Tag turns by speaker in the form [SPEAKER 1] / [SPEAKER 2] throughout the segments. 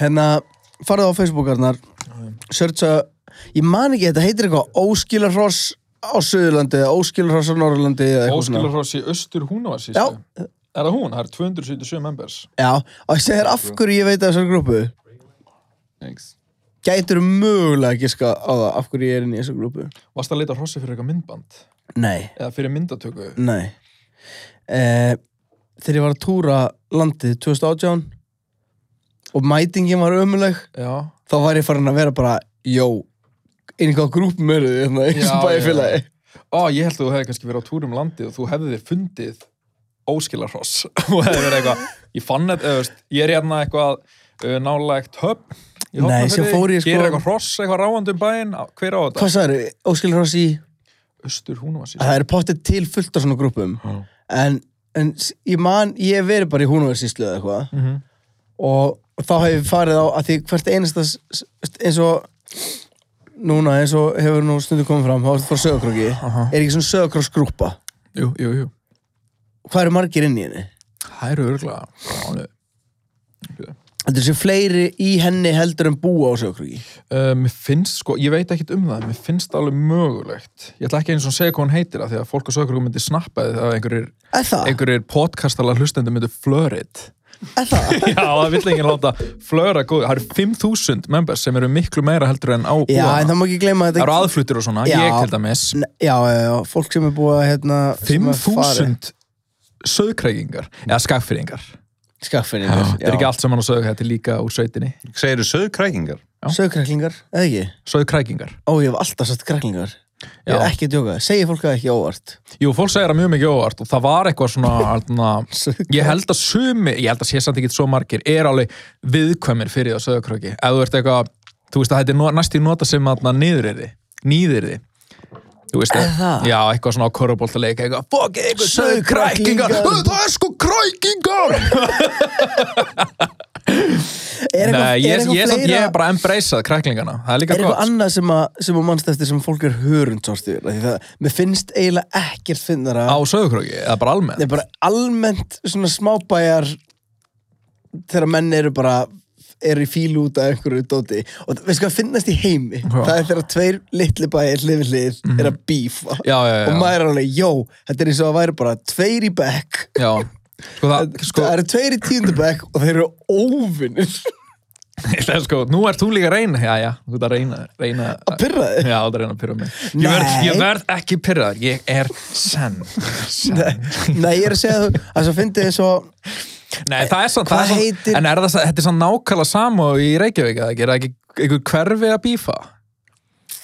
[SPEAKER 1] Hérna, farðu á Facebookarnar Searcha Ég man ekki, þetta heitir eitthvað Óskilarhross á Suðurlandi eða Óskilarhross á Norrlandi eða eitthvað svona
[SPEAKER 2] Óskilurfoss í austur Húnavas
[SPEAKER 1] Já,
[SPEAKER 2] Er það hún? Það er 277 members
[SPEAKER 1] já Og ég segir af hverju ég veit af þessar grúpu
[SPEAKER 2] Thanks.
[SPEAKER 1] Gætur mögulega giska á það af hverju ég er inn í þessar grúpu
[SPEAKER 2] Varst að leita hrossi fyrir eitthvað myndband?
[SPEAKER 1] Nei,
[SPEAKER 2] Eða fyrir myndatöku?
[SPEAKER 1] nei eh, Þegar ég var að túra landið 2018 og mætingin var ömuleg
[SPEAKER 2] Já
[SPEAKER 1] þá var ég farin að vera bara Jó, inn í hvað grúpum eru þið hérna, í
[SPEAKER 2] Já,
[SPEAKER 1] þessu bæfélagi
[SPEAKER 2] Ó, ég held að þú hefði kannski verið á túrum landið og þú hefði þið fundið óskilarhross og hefði verið eitthvað Ég fann þetta, eða, veist, ég er hérna eitthvað uh, nálægt höfn í
[SPEAKER 1] Nei,
[SPEAKER 2] Hornafirði,
[SPEAKER 1] svo fór ég sko-
[SPEAKER 2] Gerir eitthvað hross, eitthvað ráandi um bæinn Á- Hver á þetta?
[SPEAKER 1] Hvað sagði, óskilurhross í
[SPEAKER 2] Östur Húnavas
[SPEAKER 1] að það eru pottið til fullt af svona grúpum
[SPEAKER 2] Já.
[SPEAKER 1] en, en s- ég man ég hef verið bara í húnuversislu eða eitthvað
[SPEAKER 2] Mhm.
[SPEAKER 1] og, og þá hef ég farið á að því hvert einasta s- s- eins og núna eins og hefur nú stundu komið fram þá ertu frá sögurkróki
[SPEAKER 2] Aha.
[SPEAKER 1] er ekki svona sögurkróksgrúpa
[SPEAKER 2] Jú, jú, jú
[SPEAKER 1] hvað eru margir inn í henni?
[SPEAKER 2] Það eru örgulega
[SPEAKER 1] Þetta séu fleiri í henni heldur en búa á sögurkróki
[SPEAKER 2] Uh, mér finnst, sko, ég veit ekkit um það, mér finnst það alveg mögulegt. Ég ætla ekki eins og segja hvað hún heitir það, því að fólk á sögur myndi snappa þið þegar einhverjir,
[SPEAKER 1] Er það?
[SPEAKER 2] einhverjir podkastala hlustendur myndi flörit.
[SPEAKER 1] Er það?
[SPEAKER 2] Já, það vill enginn láta flöra góð. Það eru 5.000 members sem eru miklu meira heldur en á
[SPEAKER 1] Já, en það
[SPEAKER 2] búana.
[SPEAKER 1] má ekki gleyma að
[SPEAKER 2] Það eru
[SPEAKER 1] þetta
[SPEAKER 2] aðflutur og svona,
[SPEAKER 1] Já.
[SPEAKER 2] ég til dæmis.
[SPEAKER 1] N- Já, já, já, fólk sem er búið að hérna, sem er farið.
[SPEAKER 2] 5.000 söðkreikingar, eða skagfyrringar.
[SPEAKER 1] Skaffirðingar,
[SPEAKER 2] Það er ekki allt saman á sögur, þetta er líka úr sveitinni.
[SPEAKER 3] Segirðu söðkrækingar?
[SPEAKER 2] Já.
[SPEAKER 1] Sögurkræklingar, eða ekki?
[SPEAKER 2] Söðkreikingar.
[SPEAKER 1] Ó, ég hef alltaf sagt kraklingar. Ég er
[SPEAKER 2] Já.
[SPEAKER 1] ekki að djóka. Segir fólk það ekki óvart?
[SPEAKER 2] Jú, fólk segir það mjög mikið óvart og það var eitthvað svona, hérna, Ég held að sumi, ég held að sé samt ekki svo margir, er alveg viðkvæmir fyrir það söðakröki. Ef þú ert eitthvað, þú veist að þetta er no- næst í nota sem að nýður er þið, nýður er þið. Þú veist
[SPEAKER 1] Er það?
[SPEAKER 2] Já, eitthvað svona á korrupoltaleik, eitthvað, fuck it, eitthvað söðkrækingar,
[SPEAKER 1] Sauðkræklingar.
[SPEAKER 2] það er sko krækingar!
[SPEAKER 1] Er eitthvað,
[SPEAKER 2] Nei,
[SPEAKER 1] er
[SPEAKER 2] ég,
[SPEAKER 1] eitthvað
[SPEAKER 2] ég, samt,
[SPEAKER 1] fleira-
[SPEAKER 2] ég er bara embraceað kræklingana, það er
[SPEAKER 1] Er
[SPEAKER 2] líka
[SPEAKER 1] eitthvað
[SPEAKER 2] gott.
[SPEAKER 1] annað sem, að, sem að mannst eftir sem fólk er hörundsvart yfir? Af Því það, mér finnst eiginlega ekkert finnara.
[SPEAKER 2] Á söðakröki, eða bara
[SPEAKER 1] Það
[SPEAKER 2] almennt.
[SPEAKER 1] er bara almennt svona smábæjar þegar menn eru bara eru í fílu út af einhverju dóti og það- veistu hvað finnast í heimi það er þegar tveir litli bæjar hlifið hlið er að bífa
[SPEAKER 2] Mhm. Já, já, já.
[SPEAKER 1] og maður er alveg, jó, þetta er eins og að væri bara tveir í bekk
[SPEAKER 2] Já, sko það, sko,
[SPEAKER 1] það eru tveir í tíundabæk og þeir eru óvinnir
[SPEAKER 2] það er sko, nú ert þú líka að reyna, já, já, þú ert að reyna, reyna.
[SPEAKER 1] að pyrra þig
[SPEAKER 2] Já, það er einn að pyrra mig. Ég verð,
[SPEAKER 1] Nei.
[SPEAKER 2] ég verð ekki pyrraður, ég er senn. senn.
[SPEAKER 1] Nei, ég er að segja þú, að svo fyndi þið svo
[SPEAKER 2] Nei, það er sann,
[SPEAKER 1] Hvað
[SPEAKER 2] það er sann,
[SPEAKER 1] heitir-
[SPEAKER 2] en er það, sa- þetta er sann nákvæmlega sama og í Reykjavík, eða ekki, er það ekki einhver hverfi að bífa?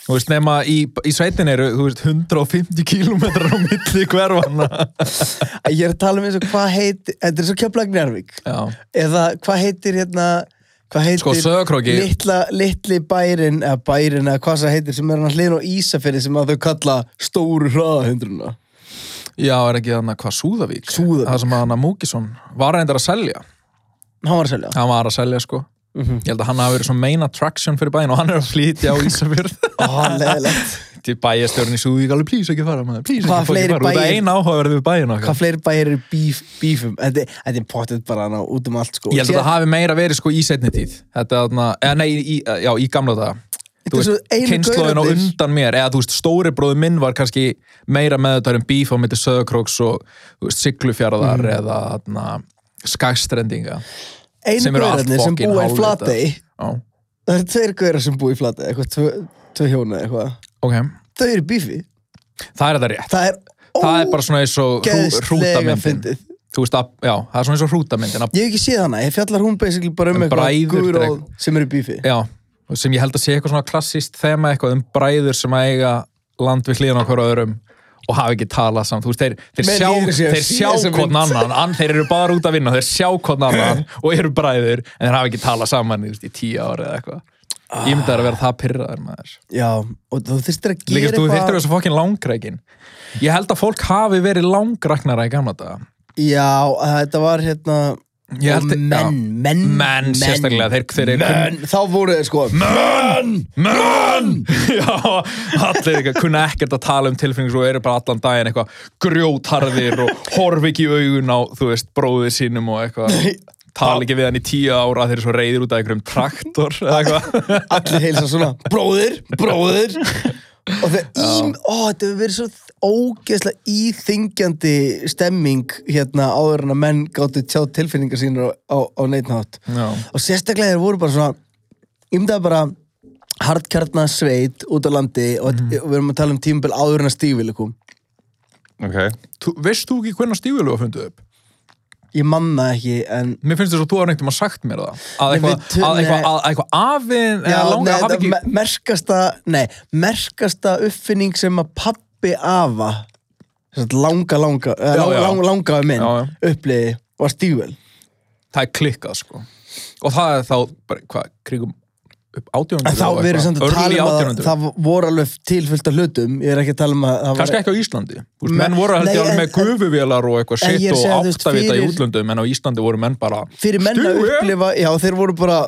[SPEAKER 2] Þú veist, nema í, í sveitin eru, þú veist, 150 kílómetrar á milli hverfana.
[SPEAKER 1] að ég er að tala um eins og hvað heitir þetta er svo kjöplag njárvík
[SPEAKER 2] Já,
[SPEAKER 1] eða hvað heitir hérna hvað heitir
[SPEAKER 2] Sko, Sauðárkróki-
[SPEAKER 1] litla, litli bærin eða bærin eða hvað það heitir sem er hann hlýðin á Ísafirði sem að þau kalla stóru hraðahundruna
[SPEAKER 2] já, er ekki þannig hvað Súðavík?
[SPEAKER 1] Súðavík.
[SPEAKER 2] Það sem að hann að Múkisson var reyndar að selja.
[SPEAKER 1] hann var að selja
[SPEAKER 2] Hann var að selja, sko. Ég held að hann hafi verið svona main attraction fyrir bæinn og hann er að flytja á Ísafjörð.
[SPEAKER 1] og hann leðilegt
[SPEAKER 2] til bæjastjórn í Súðvík alveg please ekki fara maður please
[SPEAKER 1] Hvaða
[SPEAKER 2] ekki fucking
[SPEAKER 1] fleiri
[SPEAKER 2] fara út af
[SPEAKER 1] bæir-
[SPEAKER 2] eina áhugaverðu bæin okkar
[SPEAKER 1] hvað fleiri bæir eru bíf, bífum þetta er- þetta er pottet bara ná, út um allt sko
[SPEAKER 2] ég held að það hafi meira verið sko í setni tíð þetta þarna, eða nei, í, já, í gamla daga
[SPEAKER 1] Þetta er svo einu
[SPEAKER 2] kynnslóðin á um-
[SPEAKER 1] gaurarnir.
[SPEAKER 2] undan mér eða þú veist, stóri bróðu minn var kannski meira með þetta um bíf á myndi söðakróks og þú veist, siglufjaraðar eða þarna, skagstrendinga
[SPEAKER 1] einu
[SPEAKER 2] sem eru allt
[SPEAKER 1] gaurarnir sem
[SPEAKER 2] fokkin
[SPEAKER 1] búa í
[SPEAKER 2] hálfvitar.
[SPEAKER 1] flatei
[SPEAKER 2] Já,
[SPEAKER 1] það eru tveir gaurar sem búa í flatei eitthvað tvö, tvö hjóna eða eitthvað
[SPEAKER 2] ok,
[SPEAKER 1] þau eru í bífi
[SPEAKER 2] það er þetta rétt
[SPEAKER 1] það er
[SPEAKER 2] það er bara svona eins og hrú,
[SPEAKER 1] ógeðslega
[SPEAKER 2] hrútamyndin
[SPEAKER 1] fyndið.
[SPEAKER 2] þú veist, að, já, það er svona eins og hrútamyndin að
[SPEAKER 1] ég hef ekki séð hana, ég fjallar hún basically bara um
[SPEAKER 2] En
[SPEAKER 1] eitthvað
[SPEAKER 2] bræður
[SPEAKER 1] guðróð
[SPEAKER 2] dreg-
[SPEAKER 1] sem eru í bífi
[SPEAKER 2] Já, og sem ég held að sé eitthvað svona klassist þema eitthvað um bræður sem að eiga land við hlýðan okkur öðrum og hafa ekki talað samt, þú veist, þeir, þeir
[SPEAKER 1] Mér
[SPEAKER 2] sjá,
[SPEAKER 1] líður sem ég
[SPEAKER 2] þeir
[SPEAKER 1] sé
[SPEAKER 2] sjá
[SPEAKER 1] þessa
[SPEAKER 2] hvort
[SPEAKER 1] mynd.
[SPEAKER 2] annan, ann, þeir eru bara út að vinna, þeir sjá hvort annan og eru bræður en þeir hafa ekki talað saman þú veist, í tíu ára eða eitthvað. Ég myndi að vera það pyrraður maður
[SPEAKER 1] já, og þú þurftir að gera
[SPEAKER 2] Líka þú þyrftir þessu fokkin langreikin Ég held að fólk hafi verið langraknara í gamla daga
[SPEAKER 1] Já, þetta var hérna
[SPEAKER 2] Ég
[SPEAKER 1] og
[SPEAKER 2] held- já.
[SPEAKER 1] menn, menn,
[SPEAKER 2] Menn, sérstaklega, þeir- þeir eru-
[SPEAKER 1] Menn, þá voru þeir sko Menn, menn
[SPEAKER 2] Já, allir eitthvað kunna ekkert að tala um tilfinningur og eru bara allan daginn eitthvað grjótarðir og horf ekki í augun á, þú veist, bróðið sínum og eitthvað tala ekki við hann í tíu ára þeir eru svo reyðir út af einhverjum traktor eða eitthvað
[SPEAKER 1] Allir heilsa svona, bróðir, bróðir Og þeir ím, ó, þetta hefur verið svo ógeðslega íþingjandi stemming hérna áður en að menn gáttu tjá tilfinningar sínur á, á, á neitnátt
[SPEAKER 2] Já.
[SPEAKER 1] og sérstaklega þeir voru bara svona ég myndi að bara hardkjarnasveit út á landi og, og við erum að tala um tímabil áður en að stífilikum
[SPEAKER 3] ok
[SPEAKER 2] Þú, Veist þú ekki hvernig stígulega fundið upp?
[SPEAKER 1] ég manna ekki en
[SPEAKER 2] Mér finnst þess að þú har neitt um að sagt mér það að
[SPEAKER 1] Nei,
[SPEAKER 2] eitthvað,
[SPEAKER 1] við tölum-
[SPEAKER 2] að eitthvað, að eitthvað afinn eða
[SPEAKER 1] Já, nei,
[SPEAKER 2] langar að hafa
[SPEAKER 1] það
[SPEAKER 2] ekki
[SPEAKER 1] me- merkasta, nei, merkasta uppfinning sem að pappi afa sem sagt langa, langa já,
[SPEAKER 2] Já,
[SPEAKER 1] langa,
[SPEAKER 2] já.
[SPEAKER 1] langa, langa minn
[SPEAKER 2] Já, já.
[SPEAKER 1] uppliði var stígvel
[SPEAKER 2] það er klikkað sko og það er þá, bara, hvað, krigum upp
[SPEAKER 1] en
[SPEAKER 2] átjónundur
[SPEAKER 1] þá verður samt að tala um að
[SPEAKER 2] átjónundur
[SPEAKER 1] það voru alveg tilfyllt af hlutum ég er ekki að tala um að það
[SPEAKER 2] kannski ekki á Íslandi Úst, menn
[SPEAKER 1] Men-
[SPEAKER 2] voru held
[SPEAKER 1] nei,
[SPEAKER 2] ég alveg
[SPEAKER 1] en-
[SPEAKER 2] með gufuvélar og eitthvað
[SPEAKER 1] En ég
[SPEAKER 2] sitt
[SPEAKER 1] er að
[SPEAKER 2] og
[SPEAKER 1] segja, þú veist,
[SPEAKER 2] áttavita í
[SPEAKER 1] fyrir-
[SPEAKER 2] útlöndum en á Íslandi voru menn bara
[SPEAKER 1] fyrir menn að
[SPEAKER 2] Stígvél?
[SPEAKER 1] upplifa já, þeir voru bara,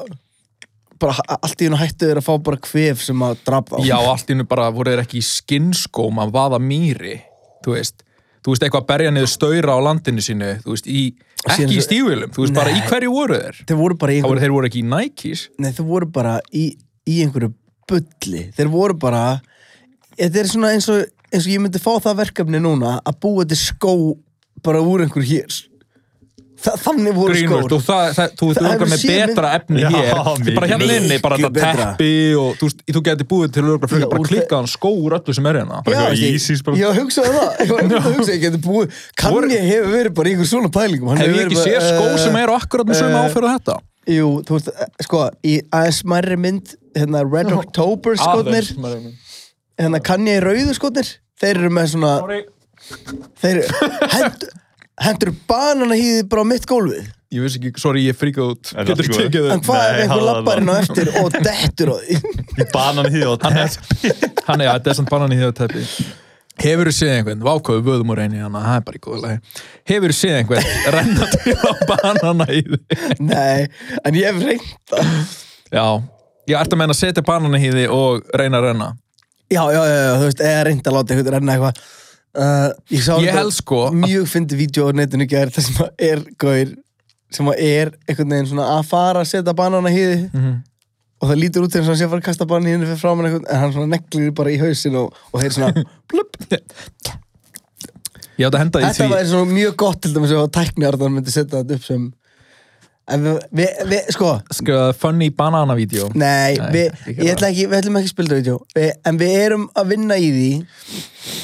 [SPEAKER 1] bara ha- allt í hún hættu þeir að fá bara kvef sem að drapa
[SPEAKER 2] já, allt innu bara voru þeir ekki í skinnskóm að vaða mýri þú veist, þú veist eitthvað að berja niður stöyra á landinu sínu þú veist, í,
[SPEAKER 1] Síðan
[SPEAKER 2] ekki í
[SPEAKER 1] svo-
[SPEAKER 2] stígvélum þú veist bara í
[SPEAKER 1] Nei.
[SPEAKER 2] hverju voru þeir
[SPEAKER 1] þeir voru bara í
[SPEAKER 2] þá
[SPEAKER 1] einhver,
[SPEAKER 2] voru þeir voru ekki í Nikes
[SPEAKER 1] nei, þeir voru bara í, í einhverju bulli þeir voru bara þetta er svona eins og, eins og ég myndi fá það verkefni núna að búa til skó bara úr einhver hér Þa, þannig voru
[SPEAKER 2] grínvöld
[SPEAKER 1] skór
[SPEAKER 2] og það, það, þú veist,
[SPEAKER 1] Það
[SPEAKER 2] þú
[SPEAKER 1] hefur
[SPEAKER 2] langar með
[SPEAKER 1] séð mynd-
[SPEAKER 2] betra efni
[SPEAKER 3] Já,
[SPEAKER 2] hér þú bara
[SPEAKER 3] mikið
[SPEAKER 2] hérna
[SPEAKER 1] betra.
[SPEAKER 2] inni, bara þetta
[SPEAKER 1] Mikið betra.
[SPEAKER 2] teppi og þú, veist, þú geti búið til
[SPEAKER 1] Já,
[SPEAKER 2] að frekar
[SPEAKER 1] úr
[SPEAKER 2] bara
[SPEAKER 1] þe-
[SPEAKER 2] klikkaðan skó úr öllu sem er hérna
[SPEAKER 3] Bara eitthvað
[SPEAKER 1] veist ég-
[SPEAKER 3] Yeezys bara.
[SPEAKER 1] Já, hugsaðu það Ég var einmitt að hugsa, ég geti búið Kann
[SPEAKER 2] Voru-
[SPEAKER 1] ég hefur verið bara í einhver svona pælingum Hann
[SPEAKER 2] hef
[SPEAKER 1] hefur
[SPEAKER 2] ég ekki
[SPEAKER 1] verið
[SPEAKER 2] séð
[SPEAKER 1] bara,
[SPEAKER 2] skó
[SPEAKER 1] eh,
[SPEAKER 2] sem eru akkurat með sömu
[SPEAKER 1] eh,
[SPEAKER 2] áferð og þetta
[SPEAKER 1] Jú, þú veist, eh, sko, í aðeins smærri mynd hérna Red October skotnir
[SPEAKER 2] Aðeins.
[SPEAKER 1] hérna kann ég rauðu skotnir þeir eru með svona þeir hendur, hendur bananahýði bara á mitt gólfið
[SPEAKER 2] Ég veist ekki, sorry, ég fríkað út
[SPEAKER 3] Er það
[SPEAKER 2] Getur
[SPEAKER 3] allt í góðu?
[SPEAKER 2] tekið
[SPEAKER 1] en
[SPEAKER 2] þau
[SPEAKER 1] hvað
[SPEAKER 3] Nei,
[SPEAKER 1] ef einhver
[SPEAKER 3] hafðu
[SPEAKER 1] lappar
[SPEAKER 3] það.
[SPEAKER 1] hérna á eftir og dettur á því
[SPEAKER 3] í banan hýð og
[SPEAKER 2] Hann er, hann er, þetta er samt banan í því að teppi Hefur þú séð einhvern, vákóðu vöðum úr einu hana, það er bara í góðu lagi Hefur þú séð einhvern, renna til á banana í því
[SPEAKER 1] nei, en ég hef reynd það
[SPEAKER 2] Já, ég ert að menna að setja banana í því og reyna að renna
[SPEAKER 1] já, já, já, já, þú veist, eða reynd að láta einhvern renna eitthvað uh, ég sá
[SPEAKER 2] Ég
[SPEAKER 1] þetta
[SPEAKER 2] held sko að-
[SPEAKER 1] mjög fyndi vídeo á netinu gær þar sem að er gaur sem að er einhvern veginn svona að fara að setja bananahýði
[SPEAKER 2] Mhm.
[SPEAKER 1] og það lítur út eins og hann sé að fara að kasta bananahýðinu fyrir fram hann einhvern en hann svona neglir bara í hausin og, og þeir svona blup
[SPEAKER 2] Ég átt að henda því
[SPEAKER 1] Þetta
[SPEAKER 2] því
[SPEAKER 1] væri svona mjög gott til dæmis ef að tækniarðan myndi setja þetta upp sem en við, við, við sko
[SPEAKER 2] skrifaði funny banana vídeo
[SPEAKER 1] nei,
[SPEAKER 2] Nei,
[SPEAKER 1] við,
[SPEAKER 2] ekki
[SPEAKER 1] ég ætla ekki, við ætlum ekki að spila þetta við, en við erum að vinna í því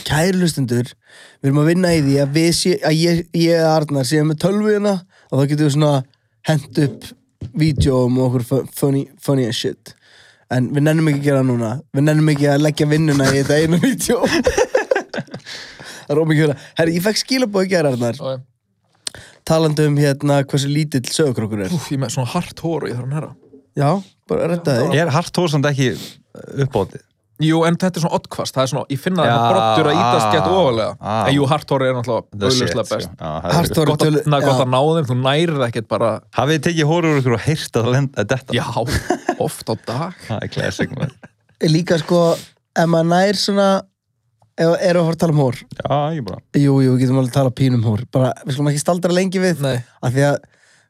[SPEAKER 1] kæri hlustundur við erum að vinna í því að, við sé, að ég, ég eða Arnar séum með tölvuðina og þá getum við svona hent upp vídjóum og okkur fu- funny, funny as shit en við nennum ekki að gera það núna við nennum ekki að leggja vinnuna í þetta einu vídjó það er ómikið fyrir herri, ég fekk skilabóð í gæra Arnar talandi um hérna hversu lítill sögurkrókur er
[SPEAKER 2] Úf, ég er með svona hart hór og ég þarf að herra
[SPEAKER 1] já, bara retta þig
[SPEAKER 3] er hart tórsand ekki uppbótið
[SPEAKER 2] Jú, en þetta er svona oddkvast, það er svona, ég finna
[SPEAKER 3] Já, Ah.
[SPEAKER 2] það brottur að ítast gett ofalega
[SPEAKER 3] á.
[SPEAKER 2] En jú, hartóri er náttúrulega auðvitað best
[SPEAKER 3] sko.
[SPEAKER 1] Hart
[SPEAKER 3] best
[SPEAKER 1] Tóri
[SPEAKER 2] Gott að,
[SPEAKER 1] tölu-
[SPEAKER 2] na, gott
[SPEAKER 1] já.
[SPEAKER 2] að ná þeim, þú nærið ekkert bara
[SPEAKER 3] hafið þið tekið hóru úr ykkur og heyrt að það lenda þetta
[SPEAKER 2] Já, oft á dag
[SPEAKER 3] það er classic man.
[SPEAKER 1] líka sko, ef maður nær svona ef erum við að fara að tala um hór
[SPEAKER 3] já ég bara
[SPEAKER 1] jú, jú, við getum alveg að tala pínum hór bara, við skulum ekki staldra lengi við
[SPEAKER 2] Nei.
[SPEAKER 1] af því að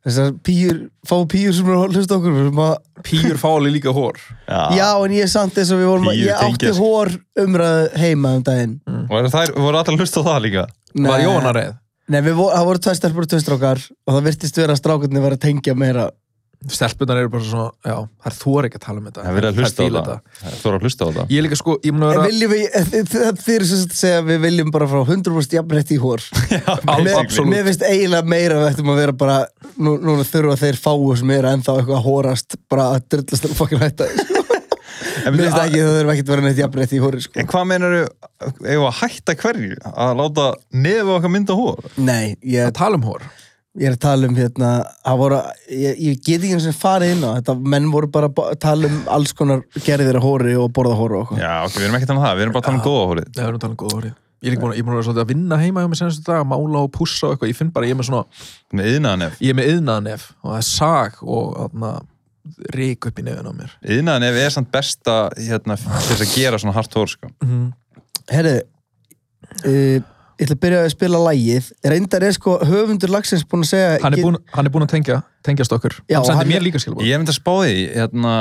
[SPEAKER 1] þessar pýjur fá pýjur sem eru að hlusta okkur við erum að,
[SPEAKER 2] Pýr fáli líka hór Ah.
[SPEAKER 1] já, en ég er samt eins og við vorum að,
[SPEAKER 3] Píur
[SPEAKER 1] ég átti
[SPEAKER 3] tengjast.
[SPEAKER 1] hór umræðu heima um daginn
[SPEAKER 3] og það voru allir að hlusta á það líka
[SPEAKER 1] Nei.
[SPEAKER 2] Mm. Var Jóhanna reið?
[SPEAKER 1] Nei, við voru, það voru tvær stelpur og tvö strákar og það virtist vera að strákarnir var að tengja meira
[SPEAKER 2] Stelpunar eru bara svona, já, það er þóri ekki að tala um þetta
[SPEAKER 3] það er verið að
[SPEAKER 2] Þær
[SPEAKER 3] hlusta á
[SPEAKER 2] fíla
[SPEAKER 3] það
[SPEAKER 2] þetta.
[SPEAKER 3] það voru að hlusta á það
[SPEAKER 2] Ég er líka sko, ég mun að
[SPEAKER 1] En
[SPEAKER 2] vera
[SPEAKER 1] viljum við, þið- þið þið eru sem sagt að segja að við viljum bara frá 100% jafnrétti í hór
[SPEAKER 2] Al-
[SPEAKER 1] Mér
[SPEAKER 2] absolutt.
[SPEAKER 1] mér finnst eiginlega meira að við ættum að vera bara nú, núna þurfa þeir fáu sem eru ennþá eitthvað að hórast bara að drullast að fokkin hætta því, sko.
[SPEAKER 3] En
[SPEAKER 1] Mér
[SPEAKER 3] byrju,
[SPEAKER 1] finnst ekki að það þurfa ekkert að vera neitt jafnrétti í hóri sko.
[SPEAKER 3] En hvað meinar þau að hætta hverju? Að láta nefið á okkar mynda hór?
[SPEAKER 1] Nei,
[SPEAKER 2] að
[SPEAKER 1] ég,
[SPEAKER 2] tala um hór
[SPEAKER 1] Ég er að tala um hérna, það voru, ég, ég get ekki eins og farið inn á þetta, menn voru bara að ba- tala um alls konar gerðir að hóri og borða hóri og okkur.
[SPEAKER 3] Já, ok, við erum ekki að tala um það, við erum bara að tala um góða hórið.
[SPEAKER 2] Já, við erum talað um góða orðið. Ég er líka búin að, ég er búin að vera svolítið að vinna heima hjá mig senast dag, að mála og pússa og eitthvað. Ég finn bara, ég er með svona,
[SPEAKER 3] Með yðnaðanef.
[SPEAKER 2] ég er með yðnaðanef og það er sag og þarna rík upp í nefin á mér.
[SPEAKER 3] Yðnaðanef er samt besta, hérna, til þess að gera svona hart hór, sko.
[SPEAKER 1] Herru, uh, ég ætla að byrja að spila lægið, reyndar er sko höfundur lagsins búin að segja...
[SPEAKER 2] Hann er búin, hann er búin að tengja, tengjast okkur.
[SPEAKER 1] Já,
[SPEAKER 2] hann
[SPEAKER 1] hann
[SPEAKER 2] sendi
[SPEAKER 1] er-
[SPEAKER 2] mér líka skilabóð.
[SPEAKER 3] Ég myndi að spá því, hérna,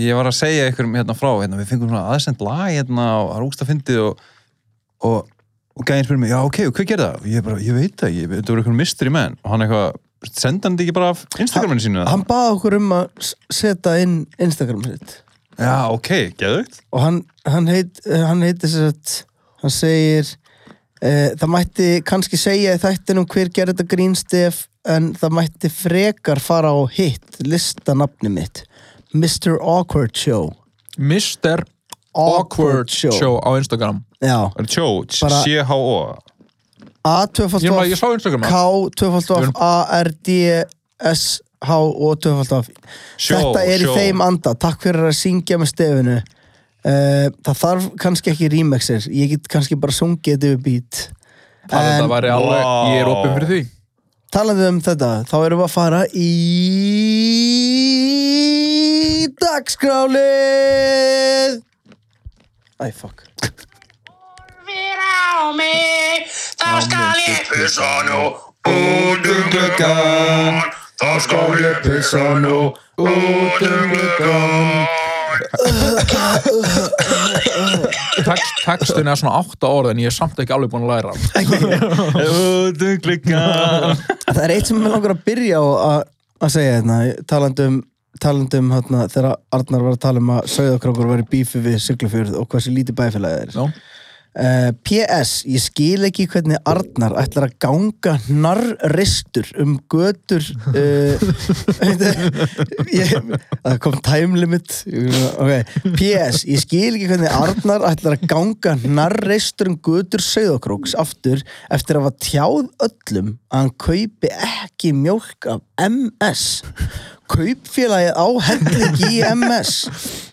[SPEAKER 3] ég var að segja ykkur hérna frá, hérna, við fengum svona aðsend lag, hérna, og það er úkst að fyndið og, og, og gæðin spyrir mig, já, ok, og hvað gerir það? Og ég bara, ég veit það, ég, þetta voru ykkur mystery man, og hann eitthvað, senda hann þetta ekki bara af Instagraminu sínu?
[SPEAKER 1] Hann baði okkur um að s- setja inn Instagram sitt
[SPEAKER 3] Já, ok, geðugt.
[SPEAKER 1] og hann, hann, heit, hann heitir sér að, hann segir, uh, það mætti kannski segja í þættinum hver gerði þetta grínstef en það mætti frekar fara á hitt listanafni mitt, Mr. Awkward Show.
[SPEAKER 2] Mr. Awkward Show. á Instagram.
[SPEAKER 1] Já,
[SPEAKER 3] Er Cho,
[SPEAKER 1] Bara-
[SPEAKER 3] C-H-O.
[SPEAKER 1] A,
[SPEAKER 2] Ég, maður, ég
[SPEAKER 1] tvöfaldstof,
[SPEAKER 2] sá Instagram
[SPEAKER 1] K, tvöfaldstof, A, R, D, S, H og tvöfaldstof.
[SPEAKER 3] Sjó,
[SPEAKER 1] Þetta er
[SPEAKER 3] sjó.
[SPEAKER 1] í þeim anda, takk fyrir að syngja með stefinu. Uh, það þarf kannski ekki remixir, ég get kannski bara sungið þetta yfir beat.
[SPEAKER 2] Það en, þetta væri alveg,
[SPEAKER 3] Vá.
[SPEAKER 2] ég er opið fyrir því.
[SPEAKER 1] Talandi um þetta, þá erum við að fara í dagskrálið Æ, fuck
[SPEAKER 4] Horfir á mig, þá skal ég pussa nú út um gluggan. Þá skal ég pussa nú út um gluggan.
[SPEAKER 2] Text, textin er svona átta orð en ég er samt ekki alveg búin að læra. hann.
[SPEAKER 3] Út um gluggan.
[SPEAKER 1] Það er eitt sem ég langar að byrja á að, að segja hérna talandi um, talandi um hérna, þegar Arnar var að tala um að Sauðakrókur var í bífi við Siglufjörð og hversu lítið bæfélagið er
[SPEAKER 2] Já.
[SPEAKER 1] Eh, PS, ég skil ekki hvernig Arnar ætlar að ganga narristur um götur uh, ég, það kom time limit okay. PS, ég skil ekki hvernig Arnar ætlar að ganga narristur um götur söðokróks aftur eftir að hafa tjáð öllum að hann kaupi ekki mjólk af MS kaupfélagið á helling í MS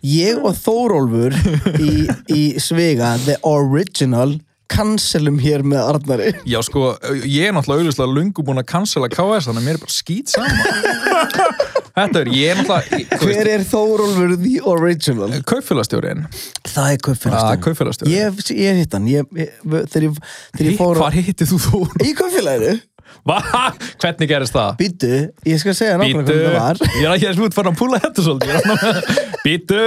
[SPEAKER 1] ég og Þórólfur í, í Svega, the original cancelum hér með Arnari
[SPEAKER 2] Já, sko, ég er náttúrulega auðvitað lungu búin að cancela KS, þannig að mér er bara skýt saman. Þetta er, ég er náttúrulega...
[SPEAKER 1] hver er Þórólfur the original?
[SPEAKER 2] Kaupfélagstjórin.
[SPEAKER 1] það er
[SPEAKER 2] Ja,
[SPEAKER 1] kaupfélagstjóri
[SPEAKER 2] kaupfélagstjórin.
[SPEAKER 1] ég, ég hitt hann ég, ég, þegar ég, þegar ég fór á-
[SPEAKER 2] Hvar hitti þú þú?
[SPEAKER 1] í kaupfélaginu
[SPEAKER 2] Va? Hvernig gerist það?
[SPEAKER 1] býtu, ég skal segja nákvæmlega
[SPEAKER 2] Bítu.
[SPEAKER 1] hvernig það var
[SPEAKER 2] Ég er ekki að smútt fara að púla þetta svolítið. Bítu.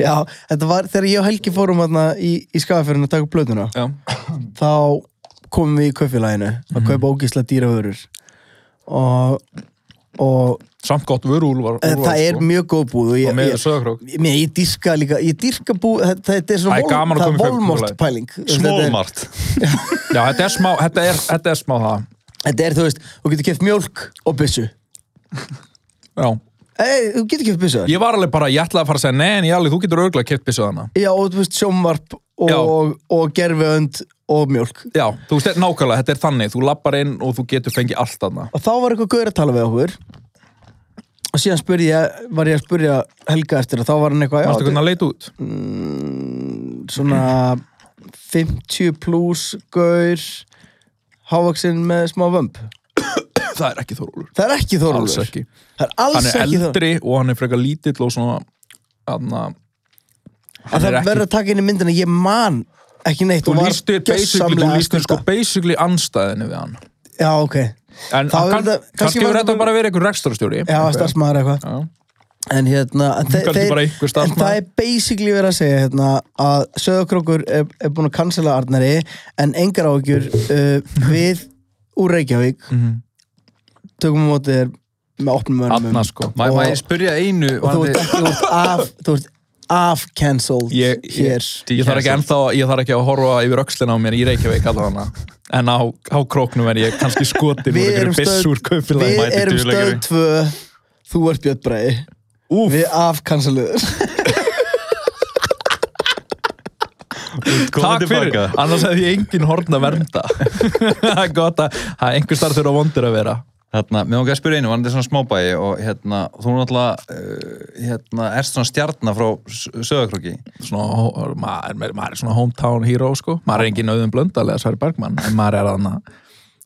[SPEAKER 1] já, þetta var þegar ég og Helgi fórum hana, í, í skafafjörinu að taka upp blöðuna
[SPEAKER 2] Já.
[SPEAKER 1] þá komum við í kaupfélaginu
[SPEAKER 2] Mhm.
[SPEAKER 1] að kaupa ógísla dýravörur og, og
[SPEAKER 2] Samt gott vöru úlvar.
[SPEAKER 1] En Eh, það er
[SPEAKER 2] sko.
[SPEAKER 1] mjög góð búð og
[SPEAKER 2] Og
[SPEAKER 1] ég,
[SPEAKER 2] með
[SPEAKER 1] ég,
[SPEAKER 2] Sauðárkrók.
[SPEAKER 1] ég, ég dýrka líka, ég dýrka búð þetta, þetta er
[SPEAKER 2] Æ,
[SPEAKER 1] svona
[SPEAKER 2] gaman að
[SPEAKER 1] það
[SPEAKER 2] koma í
[SPEAKER 1] er volmort
[SPEAKER 2] kaupfélagið.
[SPEAKER 1] pæling þetta er,
[SPEAKER 3] Smólmart.
[SPEAKER 2] Já, þetta er smá, þetta er, þetta er smá það.
[SPEAKER 1] þetta er, þú veist, þú getur keft mjólk og byssu
[SPEAKER 2] Já.
[SPEAKER 1] Ei, þú getur keft byssu
[SPEAKER 2] Ég var alveg bara, ég ætlaði að fara að segja, nei, en ég alveg, þú getur örgulega kett byssu þarna.
[SPEAKER 1] já, og þú veist, sjómvarp
[SPEAKER 2] Já.
[SPEAKER 1] og, og gerfiönd og mjólk
[SPEAKER 2] Já, þú veist, nákvæmlega, þetta er þannig, þú lappar inn og þú getur fengið allt þarna.
[SPEAKER 1] og þá var eitthvað gaur að tala við okkur og síðan spurði ég, var ég að spurja Helga eftir og þá var hann eitthvað já,
[SPEAKER 2] Mástu hvernig að leita út?
[SPEAKER 1] þetta er svona 50 pluss gaur hávaksinn með smá vömb
[SPEAKER 2] Það er ekki Þorúlur.
[SPEAKER 1] það er ekki
[SPEAKER 2] Alls
[SPEAKER 1] Þorólfur
[SPEAKER 2] ekki.
[SPEAKER 1] Það er alls
[SPEAKER 2] Hann er
[SPEAKER 1] ekki það.
[SPEAKER 2] eldri og hann er frekar lítill og svona, aðna,
[SPEAKER 1] En
[SPEAKER 2] er
[SPEAKER 1] það
[SPEAKER 2] ekki-
[SPEAKER 1] verður að taka inn í myndina, ég man ekki neitt.
[SPEAKER 2] þú
[SPEAKER 1] og var
[SPEAKER 2] lístir basically, þú
[SPEAKER 1] gjörsamlega
[SPEAKER 2] lístir
[SPEAKER 1] að
[SPEAKER 2] sko
[SPEAKER 1] skulda.
[SPEAKER 2] basically anstæðinu við hann.
[SPEAKER 1] Já, ok.
[SPEAKER 2] En
[SPEAKER 1] Þá er þetta-
[SPEAKER 2] kann,
[SPEAKER 1] kannski
[SPEAKER 2] kannski
[SPEAKER 1] var
[SPEAKER 2] verður þetta
[SPEAKER 1] þetta-
[SPEAKER 2] bara að vera einhver rekstrarstjóri.
[SPEAKER 1] Já, starfsmæður eitthvað.
[SPEAKER 2] Já.
[SPEAKER 1] En hérna, en, þe-
[SPEAKER 2] Kannski bara einhver
[SPEAKER 1] en
[SPEAKER 2] starfsmaður.
[SPEAKER 1] það er basically verið að segja hérna að Söðokrókur er, er búin að cancela Arnari en engar áhugjur uh,
[SPEAKER 2] Mhm.
[SPEAKER 1] við úr Reykjavík tökum á móti þér með opnum örnum
[SPEAKER 2] Anna sko.
[SPEAKER 3] Má má ég spyrja einu?
[SPEAKER 1] og þú ert
[SPEAKER 3] varðandi-
[SPEAKER 1] ekki þú ert af, þú ert af-cancelled
[SPEAKER 2] Ég, ég,
[SPEAKER 1] hér.
[SPEAKER 2] ég þarf ekki ennþá, ég þarf ekki að horfa yfir öxlina á mér í Reykjavík allavega. En á, á króknum er ég kannski skotin
[SPEAKER 1] Við
[SPEAKER 2] úr einhverju
[SPEAKER 1] erum stöð-
[SPEAKER 2] byssur kaupilagi.
[SPEAKER 1] Við
[SPEAKER 3] mæti
[SPEAKER 1] erum stöð
[SPEAKER 3] duglegri.
[SPEAKER 1] 2 Þú ert Björn Bræði Við afkansaluður
[SPEAKER 3] Komum
[SPEAKER 2] Takk fyrir,
[SPEAKER 3] tilbaka.
[SPEAKER 2] annars hefði ég engin horn að vernda. Það er gott að að einhver starf þurfa vondur að vera.
[SPEAKER 3] Hérna, mér langar að spyrja einu, var þetta svona smábæi og hérna, þú náttúrulega uh, hérna, ert svona stjarnar frá söðakróki.
[SPEAKER 2] svona, hó- maður, maður, maður er svona hometown hero sko, maður er engin auðum blöndal eða Sverri Bergmann, en maður er aðna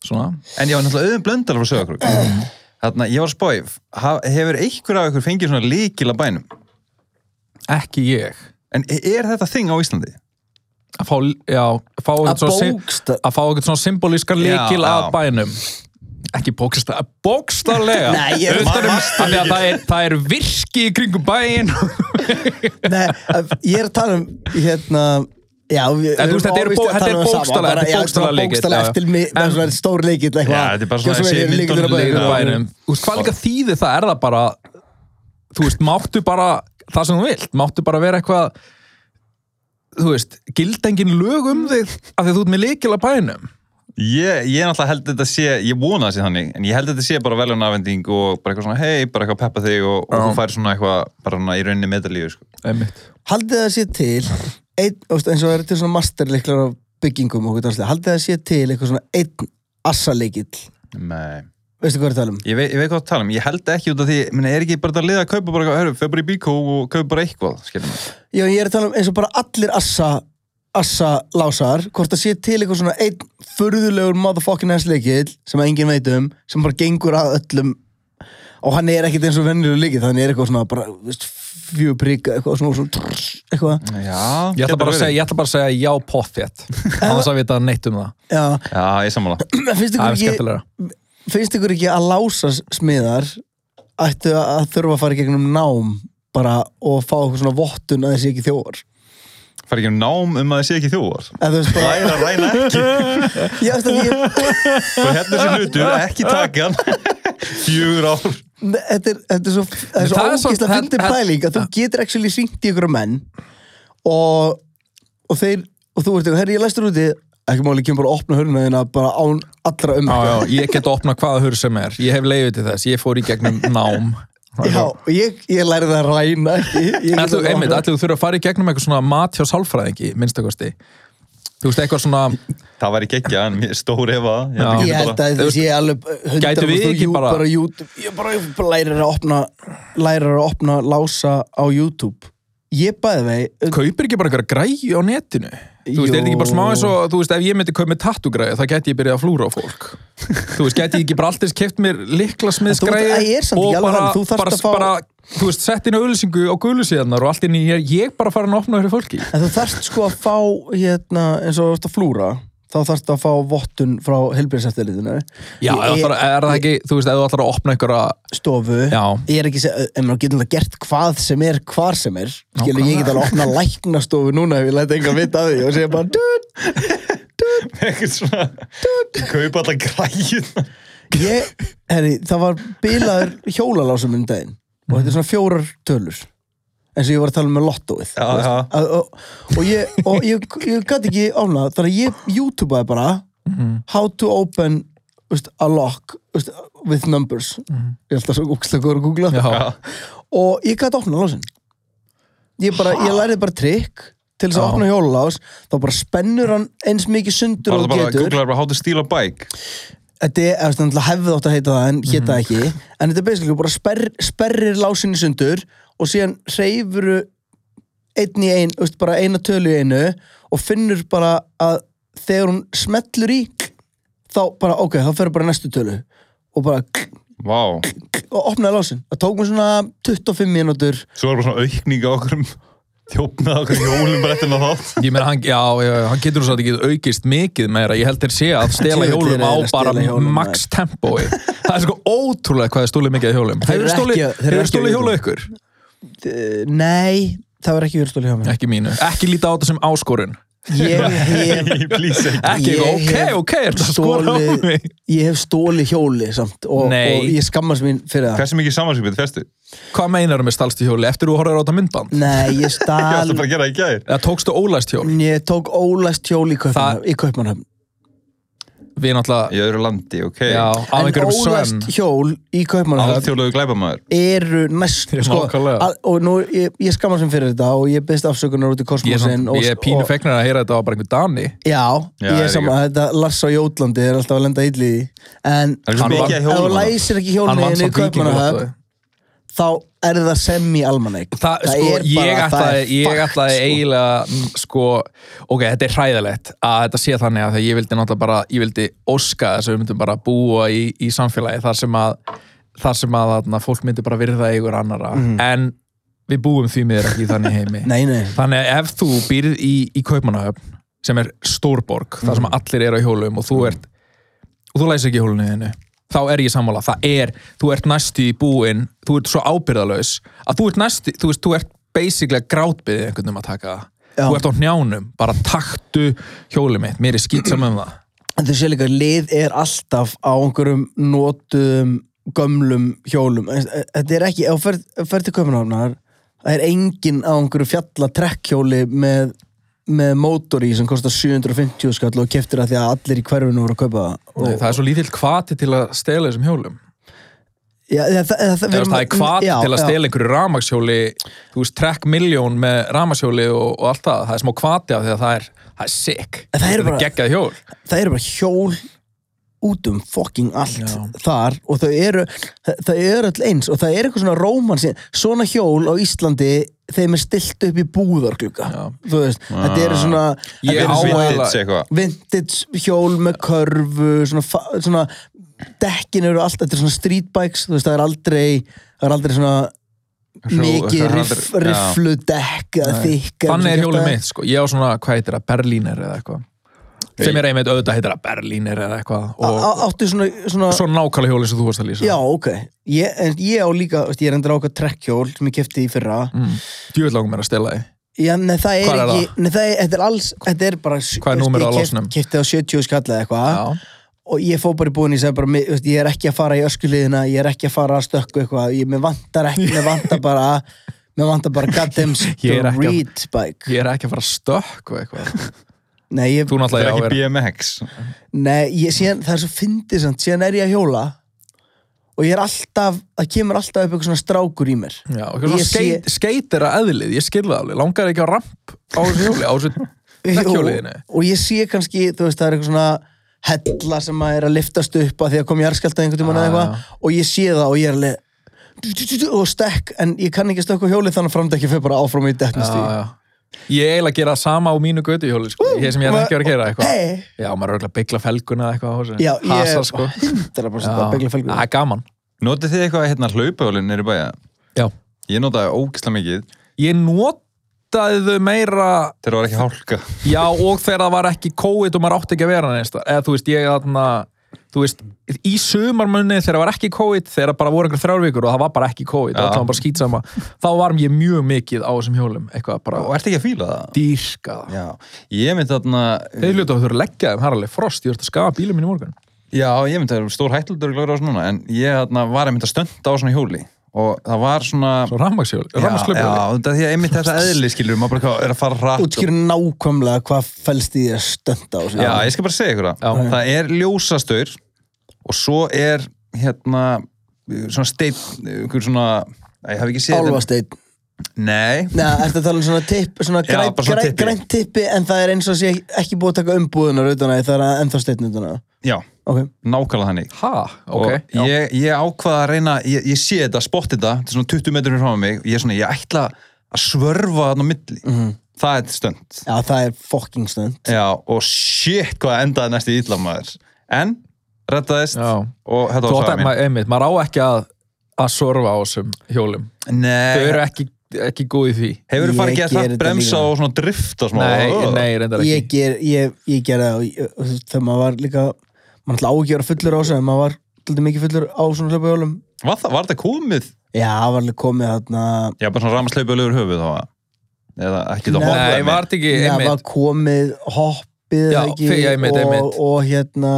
[SPEAKER 2] svona,
[SPEAKER 3] En ég var náttúrulega auðvitað blöndar frá söðakróki.
[SPEAKER 2] Mm.
[SPEAKER 3] Þarna, ég var að spóið, hefur einhver af ykkur fengið svona líkil að bænum?
[SPEAKER 2] ekki ég
[SPEAKER 3] En e, er þetta þing á Íslandi?
[SPEAKER 2] að fá, já, fá
[SPEAKER 1] Að
[SPEAKER 2] eitthvað
[SPEAKER 1] bóksta-
[SPEAKER 2] að fá eitthvað svona symbolískan
[SPEAKER 3] Já,
[SPEAKER 2] líkil
[SPEAKER 3] já.
[SPEAKER 2] að bænum ekki bókstaflega, bókstaflega
[SPEAKER 1] Nei, ég-
[SPEAKER 2] Utanum- af því að það er, það er virki í kringum bæin
[SPEAKER 1] Nei, að- ég er að tala um hérna Já, við
[SPEAKER 2] En þú
[SPEAKER 1] erum
[SPEAKER 2] veist, þetta eru
[SPEAKER 1] óvíst að
[SPEAKER 2] bó- þetta
[SPEAKER 1] tala
[SPEAKER 2] eru
[SPEAKER 1] um það sama,
[SPEAKER 2] bókstaflega-
[SPEAKER 1] bara-
[SPEAKER 2] þetta eru
[SPEAKER 1] já, bara
[SPEAKER 2] bókstaflega lykill,
[SPEAKER 1] Bókstaflega
[SPEAKER 2] já.
[SPEAKER 1] eftir mig,
[SPEAKER 2] En-
[SPEAKER 1] með svona stór leikill eitthvað
[SPEAKER 3] Já, þetta er bara
[SPEAKER 1] Gjörðu
[SPEAKER 3] svona
[SPEAKER 1] svo vel,
[SPEAKER 3] þessi
[SPEAKER 1] ég líkil
[SPEAKER 3] myndunum
[SPEAKER 1] á bænum.
[SPEAKER 2] líkil
[SPEAKER 3] leikur
[SPEAKER 2] að bænum Þú veist, hvað líka þýði það er það bara þú veist, máttu bara það sem þú vilt, máttu bara vera eitthvað þú veist, gildengin lög um þig af því að þú ert með líkil að bænum
[SPEAKER 3] Ég, ég náttúrulega held að þetta sé, ég vona það sé þannig, en ég held að þetta sé bara velun afhending og bara eitthvað svona, hei, bara eitthvað peppa þig og, og þú fær svona eitthvað, bara svona í rauninni metalíu, sko.
[SPEAKER 2] Einmitt.
[SPEAKER 1] Haldið það sé til einn, þú veist, eins og það eru til svona masterleiklar á byggingum og hvað það Haldið það sé til eitthvað svona einn assaleikil
[SPEAKER 3] Nei.
[SPEAKER 1] Veistu hvað ég er að tala um?
[SPEAKER 3] Ég veit, ég veit hvað það tala um, ég held ekki út af því, minna, er ekki bara þetta lið að kaupa bara eitthvað, höfum, fyrir bara í bíkó og kaupa bara eitthvað, skiljum við.
[SPEAKER 1] Já, ég er að tala um eins og bara allir assa assa lásar, hvort það sé til eitthvað svona einn furðulegur motherfucking ass leikill sem að enginn veit um, sem bara gengur að öllum og hann er ekkit eins og vennilegur leikill, þannig er eitthvað svona bara, veist, fjögur prík eitthvað svona, svona trrr, eitthvað
[SPEAKER 3] Já,
[SPEAKER 2] Ég ætla, bara
[SPEAKER 3] getur
[SPEAKER 2] að
[SPEAKER 3] verið.
[SPEAKER 2] segja, ég ætla bara að segja já pottþétt annars að vita neitt um það,
[SPEAKER 1] Já,
[SPEAKER 3] Já, ég sammála.
[SPEAKER 1] finnst
[SPEAKER 2] það er
[SPEAKER 1] ykkur ekki
[SPEAKER 2] skemmtilegra
[SPEAKER 1] finnst ykkur ekki að lása smiðar ættu að þurfa að fara í gegnum nám bara og fá eitthvað svona vottun að þessi ekki þjóðar
[SPEAKER 3] Fær ekki um nám um að það sé ekki þjóðar.
[SPEAKER 1] eða þú veist bara,
[SPEAKER 3] Læra, ræna ekki,
[SPEAKER 1] ég veist að ég
[SPEAKER 3] og hérna sé hlutur, ekki taka hann. Fjögur ár.
[SPEAKER 1] Nei, þetta er, þetta er svo, það er
[SPEAKER 2] En
[SPEAKER 1] svo
[SPEAKER 2] það er svo-
[SPEAKER 1] ógísla
[SPEAKER 2] það-
[SPEAKER 1] fyndin
[SPEAKER 2] það-
[SPEAKER 1] pæling að þú getur actually syngt í ykkur menn og, og þeir og þú ert eitthvað, herri ég læstur úti ekki máli, ég kemur bara að opna hörnuna þína bara án allra um
[SPEAKER 2] já, já, ég get að opna hvaða hur sem er ég hef leiðið til þess, ég fór í gegnum nám
[SPEAKER 1] og ég, ég lærði það að ræna ekki Ég get
[SPEAKER 2] Ætlu,
[SPEAKER 1] alveg
[SPEAKER 2] einmitt,
[SPEAKER 1] opnað.
[SPEAKER 2] ætlu þú þurfa að fara í gegnum eitthvað svona mat hjá sálfræðingi, minnstakosti þú veist, eitthvað svona
[SPEAKER 3] Það væri geggja, en mér- stór ef að.
[SPEAKER 2] Já.
[SPEAKER 3] Ég held ekki
[SPEAKER 1] Ég
[SPEAKER 3] bara-
[SPEAKER 1] held að
[SPEAKER 2] Þú
[SPEAKER 1] þetta
[SPEAKER 2] veist,
[SPEAKER 1] sé alveg
[SPEAKER 2] gætu við ekki bara-
[SPEAKER 1] bara YouTube, Ég bara, ég bara lærir að opna lærir að opna lása á YouTube Ég bæði vei
[SPEAKER 2] kaupir ekki bara einhverja græi á netinu þú veist, er þetta ekki bara smá eins og þú veist, ef ég myndi kaup með tattugræði, það gæti ég byrjað að flúra á fólk þú veist, gæti ég ekki bara alltaf keft mér
[SPEAKER 1] En þú-
[SPEAKER 2] liklasmiðsgræði
[SPEAKER 1] Æ, ég er samt ekki alveg
[SPEAKER 2] bara,
[SPEAKER 1] þannig, þú þarft
[SPEAKER 2] bara,
[SPEAKER 1] að fá-
[SPEAKER 2] bara þú veist, sett inn auðlýsingu á gulusíðanar og allt inn í ég, ég bara farin að opna fyrir fólki
[SPEAKER 1] En þú þarft sko að fá hérna, eins og þú ert að flúra þá þarft að fá vottun frá helbriðseftirlitinu
[SPEAKER 2] já, ég, er, er það ekki, þú veist, ef þú ætlar að opna einhverja
[SPEAKER 1] stofu
[SPEAKER 2] Já.
[SPEAKER 1] ég er ekki, se- eh, en maður getur það gert hvað sem er hvar sem er Skilur, ég get alveg að opna læknastofu núna ef ég læta enga vita af því og segja bara "Dút."
[SPEAKER 3] eitthvað svona kaupa alltaf græjun
[SPEAKER 1] ég, herri, það var bilaður hjólalásum um daginn og þetta er svona fjórar tölur eins og ég var að tala um með lottóið
[SPEAKER 3] Já, já.
[SPEAKER 1] Að- og, og ég, og ég, ég gæti ekki ofnað þannig að ég youtubeaði bara
[SPEAKER 3] Mhm.
[SPEAKER 1] how to open veist, a lock veist, with numbers
[SPEAKER 3] Mhm.
[SPEAKER 1] ég held að svo úkslega góður að googla
[SPEAKER 2] Já.
[SPEAKER 1] og ég gæti ofnað lásin ég, bara, ég lærið bara trikk til þess að
[SPEAKER 2] Já.
[SPEAKER 1] opna hjólulás þá bara spennur hann eins mikið sundur
[SPEAKER 3] var
[SPEAKER 1] og
[SPEAKER 3] það
[SPEAKER 1] þú
[SPEAKER 3] bara að
[SPEAKER 1] getur
[SPEAKER 3] googla bara how to steal a bike
[SPEAKER 1] þetta er eftir náttúrulega hefðið átt að heita það en hétta
[SPEAKER 2] Mhm.
[SPEAKER 1] það ekki en þetta er basically bara sperr, sperrir lásinni sundur og síðan reyfuru einn í ein, veist, bara eina tölu í einu og finnur bara að þegar hún smellur í þá bara, ok, þá ferur bara næstu tölu og bara
[SPEAKER 3] vá,
[SPEAKER 1] og opnaði lásin það tók mér svona 25 mínútur
[SPEAKER 3] svo var bara svona aukning á okkur um þjófnað okkur hjólum bara eftir maður þátt
[SPEAKER 2] Ég meina, hann, já, já, hann getur svo að ekki aukist mikið meira. Ég held þér sé að stela
[SPEAKER 1] Djöfull
[SPEAKER 2] hjólum
[SPEAKER 1] eru
[SPEAKER 2] á
[SPEAKER 1] þeir að
[SPEAKER 2] bara
[SPEAKER 1] stela hjólum,
[SPEAKER 2] max tempói. Það er sko ótrúlega hvað þið stólið mikið af
[SPEAKER 1] eru
[SPEAKER 2] hjólum. Hefur stólið,
[SPEAKER 1] ekki- þeir eru ekki
[SPEAKER 2] hefur
[SPEAKER 1] á
[SPEAKER 2] stólið hjólu
[SPEAKER 1] YouTube.
[SPEAKER 2] ykkur?
[SPEAKER 1] Eh, nei, það var ekki vörstúli hjá mér
[SPEAKER 2] Ekki mínu. Ekki líta á þetta sem áskorun.
[SPEAKER 1] ég hef
[SPEAKER 3] please ekki
[SPEAKER 2] Ekki
[SPEAKER 1] Ég
[SPEAKER 2] eitthvað,
[SPEAKER 1] hef
[SPEAKER 2] ok, ok, er þetta skora á
[SPEAKER 1] stólið-
[SPEAKER 2] mig?
[SPEAKER 1] ég hef stóli hjóli samt og, og
[SPEAKER 2] Nei.
[SPEAKER 1] ég skammast mín fyrir það
[SPEAKER 3] hversu mikið samansvipið festu
[SPEAKER 2] Hvað meinaru með stalst í hjóli eftir þú horfður á þetta myndband?
[SPEAKER 1] Nei, ég
[SPEAKER 3] ég
[SPEAKER 1] stál
[SPEAKER 3] ætla bara að gera það í gær
[SPEAKER 2] Eða tókstu ólæst hjól?
[SPEAKER 1] Ég tók ólæst hjól í Kaupmannhöfn, í Kaupmannhöfn.
[SPEAKER 2] við náttúrulega
[SPEAKER 3] í öðru landi, ok
[SPEAKER 2] já, af
[SPEAKER 1] En
[SPEAKER 2] einhverjum
[SPEAKER 1] ólæst
[SPEAKER 2] svefn
[SPEAKER 1] hjól í Kaupmannahöfn
[SPEAKER 3] Alþjóðlegu glæpamaður
[SPEAKER 1] eru næst
[SPEAKER 2] Já,
[SPEAKER 1] sko,
[SPEAKER 2] nákvæmlega.
[SPEAKER 1] að, og nú, ég, ég skammast mér fyrir þetta og ég byrst afsökunar út í
[SPEAKER 2] ég er,
[SPEAKER 1] kosmosin
[SPEAKER 2] samt, ég er pínu fegnar að heyra þetta á bara einhver Dani
[SPEAKER 1] Já,
[SPEAKER 3] Já,
[SPEAKER 1] ég
[SPEAKER 3] er
[SPEAKER 1] er saman að þetta Lars á Jótlandi er alltaf að lenda illi í því. En
[SPEAKER 3] Það er svo
[SPEAKER 2] Hann vann-
[SPEAKER 3] mikið að
[SPEAKER 1] ef þú
[SPEAKER 3] hjóla
[SPEAKER 1] læsir ekki
[SPEAKER 2] hann vann
[SPEAKER 1] hjólniðin í
[SPEAKER 2] samt vikingur
[SPEAKER 1] Kaupmannahöfn þá er það semi-almanegg
[SPEAKER 2] Það, sko,
[SPEAKER 1] er bara
[SPEAKER 2] ég
[SPEAKER 1] að það
[SPEAKER 2] ætlaði,
[SPEAKER 1] er
[SPEAKER 2] ég
[SPEAKER 1] fucked, sko.
[SPEAKER 2] ætlaði eiginlega, mm, sko, ok, þetta er hræðilegt að þetta sé þannig að ég vildi náttúrulega bara, ég vildi óska þess að við myndum bara búa í, í samfélagi þar sem að, þar sem að þarna, fólk myndi bara virða eigur annara, en við búum því miður ekki í þannig heimi.
[SPEAKER 1] Mhm. Nei, nei,
[SPEAKER 2] þannig að ef þú býrð í, í Kaupmannahöfn, sem er stórborg, þar sem allir eru á hjólum og þú ert, og þú læsir ekki hjólunni þinnu, þá er ég sammála, það er, þú ert næstu í búinn, þú ert svo ábyrðalaus, að þú ert næstu, þú veist, þú ert basically grátbyðið einhvern um að taka það.
[SPEAKER 1] Já.
[SPEAKER 2] Þú ert á njánum, bara taktu hjólið mitt, mér er skýt saman um það.
[SPEAKER 1] en þú sé líka lið er alltaf á einhverjum notum gömlum hjólum En e, þetta er ekki, ef þú ferð- ef þú ferð til Kaupmannahöfnar það er engin á einhverju fjalla trekkhjóli með, með mótor í sem kostar 750 skall og keftir það því að allir í hverfinu voru að kaupa það
[SPEAKER 2] Nei,
[SPEAKER 1] Og-
[SPEAKER 2] það er svo lítill kvati til að stela þessum hjólum.
[SPEAKER 1] Já, það, það, það,
[SPEAKER 2] Eða, þú veist, það er kvati til að stela einhverju ramakshjóli, þú veist, trekk miljón með ramakshjóli og, og allt það, það er smá kvati af því að það er, það er sick.
[SPEAKER 1] En það eru
[SPEAKER 2] Þetta
[SPEAKER 1] bara-
[SPEAKER 2] geggjað hjól.
[SPEAKER 1] það eru bara hjól út um fucking allt
[SPEAKER 2] Já.
[SPEAKER 1] þar og þau eru það, það eru öll eins og það er eitthvað svona róman svona hjól á Íslandi þeim er stilt upp í búðarglugga
[SPEAKER 2] Já.
[SPEAKER 1] þú veist, þetta
[SPEAKER 3] Ah.
[SPEAKER 1] eru svona
[SPEAKER 2] Ég
[SPEAKER 1] þetta eru
[SPEAKER 2] á
[SPEAKER 1] svona
[SPEAKER 2] eiginlega-
[SPEAKER 3] Vintage eitthvað.
[SPEAKER 1] vintage hjól með körfu svona, fa- svona dekkin eru allt, þetta eru svona streetbikes þú veist, það er aldrei það er aldrei svona
[SPEAKER 3] Svo-
[SPEAKER 1] mikið
[SPEAKER 3] það er
[SPEAKER 1] riff,
[SPEAKER 3] aldrei- já.
[SPEAKER 1] rifflu dekk eða þykka
[SPEAKER 2] Þannig er hjólið mitt, sko. Ég á svona, hvað heitir það, Berlíner eða eitthvað. Sem er einmitt auðvitað heitir það Berlíner eða eitthvað. Og
[SPEAKER 1] Á- á- áttu svona, svona
[SPEAKER 2] svo nákvæmlega hjólið sem þú varst að lýsa.
[SPEAKER 1] Já, ok. Ég, en ég á líka, veist, ég er endur á okkar trekkhjól sem ég kefti í fyrra.
[SPEAKER 2] Mm. Djöfull langar mér að stela því.
[SPEAKER 1] Já, nei, það er
[SPEAKER 2] Hvar er
[SPEAKER 1] ekki, nei, það er, þetta er alls, þetta er bara...
[SPEAKER 2] Hvað er númerið á
[SPEAKER 1] Ég
[SPEAKER 2] lásnum?
[SPEAKER 1] kef- kefti á 70 skall eða eitthvað
[SPEAKER 2] Já.
[SPEAKER 1] og ég fó bara í búin, ég segi bara, mi- veist, ég er ekki að fara í öskuliðina, ég er ekki að fara að stökku eitthvað, ég, mér vantar ekki, mér vantar bara, mér vantar bara goddamn
[SPEAKER 2] Ég er ekki að-
[SPEAKER 1] street bike.
[SPEAKER 2] Ég er ekki að fara að stökk og eitthvað.
[SPEAKER 1] Nei, ég,
[SPEAKER 2] Þú
[SPEAKER 3] Það er
[SPEAKER 2] náttúrulega já,
[SPEAKER 3] ekki
[SPEAKER 2] er-
[SPEAKER 3] BMX
[SPEAKER 1] nei, ég, síðan, það er svo fyndið samt, síðan er ég að hjóla og ég er alltaf, það kemur alltaf upp eitthvað svona strákur í mér.
[SPEAKER 2] Já, og svona
[SPEAKER 1] Ég sé-
[SPEAKER 2] skeit, skeit er að eðlið, ég skilða alveg, langar ekki á ramp á þessu hjóli, á þessu nekkjóliðinu.
[SPEAKER 1] og, og ég sé kannski, þú veist, það er eitthvað svona hella sem að er að liftast upp að því að kom jarðskjálta einhvern tímann eða
[SPEAKER 2] Ah,
[SPEAKER 1] eitthvað og ég sé það og ég er alveg du- du- du- du- og stekk, en ég kann ekki stökk á hjólið þannig að framdekki fyrir bara áfram í detnist í
[SPEAKER 2] Ég eiginlega gera það sama á mínu götu hjóli, sko, ég sem ég er ekki að vera að gera eitthvað.
[SPEAKER 1] Hey!
[SPEAKER 2] Já, maður er örugglega að byggla felguna eða eitthvað á þessu.
[SPEAKER 1] Já, ég
[SPEAKER 2] Hasar,
[SPEAKER 1] er
[SPEAKER 2] sko.
[SPEAKER 1] 100% að begla
[SPEAKER 2] Já,
[SPEAKER 1] fölgur
[SPEAKER 2] Það er gaman.
[SPEAKER 3] Notið þið eitthvað hérna hlaupahjólin nýri bæja?
[SPEAKER 2] Já.
[SPEAKER 3] Ég notaði ógislega mikið
[SPEAKER 2] Ég notaði þau meira
[SPEAKER 3] þegar það var ekki hálka
[SPEAKER 2] Já, og þegar það var ekki COVID og maður átti ekki að vera neins þar. eða þú veist, ég þarna þú veist, í sumarmunni þegar það var ekki COVID, þegar bara voru einhver þrjár vikur og það var bara ekki COVID,
[SPEAKER 3] Já.
[SPEAKER 2] það var bara skýtsama þá var ég mjög mikið á þessum hjólum eitthvað bara
[SPEAKER 3] og ert ekki að fíla það?
[SPEAKER 2] dýrka það
[SPEAKER 3] Já, ég myndi þarna
[SPEAKER 2] Þeir hlutu að þú eru að leggja þeim, það er alveg frost ég vart að skafa bílum minn í morgun
[SPEAKER 3] Já, ég myndi að stór hættildur glóður á þessu núna en ég þarna var einmitt að stönda á svona hjóli og það var svona
[SPEAKER 2] Svo rammakshjól,
[SPEAKER 3] Já, já,
[SPEAKER 2] rammaksklöpjóli
[SPEAKER 3] þetta er því að einmitt þessa eðli skilur maður bara hvað er að fara rætt
[SPEAKER 1] útskýr nákvæmlega hvað fælst í því að stönda á sig
[SPEAKER 3] Já, ég skal bara segja ykkur það.
[SPEAKER 2] Já.
[SPEAKER 3] Það er ljósastaur og svo er hérna svona steit, ykkur svona Æ, ég haf ekki séð þetta.
[SPEAKER 1] álfasteinn
[SPEAKER 3] Nei,
[SPEAKER 1] Nei, ertu að tala um svona tipp svona
[SPEAKER 3] Já,
[SPEAKER 1] grænt
[SPEAKER 3] bara svona
[SPEAKER 1] græn,
[SPEAKER 3] tippi.
[SPEAKER 1] græn tippi en það er eins og sé ekki búið að taka umbúðunar utan að það er ennþá steinn utan að
[SPEAKER 3] já,
[SPEAKER 1] okay.
[SPEAKER 3] nákvæmlega þannig
[SPEAKER 2] Ha, ok,
[SPEAKER 3] og ég, ég ákvaða að reyna ég, ég sé þetta, spotti þetta, þetta er svona 20 metrum frá mig, ég er svona, ég ætla að svörfa þarna á milli
[SPEAKER 1] mhm.
[SPEAKER 3] það er stönd,
[SPEAKER 1] Já, það er fucking stönd
[SPEAKER 3] já, og shit hvað endaði næstu illa maður en, rettaðist
[SPEAKER 2] Já.
[SPEAKER 3] og þetta
[SPEAKER 2] Þú
[SPEAKER 3] var
[SPEAKER 2] átt
[SPEAKER 3] saga
[SPEAKER 2] að,
[SPEAKER 3] mín
[SPEAKER 2] maður- einmitt, maður á ekki að að sorfa á þessum hjólum Þau eru
[SPEAKER 3] Nei,
[SPEAKER 2] ekki, ekki góð í því
[SPEAKER 3] hefur þú
[SPEAKER 1] Ég
[SPEAKER 3] farið að gera
[SPEAKER 1] geri
[SPEAKER 3] það
[SPEAKER 1] þetta
[SPEAKER 3] bremsa
[SPEAKER 1] líka.
[SPEAKER 3] og svona drifta smá
[SPEAKER 2] Nei, nei, reyndar ekki
[SPEAKER 1] ég ger, ég, ég ger það og ég- og þú veist, þegar maður var líka maður ætla á ekki að vera fullur á þessu en maður var alltaf mikið fullur á svona hlaupahjólum
[SPEAKER 3] Var, það, var þetta komið?
[SPEAKER 1] já, það var alveg komið þarna
[SPEAKER 3] Já, bara svona ramaslaupa lögur höfuð þá að- eða ekki það
[SPEAKER 1] Nei,
[SPEAKER 2] Nei, var þetta ekki,
[SPEAKER 1] það
[SPEAKER 2] einmitt
[SPEAKER 1] var komið hoppið
[SPEAKER 2] Já,
[SPEAKER 1] ekki,
[SPEAKER 2] fyrir- einmitt,
[SPEAKER 1] og,
[SPEAKER 2] einmitt.
[SPEAKER 1] og hérna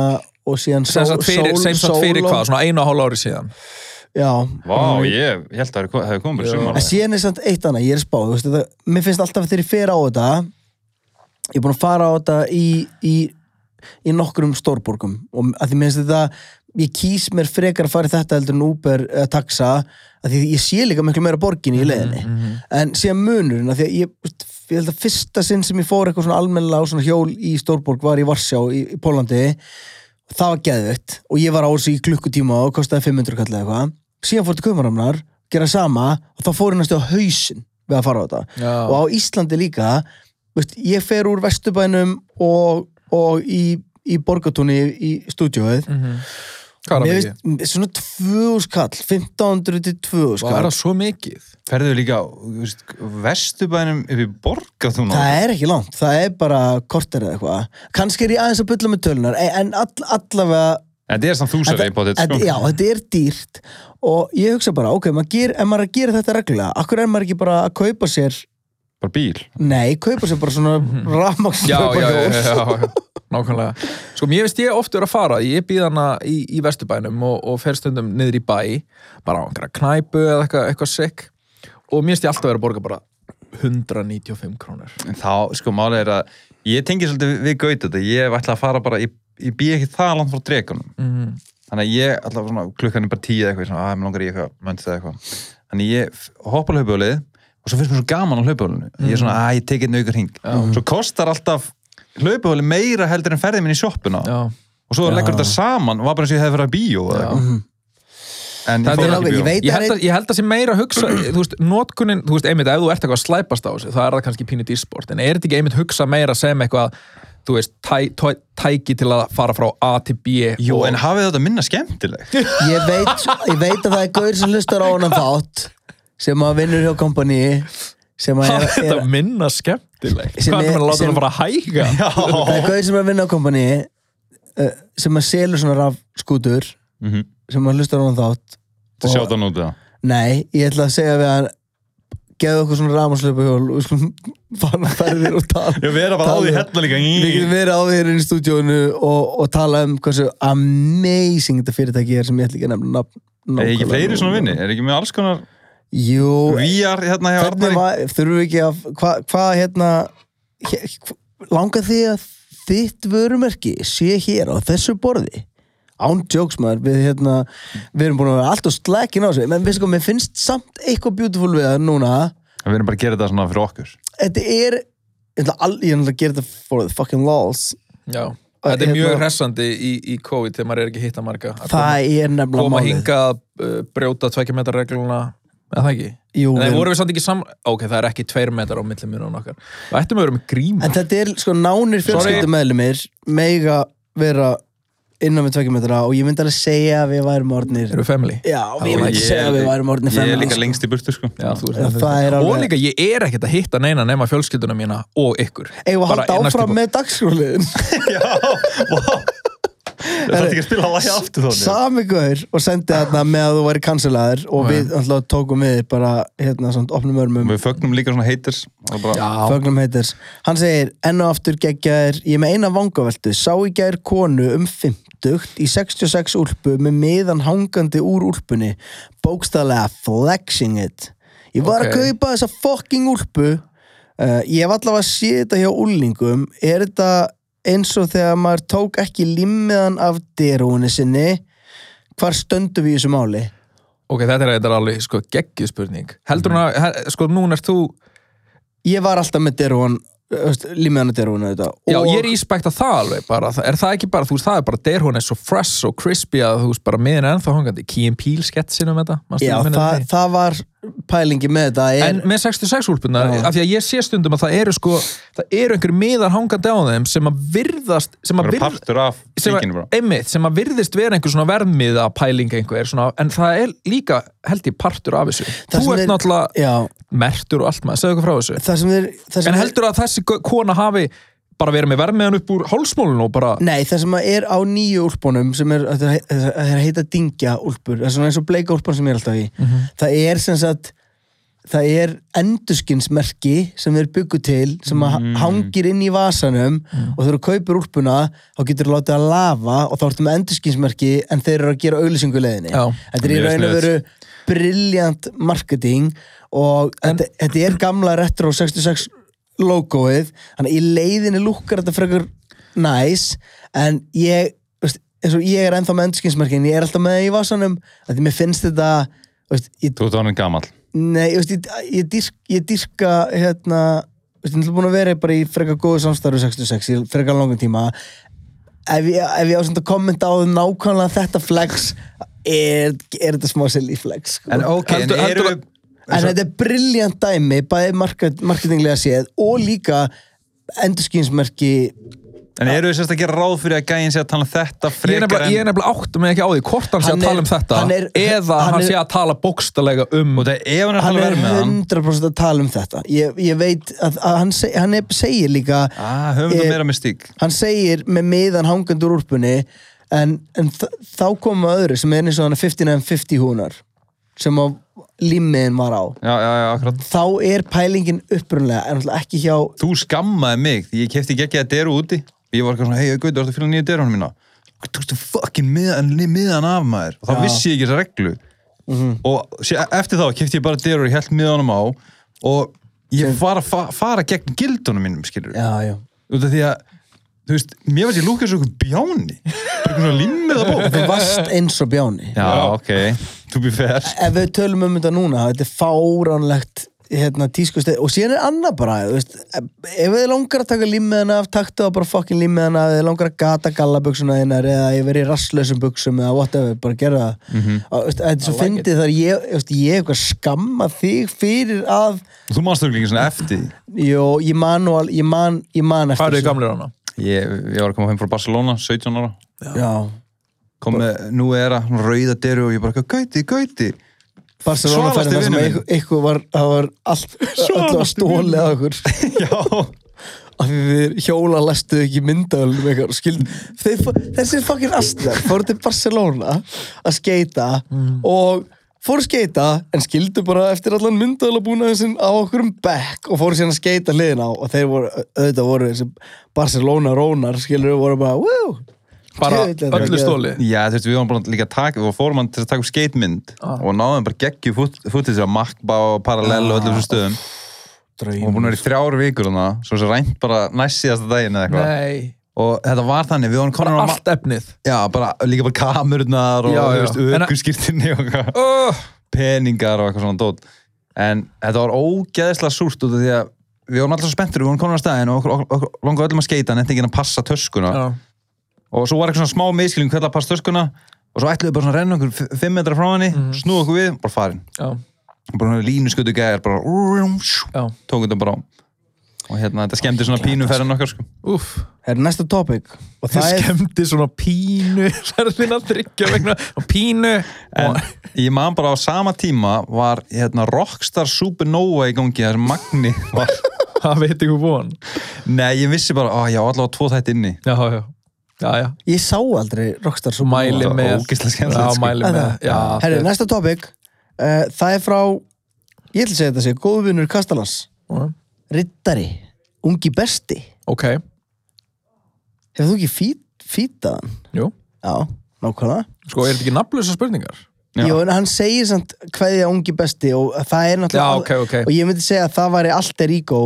[SPEAKER 1] og síðan
[SPEAKER 2] sem sagt fyrir, sem sagt fyrir
[SPEAKER 1] sóló.
[SPEAKER 2] hvað, svona einu og hálf ári síðan
[SPEAKER 1] já,
[SPEAKER 3] Vá, ég, ég held að það hefur komið bara
[SPEAKER 2] Já.
[SPEAKER 3] sumar
[SPEAKER 1] En síðan er samt eitt annað, ég er spáð þú veist, það, Mér finnst alltaf þegar ég fer á þetta Ég er búin að fara á þetta í, í í nokkrum stórborgum og að því minnst þetta, ég kýs mér frekar að fara í þetta heldur en Uber eða taxa að því ég sé líka miklu meira borginni í leiðinni, en síðan munurinn að því að ég, þú veist, ég held að fyrsta sinn sem ég fór eitthvað svona almennilega á svona hjól í stórborg var í Varsjá í, í Pólandi það var geðveikt og ég var á þessu í klukkutíma og kostaði 500 kall eða eitthvað síðan fór til Kumaramnar, gera sama og þá fór ég næstu á hausinn við að fara á þetta
[SPEAKER 2] Já.
[SPEAKER 1] og á Íslandi líka veist, ég fer úr Vesturbænum og, og í, í Borgatúni í stúdíóið mm
[SPEAKER 2] Mhm. Hvað er það mikið?
[SPEAKER 1] svona 2000 kall 1500 til 2000
[SPEAKER 2] Hvað er
[SPEAKER 1] kall
[SPEAKER 2] það svo mikið?
[SPEAKER 3] Ferðu líka, á, þú veist, vestubænum upp í borga þú
[SPEAKER 1] það er ekki langt, það er bara kortir eða eitthvað, kannski er ég aðeins að bulla með tölunar, en- en all, allavega
[SPEAKER 3] Þetta er samt sko.
[SPEAKER 1] Þetta-
[SPEAKER 3] þúsari í bótið,
[SPEAKER 2] sko.
[SPEAKER 1] þetta- Já, þetta er dýrt og ég hugsa bara, ok, maður ger, ef maður er að gera þetta reglulega, akkur er maður ekki bara að kaupa sér
[SPEAKER 3] Bara bíl.
[SPEAKER 1] nei, kaupa sér bara svona rafmaks
[SPEAKER 2] já, Mhm. já, já, já, já, nákvæmlega sko, mér veist ég oft vera að fara ég býð hana í, í vesturbænum og, og fer stundum niður í bæ bara á einhverja knæpu eða eitthvað, eitthvað sick og mér veist ég alltaf vera að borga bara 195 krónur
[SPEAKER 3] En Þá, sko, málið er að ég tengi svolítið við gaut þetta. Ég hef ætlað að fara bara, ég, ég býð ekki það langt frá dregunum.
[SPEAKER 2] mm.
[SPEAKER 1] Mhm.
[SPEAKER 3] Þannig að ég, alltaf svona, klukkan er bara tíu eða eitthvað, ég svona, að, mér langar í eitthvað, mönti það eitthvað. Þannig ég f- hoppa á hlaupahjólið og svo finnst mér svo gaman á hlaupahjólinu. Ég er svona,
[SPEAKER 1] Mhm.
[SPEAKER 3] að, ég tek einn aukur hring. Svo kostar alltaf hlaupahjóli meira heldur en ferðið minn í sjoppuna.
[SPEAKER 2] já,
[SPEAKER 3] Og svo leggur þetta saman og var bara eins og ég hefði verið að bíó eða eitthvað.
[SPEAKER 1] Mhm.
[SPEAKER 3] En
[SPEAKER 2] Þetta
[SPEAKER 3] ég
[SPEAKER 2] er
[SPEAKER 3] fór
[SPEAKER 2] alveg-
[SPEAKER 3] ekki í
[SPEAKER 1] ég
[SPEAKER 3] bíó.
[SPEAKER 1] veit að
[SPEAKER 2] ég held, að,
[SPEAKER 1] einn-
[SPEAKER 2] ég held að sé meira að hugsa þú veist, notkunin, þú veist, einmitt, ef þú ert eitthvað að slæpast á þessu, þá er það kannski pínu dísport en er þetta ekki einmitt hugsa meira sem eitthvað þú veist, tæ, tæ, tæki til að fara frá A til B
[SPEAKER 3] Jú,
[SPEAKER 2] og,
[SPEAKER 3] en hafið þetta minna skemmtilegt?
[SPEAKER 1] ég veit, ég veit að það er gaur sem hlustar á honan þátt sem að vinnur hjá kompaníi sem að
[SPEAKER 2] Það
[SPEAKER 1] er,
[SPEAKER 2] er þetta
[SPEAKER 1] er,
[SPEAKER 2] minna skemmtileg
[SPEAKER 1] Sem
[SPEAKER 2] Hvað er
[SPEAKER 1] er-
[SPEAKER 2] það að láta
[SPEAKER 1] sem-
[SPEAKER 2] hann bara hæga?
[SPEAKER 1] það er gaur sem er að vinna á kompaníi uh, sem að selur svona rafskútur
[SPEAKER 3] Mhm.
[SPEAKER 1] sem að hlustar á honan þátt
[SPEAKER 3] Þetta sjáta hann út eða?
[SPEAKER 1] Nei, ég ætla að segja við hann gefðu okkur svona rafmagnslaupa hjól og við skulum fara ferðir og tala
[SPEAKER 3] Já, við erum bara á því
[SPEAKER 1] tala-
[SPEAKER 3] hérna líka
[SPEAKER 1] Við getum verið á þér inn í stúdíónu og, og tala um hversu amazing þetta fyrirtæki er sem ég ætla ekki að nefna nafn
[SPEAKER 3] Er ekki
[SPEAKER 1] nákvæmlega
[SPEAKER 3] fleiri svona
[SPEAKER 1] núna.
[SPEAKER 3] vinni? Er ekki með alls konar
[SPEAKER 1] Jú,
[SPEAKER 3] VR hérna hjá
[SPEAKER 1] hvernig
[SPEAKER 3] Arnari?
[SPEAKER 1] var, þurfum við ekki að hvað hva, hérna hér, langar þið að þitt vörumerki sé hér á þessu borði án jokes maður við, hérna, við erum búin að vera alltaf slækin á þessu menn við sko, mér finnst samt eitthvað beautiful við það núna
[SPEAKER 3] Við erum bara að gera þetta svona fyrir okkur.
[SPEAKER 1] þetta er ég ætla all- ég ætla að gera þetta for the fucking laws
[SPEAKER 2] Já, þetta er
[SPEAKER 1] Hérna-
[SPEAKER 2] mjög hressandi í, í COVID þegar maður er ekki að hitta marga að
[SPEAKER 1] það er
[SPEAKER 2] koma,
[SPEAKER 1] nefnilega
[SPEAKER 2] koma
[SPEAKER 1] málið
[SPEAKER 2] hinga að uh, brjóta tvekja metra regluna eða það ekki?
[SPEAKER 1] Jú,
[SPEAKER 2] Nei,
[SPEAKER 1] við-
[SPEAKER 2] vorum við samt ekki saman Ok, það er ekki tveir metrar á milli minn og nokkar Það ættum við að vera með gríma
[SPEAKER 1] en þetta er sko nánir fjölskyldumeðlumir mega vera innan við tvekja metra og ég myndi alveg segja að við værum orðnir
[SPEAKER 2] Erum við family?
[SPEAKER 1] já,
[SPEAKER 2] Já,
[SPEAKER 1] ég myndi
[SPEAKER 3] ég-
[SPEAKER 1] segja að við værum orðnir
[SPEAKER 3] Ég er
[SPEAKER 1] feminist.
[SPEAKER 3] líka lengst í burtu, sko.
[SPEAKER 2] Já, þú
[SPEAKER 1] Já,
[SPEAKER 2] veist
[SPEAKER 1] það er
[SPEAKER 2] Og
[SPEAKER 1] alveg-
[SPEAKER 2] líka, ég er ekkert að hitta neina nema fjölskylduna mína og ykkur
[SPEAKER 1] Eigum við að
[SPEAKER 2] Bara
[SPEAKER 1] halda
[SPEAKER 2] í næstu
[SPEAKER 1] áfram
[SPEAKER 2] bók.
[SPEAKER 1] með dagskrúliðin
[SPEAKER 3] Já, vá. Það er ekki að spila að læja aftur þannig.
[SPEAKER 1] Sami gaur og sendi þarna með að þú væri kansalaður og við alltaf tókum við bara hérna svona opnum örmum
[SPEAKER 3] Við fögnum líka svona haters. Það er bara-
[SPEAKER 2] Já,
[SPEAKER 1] Fögnum heitir, hann segir enn og aftur geggjaðir, ég er með eina vangaveltu sá í gær konu um 50 í 66 úlpu með miðan hangandi úr úlpunni bókstæðlega flexing it ég var
[SPEAKER 2] Ok.
[SPEAKER 1] að kaupa þessa fucking úlpu uh, ég hef allavega séð þetta hjá úlningum er þetta eins og þegar maður tók ekki limmiðan af derúinni sinni hvar stöndum við í þessu máli
[SPEAKER 2] ok, þetta er, þetta er alveg sko, geggjuð spurning Heldur
[SPEAKER 1] Mhm.
[SPEAKER 2] hún að, he- sko, núna ert þú
[SPEAKER 1] ég var alltaf með derúan limmiðan af derúinni þetta
[SPEAKER 2] Já,
[SPEAKER 1] og
[SPEAKER 2] ég er íspækt að það alveg bara, Þa- er það ekki bara, þú veist, það er bara der hún er svo fresh og crispy að þú veist, bara miðin er ennþá hangandi, Key and Peele sketsin um þetta manstu
[SPEAKER 1] Já,
[SPEAKER 2] hvað ég meina
[SPEAKER 1] það,
[SPEAKER 2] með því?
[SPEAKER 1] það var pælingi með þetta er,
[SPEAKER 2] En með 66 úlpunar,
[SPEAKER 1] Já.
[SPEAKER 2] af því að ég sé stundum að það eru sko, það eru einhverjir miðar hangandi á þeim sem að virðast sem að
[SPEAKER 3] Bara
[SPEAKER 2] virðast
[SPEAKER 3] partur af
[SPEAKER 2] sem,
[SPEAKER 3] líkinu
[SPEAKER 2] að,
[SPEAKER 3] bara.
[SPEAKER 2] einmitt, sem að virðist vera einhver svona verðmiða pæling einhver svona, en það er líka held ég partur af þessu
[SPEAKER 1] Það
[SPEAKER 2] þú
[SPEAKER 1] sem
[SPEAKER 2] ert
[SPEAKER 1] er-
[SPEAKER 2] náttúrulega
[SPEAKER 1] Já,
[SPEAKER 2] mertur og allt maður, segðu okkur frá þessu
[SPEAKER 1] það sem þeir það sem
[SPEAKER 2] en
[SPEAKER 1] er-
[SPEAKER 2] heldur að þessi gö- kona hafi bara verið með verðmiðan upp úr hálsmólun og bara
[SPEAKER 1] Nei, það sem er á nýju úlpunum sem er, það er það er að heita dingja úlpur það er svona eins og bleika úlpan sem ég er alltaf í
[SPEAKER 2] Mhm.
[SPEAKER 1] það er sem sagt það er endurskinsmerki sem þeir byggu til sem að
[SPEAKER 2] Mm.
[SPEAKER 1] hangir inn í vasanum og þegar þú kaupir úlpuna þá getur þú látið að lafa og þá ertu með endurskinsmerki en þeir eru að gera auðlýsingu í leiðinni
[SPEAKER 2] Já.
[SPEAKER 1] þetta er í
[SPEAKER 3] Mjög
[SPEAKER 1] raun og
[SPEAKER 3] sniðugt.
[SPEAKER 1] veru briljant marketing og þetta, þetta er gamla retro 66 logoið þannig að í leiðinni lukkar þetta frekar næs en ég, þú veist, eins og ég er ennþá mennskinsmerkin, ég er alltaf með það í vasanum að því mér finnst þetta þú veist, ég,
[SPEAKER 3] Þú ert orðin gamall.
[SPEAKER 1] nei, þú veist, ég, ég, dyrk, ég dyrka hérna, þú veist, ég er búin að vera bara í frekar góðu samstarfu 66 í frekar langan tíma ef ég, ef ég á svona að kommenta á nákvæmlega þetta flex er, er þetta smá silly flex sko.
[SPEAKER 3] En ok,
[SPEAKER 2] Heldur-
[SPEAKER 3] en eru
[SPEAKER 2] heldur-
[SPEAKER 3] við...
[SPEAKER 1] En þetta er briljant dæmi, bæði market, marketinglega séð og líka endurskýnsmerki
[SPEAKER 3] En eru við sérst að gera ráð fyrir að gæin sé að tala um þetta
[SPEAKER 2] Ég er
[SPEAKER 3] frekar
[SPEAKER 2] nefnilega, ég er
[SPEAKER 3] en...
[SPEAKER 2] nefnilega átt með ekki á því hvort hann sé
[SPEAKER 1] Hann
[SPEAKER 2] að
[SPEAKER 1] er-
[SPEAKER 2] tala um þetta
[SPEAKER 1] hann er-
[SPEAKER 2] eða
[SPEAKER 1] hann
[SPEAKER 2] hann,
[SPEAKER 1] er-
[SPEAKER 2] sé að tala bókstalega um
[SPEAKER 3] Og það ef hann er
[SPEAKER 1] hann
[SPEAKER 3] að
[SPEAKER 1] er
[SPEAKER 3] tala verð með hann...
[SPEAKER 1] 100% að tala um þetta ég, ég veit að, að hann, seg, hann er, segir líka
[SPEAKER 3] Ah, höfum við
[SPEAKER 1] Ég-
[SPEAKER 3] meira mystík.
[SPEAKER 1] hann segir með miðan hangandi úr úrpunni en, en þ- þá koma öðru sem er eins og hann 5950 húnar sem á límiðin var á
[SPEAKER 3] Já, já, já, akkurat.
[SPEAKER 1] þá er pælingin upprunlega en náttúrulega ekki hjá
[SPEAKER 3] Þú skammaði mig því ég kefti ekki ekki að deru úti. Ég var eitthvað svona, hei, gauð, þú ert að fylga nýja derunum mína. Þú tókstu fucking miðan, miðan af maður. Og þá vissi ég ekki þessa reglu. Og sé, eftir þá kefti ég bara derur og held miðanum á og ég var að fa fara gegn gildunum mínum, skilur.
[SPEAKER 1] já, já.
[SPEAKER 3] Út af því að, þú veist, mér veist ég lúkja svo ykkur bjáni. Bara eitthvað svona limmið að bók.
[SPEAKER 1] þú varst eins og bjáni
[SPEAKER 3] Já, ok, to be fair.
[SPEAKER 1] ef við tölum um þetta núna þetta er fáránlegt hérna, tískustið og síðan er annað bara þú veist, ef þið langar að taka límiðan af taktu það bara fokkin límiðan af ef þið langar að gata gallabuxuna þinnar eða ég verið í rastlösum buxum eða whatever, bara gera það mm -hmm. þetta er svo fyndið þar ég, þú veist, ég eitthvað skamma þig fyrir að
[SPEAKER 3] Þú manst þau líka svona eftir. því.
[SPEAKER 1] jó, ég man, og al- ég man, ég man
[SPEAKER 2] hvað
[SPEAKER 1] eftir
[SPEAKER 2] er þið gamlir hana?
[SPEAKER 3] Ég, ég var að koma heim frá Barcelona, 17 ára.
[SPEAKER 1] já,
[SPEAKER 3] kom með, nú er að hún rauða deru og ég bara, gauti, gauti
[SPEAKER 1] Barcelona færði
[SPEAKER 3] Svalasti
[SPEAKER 1] það sem
[SPEAKER 3] vinur minn.
[SPEAKER 1] ykkur- ykkur var, það var allt, allt var
[SPEAKER 3] Svalasti
[SPEAKER 1] stólið að okkur
[SPEAKER 3] já,
[SPEAKER 1] af því þið hjóla lestuðu ekki myndaðalum eitthvað skild, þeir, fó- þessir fucking astnar fóru til Barcelona að skeita
[SPEAKER 3] Mm.
[SPEAKER 1] og fóru skeita en skildu bara eftir allan myndaðalabúnaðin sinn á okkur um bekk og fóru síðan að skeita hliðin á og þeir voru, auðvitað voru þessi Barcelona rónar skilur voru bara Woo!
[SPEAKER 2] bara
[SPEAKER 1] Djöfull er þetta
[SPEAKER 2] öllu
[SPEAKER 1] geggjað.
[SPEAKER 2] stóli
[SPEAKER 3] já, þú veist, við varum bara líka að taka og fórum hann til að taka upp skeitmynd
[SPEAKER 2] Ah.
[SPEAKER 3] og náðum bara geggju fútið sér að makkba og parallel og
[SPEAKER 2] Ah,
[SPEAKER 3] öllum þessum stöðum og
[SPEAKER 1] draum
[SPEAKER 3] hún er í þrjár vikur hana, svo þessi rænt bara næst síðasta daginn eða eitthvað
[SPEAKER 2] nei,
[SPEAKER 3] og þetta var þannig, við varum komin á
[SPEAKER 2] bara
[SPEAKER 3] ma-
[SPEAKER 2] allt efnið
[SPEAKER 3] já, bara, líka bara kamerurnar og
[SPEAKER 2] Já, já. En að-
[SPEAKER 3] aukurskýrtinni og eitthvað
[SPEAKER 2] oh,
[SPEAKER 3] peningar og eitthvað svona dót en þetta var ógeðslega súrt út af því að við vorum alltaf svo spenntur, við vorum konar á staðin og okkur, okkur, okkur langaði öllum að skeita en þetta ekki að passa töskuna
[SPEAKER 2] já,
[SPEAKER 3] og svo var eitthvað svona smá miskilin hvernig að passa töskuna og svo ætluðu bara svona að renna okkur f- fimm metra frá henni,
[SPEAKER 2] Mhm.
[SPEAKER 3] mm. snúðu okkur við, bara farin
[SPEAKER 2] já,
[SPEAKER 3] og bara línu skutu gæðir, bara rúm, sjú,
[SPEAKER 2] já,
[SPEAKER 3] tók þetta bara á og hérna þetta skemmdi svona pínu ferðin okkar sko.
[SPEAKER 2] úff
[SPEAKER 1] Það hérna er næsta topic og
[SPEAKER 2] það
[SPEAKER 1] það er
[SPEAKER 2] skemmti svona pínu særðin að tryggja vegna og pínu
[SPEAKER 3] en
[SPEAKER 2] og,
[SPEAKER 3] ég man bara á sama tíma var hérna Rockstar Supernova í gangi þar sem Magni var
[SPEAKER 2] það veit ykkur von
[SPEAKER 3] nei, ég vissi bara, að ég á allavega tvo þætt inni
[SPEAKER 2] já, já, já, já
[SPEAKER 1] ég sá aldrei Rockstar svo
[SPEAKER 2] mæli
[SPEAKER 3] Það var
[SPEAKER 2] með
[SPEAKER 3] ógeðslega skemmtilegt,
[SPEAKER 2] já,
[SPEAKER 3] sko.
[SPEAKER 2] mæli með já,
[SPEAKER 1] Herri, næsta topic uh, það er frá ég ætla að segja þetta sé, góðvinur Kastalans
[SPEAKER 2] næ...
[SPEAKER 1] Rittari, ungi besti
[SPEAKER 2] ok,
[SPEAKER 1] Hefur þú ekki fít, fítaðan?
[SPEAKER 2] jú
[SPEAKER 1] Já, nákvæmlega
[SPEAKER 2] sko, er þetta ekki nafnlösa spurningar?
[SPEAKER 3] Já.
[SPEAKER 1] Jó, en hann segir samt hvaðið ungi besti og það er náttúrulega
[SPEAKER 2] Já, ok, ok.
[SPEAKER 1] og ég myndi segja að það væri alter ego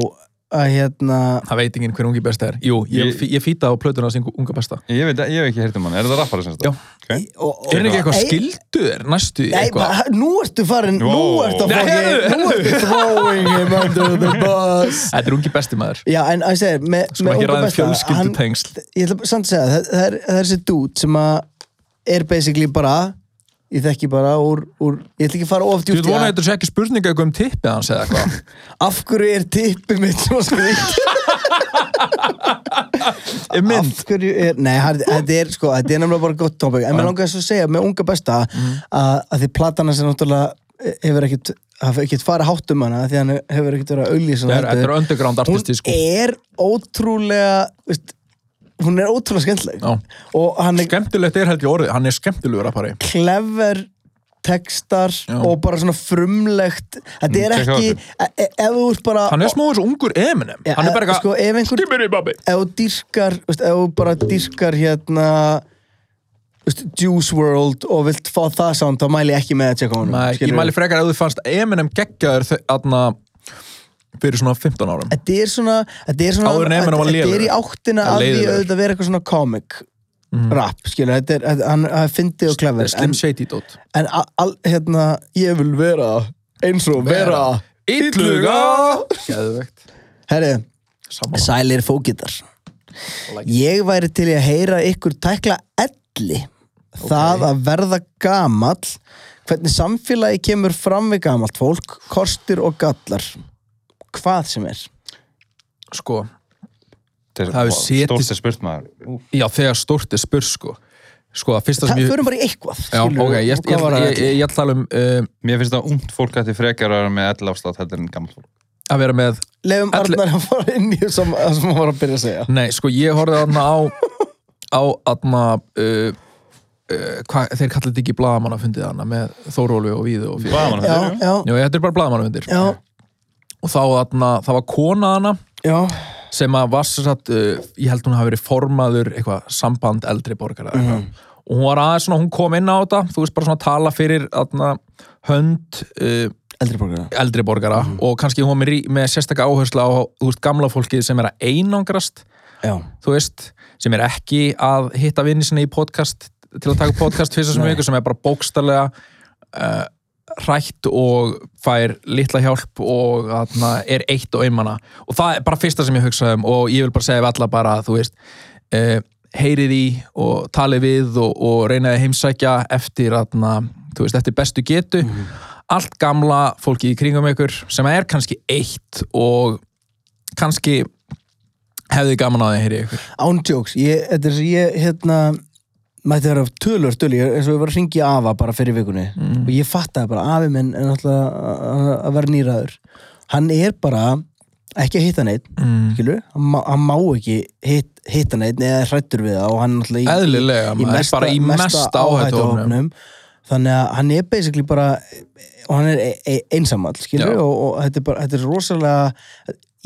[SPEAKER 1] að hérna
[SPEAKER 2] það veit enginn hver ungi besta er jú, ég,
[SPEAKER 3] Ég-
[SPEAKER 2] ég, ég fýta á plötuna sem unga besta
[SPEAKER 3] ég veit, ég hef ekki heyrt um hann, er þetta rappari sem
[SPEAKER 2] Já.
[SPEAKER 3] þetta? Okay.
[SPEAKER 1] og, og,
[SPEAKER 2] er þetta ekki eitthvað
[SPEAKER 1] Ei,
[SPEAKER 2] skilduður næstu í
[SPEAKER 1] Nei,
[SPEAKER 2] eitthvað
[SPEAKER 1] bara, nú ertu farin, nú
[SPEAKER 3] Wow.
[SPEAKER 1] ertu að
[SPEAKER 2] Nei,
[SPEAKER 1] fá
[SPEAKER 2] heyrðu,
[SPEAKER 1] Nú ertu throwing him under the bus
[SPEAKER 2] þetta er ungi besti maður
[SPEAKER 1] Já, en að ég segir, með, með
[SPEAKER 2] Skulum
[SPEAKER 1] unga
[SPEAKER 2] ekki ræða um
[SPEAKER 1] besta hann-
[SPEAKER 2] fjölskyldutengsl.
[SPEAKER 1] Ég ætla samt að segja, það, það, er, það er þessi dút sem að er basically bara ég þekki bara úr, úr ég ætla ekki að fara of
[SPEAKER 2] Þú
[SPEAKER 1] djúpt
[SPEAKER 2] veit
[SPEAKER 1] í
[SPEAKER 2] vona að
[SPEAKER 1] það.
[SPEAKER 2] þetta sé ekki spurninga eitthvað um tippið hans eða eitthvað.
[SPEAKER 1] af hverju er tippið mitt svona skrýtt af hverju er, nei, hann- þetta er sko, þetta er nefnilega bara gott tópik en mér langar þess að segja, með unga besta
[SPEAKER 2] Mhm.
[SPEAKER 1] að, að því platana sem náttúrulega hefur ekkit, hafa ekkit farið hátt um hana því hann hefur ekkit verið að auglýsa hana
[SPEAKER 2] Þetta er- þetta er underground artisti sko.
[SPEAKER 1] hún er ótrúlega veist, hún er ótrúlega skemmtileg
[SPEAKER 2] Já.
[SPEAKER 1] og hann er
[SPEAKER 2] Skemmtilegt er held ég orðið, hann er skemmtilegur rappari.
[SPEAKER 1] clever textar og bara svona frumlegt þetta
[SPEAKER 2] Mm,
[SPEAKER 1] er
[SPEAKER 3] tjekka á
[SPEAKER 1] ekki, e- e- ef þú ert bara
[SPEAKER 2] Hann er smá eins og ungur Eminem.
[SPEAKER 1] Ja,
[SPEAKER 2] hann er bara eitthvað,
[SPEAKER 1] sko, ef einhver-
[SPEAKER 2] skimmir í babbi.
[SPEAKER 1] ef þú dýrkar, veist, ef þú bara dýrkar hérna veist, Juice World og vilt fá það sound, þá mæli ég ekki með að tjekka honum
[SPEAKER 2] Nei, ég
[SPEAKER 1] skilurðu.
[SPEAKER 2] mæli frekar að þú fannst Eminem geggjaður þe- þarna fyrir svona 15 árum.
[SPEAKER 1] Þetta er svona, þetta er svona
[SPEAKER 2] Áður en Eminem var
[SPEAKER 1] Þetta er í
[SPEAKER 2] lélegur.
[SPEAKER 1] áttina
[SPEAKER 2] Ja,
[SPEAKER 1] að því
[SPEAKER 2] leiðinlegur. Mm.
[SPEAKER 1] auðvitað vera eitthvað svona komik rap, skilur, þetta er, þetta- hann hann er fyndi og klefur, en,
[SPEAKER 2] Slim Shady dot
[SPEAKER 1] en al, al- hérna, ég vil vera eins og vera,
[SPEAKER 2] Ítluga Geðvegt
[SPEAKER 1] herri,
[SPEAKER 2] Saman
[SPEAKER 1] sælir fókitar
[SPEAKER 2] Like
[SPEAKER 1] ég væri til í að heyra ykkur tækla elli það að verða gamall hvernig samfélagi kemur fram við gamalt fólk, kostir og gallar hvað sem er
[SPEAKER 2] Sko
[SPEAKER 3] Það
[SPEAKER 2] Það hefur setið-
[SPEAKER 3] Stórst er spurt maður
[SPEAKER 2] Já, þegar stórt er spurs sko Sko, að fyrsta
[SPEAKER 1] það
[SPEAKER 2] sem ég
[SPEAKER 1] förum bara í eitthvað
[SPEAKER 2] Já,
[SPEAKER 1] skilurðu,
[SPEAKER 2] ok, ég- ég
[SPEAKER 1] og hvað var
[SPEAKER 2] ætla-
[SPEAKER 1] að
[SPEAKER 2] ég- ég- ég ætla að tala um um,
[SPEAKER 3] Mér finnst það ungt fólk að þið frekar að vera með ell afslátt heldur en gammal fólk
[SPEAKER 2] að vera með
[SPEAKER 1] lefum
[SPEAKER 2] elli-
[SPEAKER 1] Arnar að fara inn í það sem það sem hann var að byrja að segja
[SPEAKER 2] Nei, sko, ég horfði aðna á á aðna uh, uh, hva, þeir kallið þetta ekki blaðamannafundið hana með Þórólu og Víðu og fyrir
[SPEAKER 3] Blaman,
[SPEAKER 1] já, já,
[SPEAKER 2] Jú, þetta er bara blaðamannafundir
[SPEAKER 1] já,
[SPEAKER 2] og þá aðna, það var kona hana
[SPEAKER 1] já,
[SPEAKER 2] sem að var sér satt, uh, ég held hún hafi verið formaður eitthvað samband eldri borgara mm
[SPEAKER 1] Mhm.
[SPEAKER 2] og hún var aðeins svona, hún kom inn á þetta þú veist bara svona að tala fyrir aðna, hönd uh,
[SPEAKER 1] eldri borgara
[SPEAKER 2] eldri borgara og kannski hún var með, rí- með sérstakka áherslu á þú veist, gamla fólkið sem er að einangrast
[SPEAKER 1] já,
[SPEAKER 2] þú veist, sem er ekki að hitta vinni sinni í podcast til að taka upp podcast fyrst sem
[SPEAKER 1] Nei.
[SPEAKER 2] viku sem er bara bókstarlega uh, hrætt og fær litla hjálp og atna, er eitt og einmana og það er bara fyrsta sem ég hugsaði um og ég vil bara segja við alla bara þú veist uh, heyrið í og talið við og, og reynaði að heimsækja eftir, atna, þú veist, eftir bestu getu allt gamla fólki í kringum ykkur sem er kannski eitt og kannski hefði gaman að það heyri ykkur
[SPEAKER 1] ándjóks ég, þetta er svo ég, hérna mætti vera tölur, tölur, ég- eins og ég var að ringja afa bara fyrir vikunni
[SPEAKER 2] Mm.
[SPEAKER 1] og ég fattaði bara afi minn er náttúrulega að- að vera nýraður hann er bara ekki að hitta neitt, mm. skilur hann má, hann má ekki hit, hitta neitt eða hrættur við það og hann náttúrulega í-
[SPEAKER 2] Eðlilega,
[SPEAKER 1] í, í
[SPEAKER 2] maður er
[SPEAKER 1] mesta,
[SPEAKER 2] bara í mesta áhættuhópnum.
[SPEAKER 1] áhættuhópnum. þannig að hann er basically bara og hann er e e einsamall, skilur
[SPEAKER 2] Já.
[SPEAKER 1] og, og þetta, er bara, þetta er rosalega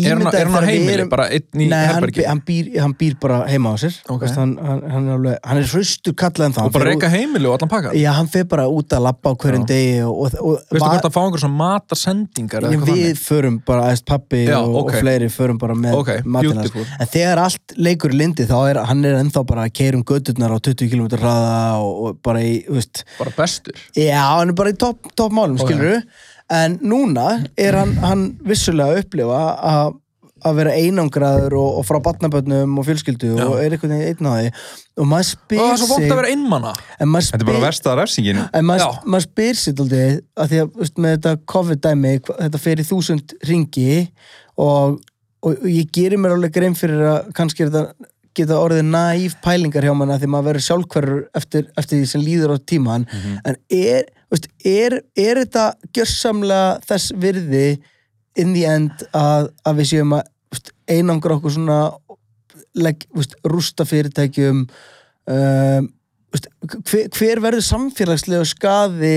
[SPEAKER 2] Er hann-
[SPEAKER 1] ímyndaðu
[SPEAKER 2] er hann á
[SPEAKER 1] þegar við
[SPEAKER 2] heimili?
[SPEAKER 1] erum-
[SPEAKER 2] Bara einn í
[SPEAKER 1] Nei, hann
[SPEAKER 2] herbergi?
[SPEAKER 1] bi- hann býr, hann býr bara heima á sér
[SPEAKER 2] Ok.
[SPEAKER 1] Vist, hann, hann, hann, er alveg, hann er hraustur kallað en það
[SPEAKER 2] og bara reyka heimili og allan pakka
[SPEAKER 1] Já, hann fer bara út að labba á hverjum degi og, og, og
[SPEAKER 2] veistu
[SPEAKER 1] var-
[SPEAKER 2] hvort að fá einhver svona matarsendingar eða
[SPEAKER 1] Ég-
[SPEAKER 2] eitthvað
[SPEAKER 1] við
[SPEAKER 2] þannig
[SPEAKER 1] förum bara, aðeins pappi
[SPEAKER 2] Já,
[SPEAKER 1] og,
[SPEAKER 2] ok.
[SPEAKER 1] og fleiri förum bara með
[SPEAKER 2] Ok,
[SPEAKER 1] matina
[SPEAKER 2] beautiful.
[SPEAKER 1] en þegar allt leikur í lindi þá er hann er ennþá bara að keira um göturnar á 20 km hraða og, og bara í, þú veist
[SPEAKER 2] bara bestur
[SPEAKER 1] já, hann er bara í topp top málum,
[SPEAKER 2] Ok.
[SPEAKER 1] skilur en núna er hann, hann vissulega að upplifa að að vera einangraður og, og frá batnabötnum og fjölskyldu og er einhvern veginn einn á því og maður
[SPEAKER 2] og það
[SPEAKER 1] spyr
[SPEAKER 2] er svo vont að vera einmana
[SPEAKER 1] en maður
[SPEAKER 3] Þetta er bara
[SPEAKER 1] spyr-
[SPEAKER 3] versta refsingin
[SPEAKER 1] En maður,
[SPEAKER 2] Já.
[SPEAKER 1] maður spyr sér aldrei að því að veist, með þetta COVID-dæmi hva- þetta fer í þúsund ringi og, og, og ég gerir mér alveg grein fyrir að kannski er þetta geta orðið næf pælingar hjá manna því maður verður sjálfhverfur eftir, eftir því sem líður á tíman en er, veist, er, er þetta gjörsamlega þess virði in the end að, að við séum að veist, einangra okkur svona legg, veist, rústa fyrirtækjum um, veist, hver, hver verður samfélagslega skadi